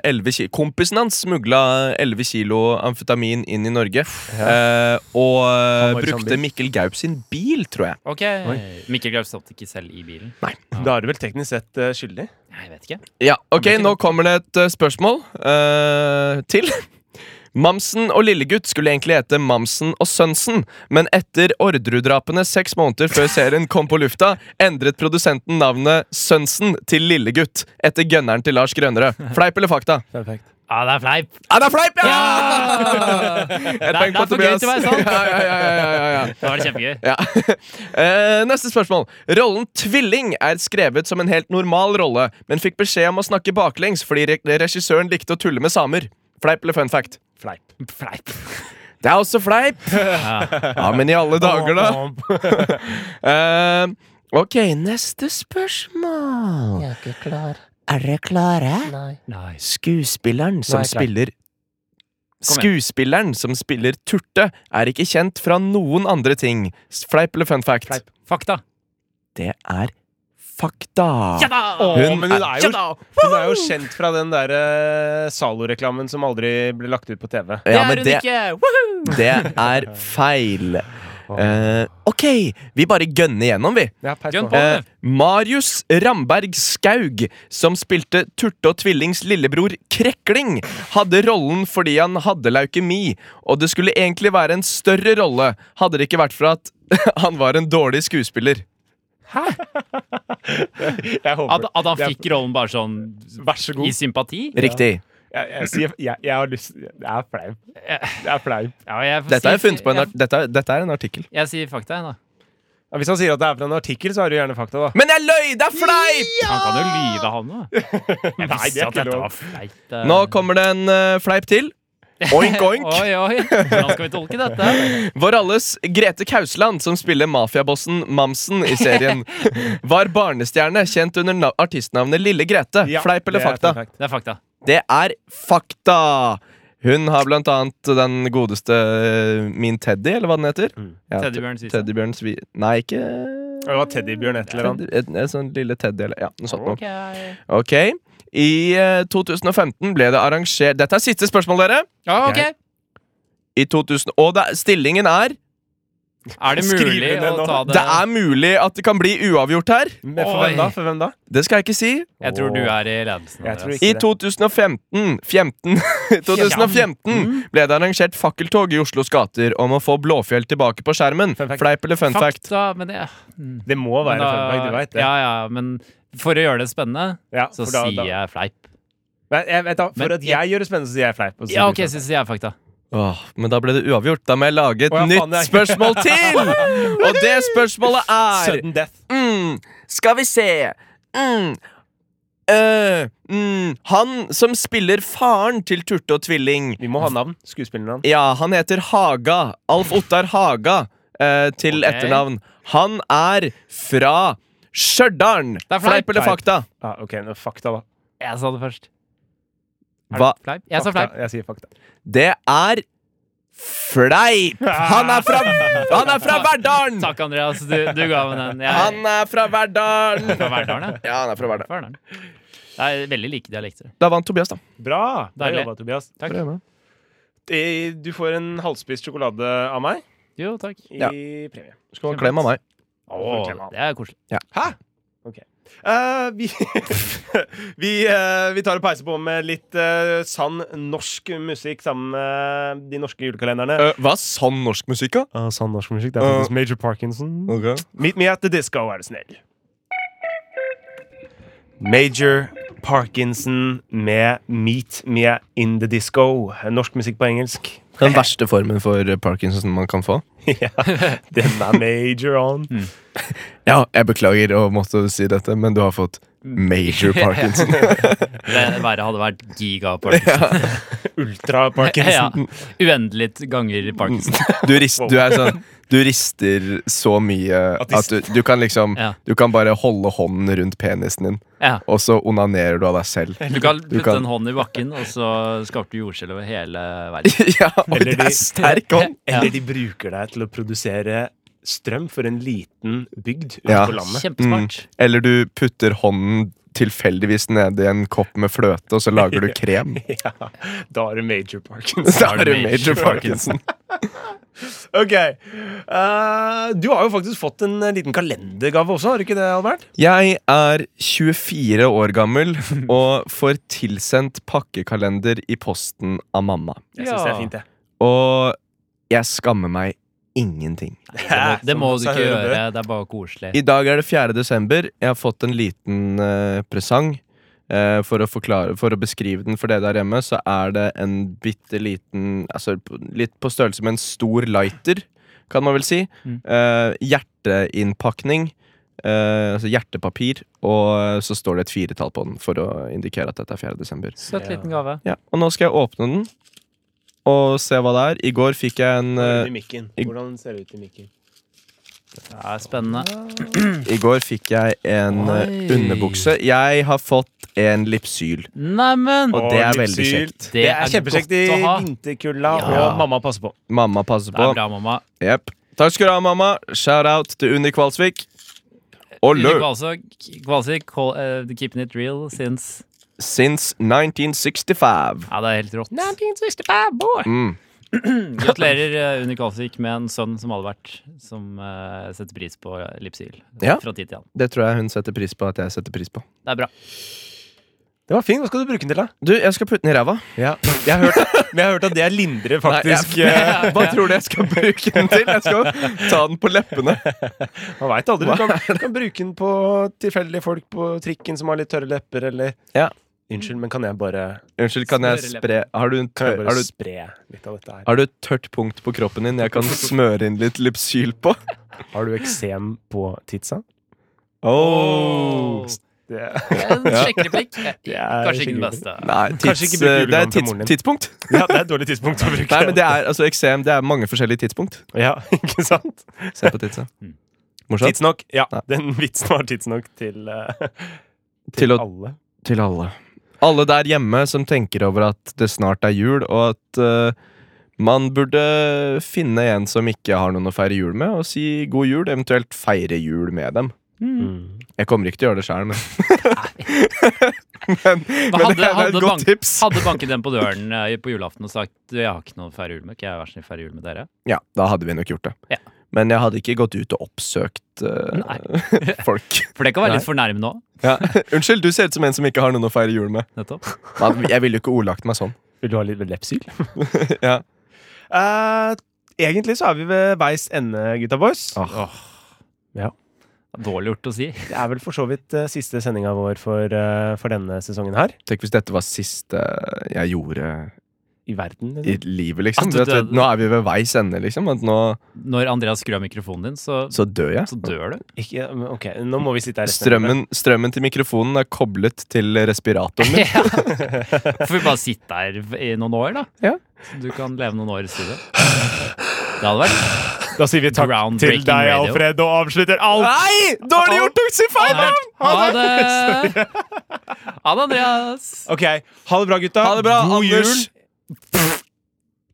D: 11 kilo Kompisen hans smugla 11 kilo amfetamin inn i Norge. eh, og eh,
B: var i
D: brukte
B: sånn
D: Mikkel Gaup sin bil, tror jeg.
C: Ok, Mikkel Gaup stoppet ikke selv i bilen.
B: Da er du vel teknisk sett eh, skyldig?
C: Jeg vet ikke.
D: Ja, ok,
C: Kommer ikke
D: nå kommer det et eh, spørsmål eh, til. Mamsen og Lillegutt skulle egentlig hete Mamsen og Sønsen, men etter Orderud-drapene seks måneder før serien kom på lufta, endret produsenten navnet Sønsen til Lillegutt etter gønneren til Lars Grønnerød. Fleip eller fakta?
B: Perfekt.
C: Ja, det er fleip!
D: Ja, det er fleip, ja!
C: Ja!
D: Et
C: Det er- det
D: poeng Ah! på
C: er for gøy
D: Tobias.
C: til å være sant.
D: Ja, ja, ja, ja, ja, ja.
C: Det var kjempegøy.
D: Ja. Eh, neste spørsmål. Rollen tvilling er skrevet som en helt normal rolle, men fikk beskjed om å snakke baklengs fordi re regissøren likte å tulle med samer. Fleip eller fun fact?
B: Fleip.
C: Fleip.
D: Det er også fleip! Ja, men i alle dager, da. Eh, ok, neste spørsmål.
G: Jeg er ikke klar.
D: Er dere klare?
G: Nei.
C: Nice.
D: Skuespilleren som
G: Nå er jeg klar.
D: spiller
C: Kom
D: Skuespilleren som spiller Turte, er ikke kjent fra noen andre ting. Fleip eller fun fact?
B: Fleip.
C: Fakta.
D: Det er fakta.
C: Ja da!
B: Hun,
D: Ah. Hun
B: men hun,
D: er-
B: er jo, hun er jo kjent fra den der eh, Zalo-reklamen som aldri ble lagt ut på TV.
C: Det
D: Ja,
C: er
D: men
C: hun ikke! Woohoo!
D: Det er feil. Eh, ok, vi bare gønner gjennom, vi.
B: Ja, peis
C: Gun
B: på.
C: på.
D: Eh, Marius Ramberg Skaug, som spilte Turte og Tvillings lillebror Krekling, hadde rollen fordi han hadde leukemi, og det skulle egentlig være en større rolle, hadde det ikke vært for at han var en dårlig skuespiller.
B: Jeg håper
C: At, at
B: det
C: han
B: er-
C: fikk rollen bare sånn
B: Vær så
C: i
B: god.
C: sympati?
D: Riktig.
B: Jeg, jeg, sier, jeg, jeg har lyst Jeg er flau. Jeg er flau.
C: Ja, jeg får
D: Dette, er
C: si-
D: funnet på en art dette, er- dette er en artikkel.
C: Jeg, jeg sier fakta, jeg, da.
B: Ja, Hvis han sier at det er fra en artikkel, så har du gjerne fakta, da.
D: Men jeg løy! Det er fleip!
C: Han kan jo lyve, han òg. Jeg
B: Nei, det
C: visste
B: er
C: at
B: ikke
C: dette
B: lov.
C: var feit. eh.
D: Nå kommer det en eh, fleip til. Oink, oink.
C: Oi, oi. Hvordan skal vi tolke dette?
D: Vår alles Grete Kausland, som spiller mafiabossen Mamsen i serien, var barnestjerne kjent under na- artistnavnet Lille Grete.
B: Ja,
D: Fleip eller
B: det er
D: fakta?
B: fun fact.
C: Det er fakta.
D: Det er fakta! Hun har blant annet den godeste eh, Min Teddy, eller hva den heter.
B: Mm.
D: Ja,
C: Teddybjørn Svisa.
D: Teddybjørn Svi... Nei, ikke
B: Det var teddybjørn et eller annet.
D: Teddy, et, et sånn lille Teddy, eller ja, noe sånt.
C: sånn.
D: noe.
C: Okay.
D: Ok. I eh, 2015 ble det arrangert Dette er siste spørsmål, dere.
C: ok.
B: Jeg-
D: I 2000, og det, stillingen er
C: Er det
B: Skriv
C: mulig
B: ned
C: å
B: nå.
C: ta det?
D: Det er mulig at det kan bli uavgjort her.
B: Men for
C: Oi.
B: hvem da? For hvem da?
D: Det skal jeg ikke si.
C: Jeg tror du er i ledelsen.
B: Jeg tror
C: Andreas.
B: ikke
D: I
B: det.
D: 2015 15,
B: Mm.
D: 2015 ble det arrangert fakkeltog i Oslos gater om å få Blåfjell tilbake på skjermen.
B: Fun fact.
D: Fleip eller fun fact?
C: Fakta, men det
B: Det må være
C: da-
B: fun fact, du veit det.
C: Ja, ja, men for å gjøre det spennende,
B: Ja,
C: så
B: for da- da-
C: sier jeg fleip.
B: Nei, jeg vet da, For
C: Men-
B: at jeg gjør det spennende, så sier jeg fleip. og så sier du sånn,
C: Ja, ok,
B: fun
C: så sier jeg fakta.
D: Åh, men da ble det uavgjort. Da må jeg lage et
B: Å, ja,
D: nytt
B: faen, jeg-
D: spørsmål til! Og det spørsmålet
B: fact.
D: er
B: Sudden death.
D: mm, Skal vi se mm, øh, mm, Han som spiller faren til Turte og Tvilling
B: Vi må ha navn. Skuespillernavn.
D: Ja, han heter Haga. Alf Ottar Haga eh, til
C: Ok.
D: etternavn. Han er fra Stjørdal.
C: Det er fleip.
D: Fleip eller
B: Fleip.
D: fakta?
B: Ah, ok, nå, fakta, da.
C: Jeg sa det først. Er det
D: Hva?
C: Fleip? Jeg sa fleip.
B: Fakta. Jeg sier fakta.
D: Det er fleip! Han er fra, han er fra Verdalen!
C: Takk, Andreas. Du, du ga meg den. Jeg,
D: Han er fra Verdalen!
C: Fra Verdalen, ja.
D: Ja, han er fra Verdalen.
C: Fra Verdalen. Det er veldig like dialekter.
D: Da vant Tobias, da.
B: Bra! Bra
C: Deilig.
B: jobba, Tobias.
C: Takk.
B: Eh, Du får en halvspist sjokolade av meg
C: Jo, takk.
B: i
D: Ja.
B: premie.
D: Du skal ha en klem av meg.
C: Å, det er koselig.
B: Eh, vi vi, eh, vi tar og peiser på med litt eh, sann norsk musikk sammen med de norske julekalenderne.
D: Eh, hva er sann norsk musikk, da?
B: Uh, sann norsk musikk, det
D: er faktisk
B: Major Parkinson.
D: Okay.
B: Meet me at the disco, er du snill. Major Parkinson med Meet me in the disco. Norsk musikk på engelsk.
D: Den verste formen for eh, Parkinson man kan få.
B: ja, den er major on.
C: Mm.
D: Ja, jeg beklager å måtte si dette, men du har fått major Parkinson.
C: Det verre hadde vært gigaparkinson.
B: Ultra
C: Ja.
B: Parkinson.
C: Uendelig ganger parkinson.
D: Du, rist, du, er sånn, du rister så mye
B: de-
D: at du, du kan liksom
C: Ja.
D: Du kan bare holde hånden rundt penisen din,
C: Ja.
D: og så onanerer du av deg selv.
C: Du kan putte
D: kan-
C: en hånd i bakken, og så skaper du jordskjelv over hele verden.
D: ja, og
B: Eller
D: det er
B: de-
D: sterk hånd!
B: Eller de bruker deg til å produsere strøm for en liten bygd ute
D: Ja.
B: på landet.
C: Kjempesmart.
D: Eller du putter hånden tilfeldigvis nedi en kopp med fløte, og så lager du krem.
B: Ja, da er det Major Parkinson.
D: Da er du major Parkinson.
B: Ok. Eh, du har jo faktisk fått en eh, liten kalendergave også, har du ikke det, Albert?
D: Jeg er 24 år gammel og får tilsendt pakkekalender i posten av mamma.
B: Jeg synes det er fint, det.
D: Og jeg skammer meg ingenting.
B: Mm.
C: Det må, det må
B: Som
C: du ikke
B: seg hører
C: gjøre. Det er bare koselig.
D: I dag er det 4. desember. Jeg har fått en liten eh, presang. Eh, for, å forklare, for å beskrive den for dere der hjemme, så er det en bitte liten altså, p- Litt på størrelse med en stor lighter, kan man vel si.
C: Mm.
D: Eh, hjerteinnpakning. eh, altså hjertepapir. Og så står det et firetall på den for å indikere at dette er 4. desember.
C: Søt liten gave.
D: Ja, og nå skal jeg åpne den og se hva det er. I går fikk jeg en eh,
B: I mikken.
D: i-
B: Hvordan ser det ut i mikken?
C: Det er spennende.
D: I går fikk jeg en eh,
C: Oi.
D: underbukse. Jeg har fått en lipsyl.
C: Neimen!
D: Og det er veldig kjekt.
C: Det
B: Det
C: er
B: er kjempekjekt i
C: godt å ha.
B: vinterkulda,
C: Ja.
B: og mamma passer på.
D: Mamma passer
C: Det
D: på.
C: er bra, mamma.
D: Jep. Takk skal du ha, mamma. Shout-out til Unni Kvalsvik. Og
C: Ulrik
D: lø
C: Kvalsvik, altså Kvalsvik, call, eh, keeping it real since
D: since 1965.
C: Ja, det er helt rått.
D: Mm.
C: Gratulerer eh, Unni Kalsvik med en sønn som alle vært, som eh, setter pris på Lipsyl
D: Ja.
C: fra tid til annen.
D: Det tror jeg hun setter pris på at jeg setter pris på.
C: Det er bra.
B: Det var fint. Hva skal du bruke den til, da?
D: Du, jeg skal putte den i ræva.
B: Ja. Jeg, har hørt, men jeg har hørt at det lindrer faktisk
D: Nei,
B: eh,
D: jeg, Hva tror du jeg skal bruke den til? Jeg skal ta den på leppene.
B: Man veit aldri. Du kan, du kan bruke den på tilfeldige folk på trikken som har litt tørre lepper, eller
D: Ja.
B: Unnskyld, men kan jeg bare,
D: Unnskyld, kan jeg
C: Smøre
D: spre Har du, en
B: kan
D: tør,
B: jeg bare
D: har, du,
B: spre litt av dette her?
D: har du et tørt punkt på kroppen din jeg kan smøre inn litt Lypsyl på?
B: Har du eksem på titsa?
D: Oh.
B: Det,
C: En sjekkereplikk.
B: Det er
C: Kanskje ikke den
B: skikkelig.
C: beste.
D: Nei,
B: Kanskje
D: tids, eh,
B: ikke
D: det
B: bruke
D: er
B: julegaven fra
D: tids,
B: moren din.
D: tidspunkt.
B: ja, det er et dårlig tidspunkt å bruke
D: Nei, men det er, altså, eksem det er mange forskjellige tidspunkt.
B: Ja, ikke sant?
D: Se på tidsa. Morsomt.
B: Tidsnok. Ja,
D: Nei.
B: den vitsen var tidsnok til, eh,
D: Til å-
B: alle.
D: Til alle. Alle der hjemme som tenker over at det snart er jul, og at eh, man burde finne en som ikke har noen å feire jul med, og si god jul, eventuelt feire jul med dem. Mm.
C: Mm.
B: Mm.
D: Jeg kommer ikke til å gjøre det sjøl, men
C: Men
D: det
C: hadde,
D: er et
C: hadde,
D: godt
C: bank,
D: tips.
C: hadde banket den på døren eh, på julaften og sagt «Du, 'Jeg har ikke noe å feire jul med', kan jeg være snill feire jul med dere?
D: ja, da hadde vi nok gjort det.
C: Ja.
D: Men jeg hadde ikke gått ut og oppsøkt eh, folk.
C: For det kan være litt fornærmende òg.
D: Ja. Unnskyld, du ser ut som en som ikke har noen å feire jul med.
C: Nettopp.
D: Man, jeg ville jo ikke ordlagt meg sånn.
B: Vil du ha litt lepsyl?
D: Ja.
B: Eh, egentlig så er vi ved veis ende, gutta boys.
C: Dårlig gjort å si.
B: Det er vel for så vidt eh, siste sendinga vår for, eh, for denne sesongen her.
D: Tenk hvis dette var siste jeg gjorde
B: I verden.
D: i
B: Liksom.
D: livet, liksom.
C: At du
D: Du vet,
C: døde.
D: nå er vi ved veis ende, liksom. At nå
C: Når Andreas skrur av mikrofonen din, så,
D: så dør jeg.
C: så dør du.
B: Ikke, men ok, nå må vi sitte her resten av livet.
D: Strømmen, strømmen til mikrofonen er koblet til respiratoren min.
C: Ja. Får vi bare sitte her i noen år, da?
D: Ja.
C: Så du kan leve noen år i studio. Det hadde vært
B: Da sier vi takk til
C: Groundbreaking
B: deg,
C: radio.
B: Alfred, og avslutter alt!
D: Nei! Dårlig gjort å si feil!
C: Ha det! Ha det, Andreas!
B: Ok, Ha det bra, gutta.
D: Ha det bra,
B: God
D: Anders.
B: jul.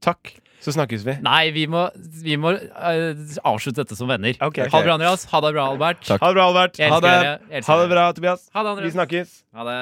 B: Takk. Så snakkes vi.
C: Nei, vi må, vi må eh, avslutte dette som venner.
B: Ok.
C: Ha det bra, Andreas. Ha det bra, Albert.
D: Takk.
B: Ha det bra, Albert.
C: Jeg elsker
B: Ha det.
C: dere. Jeg elsker
B: Ha det
C: dere.
B: bra, Tobias.
C: Ha
B: Vi
C: det, Andreas.
B: snakkes.
C: Ha det.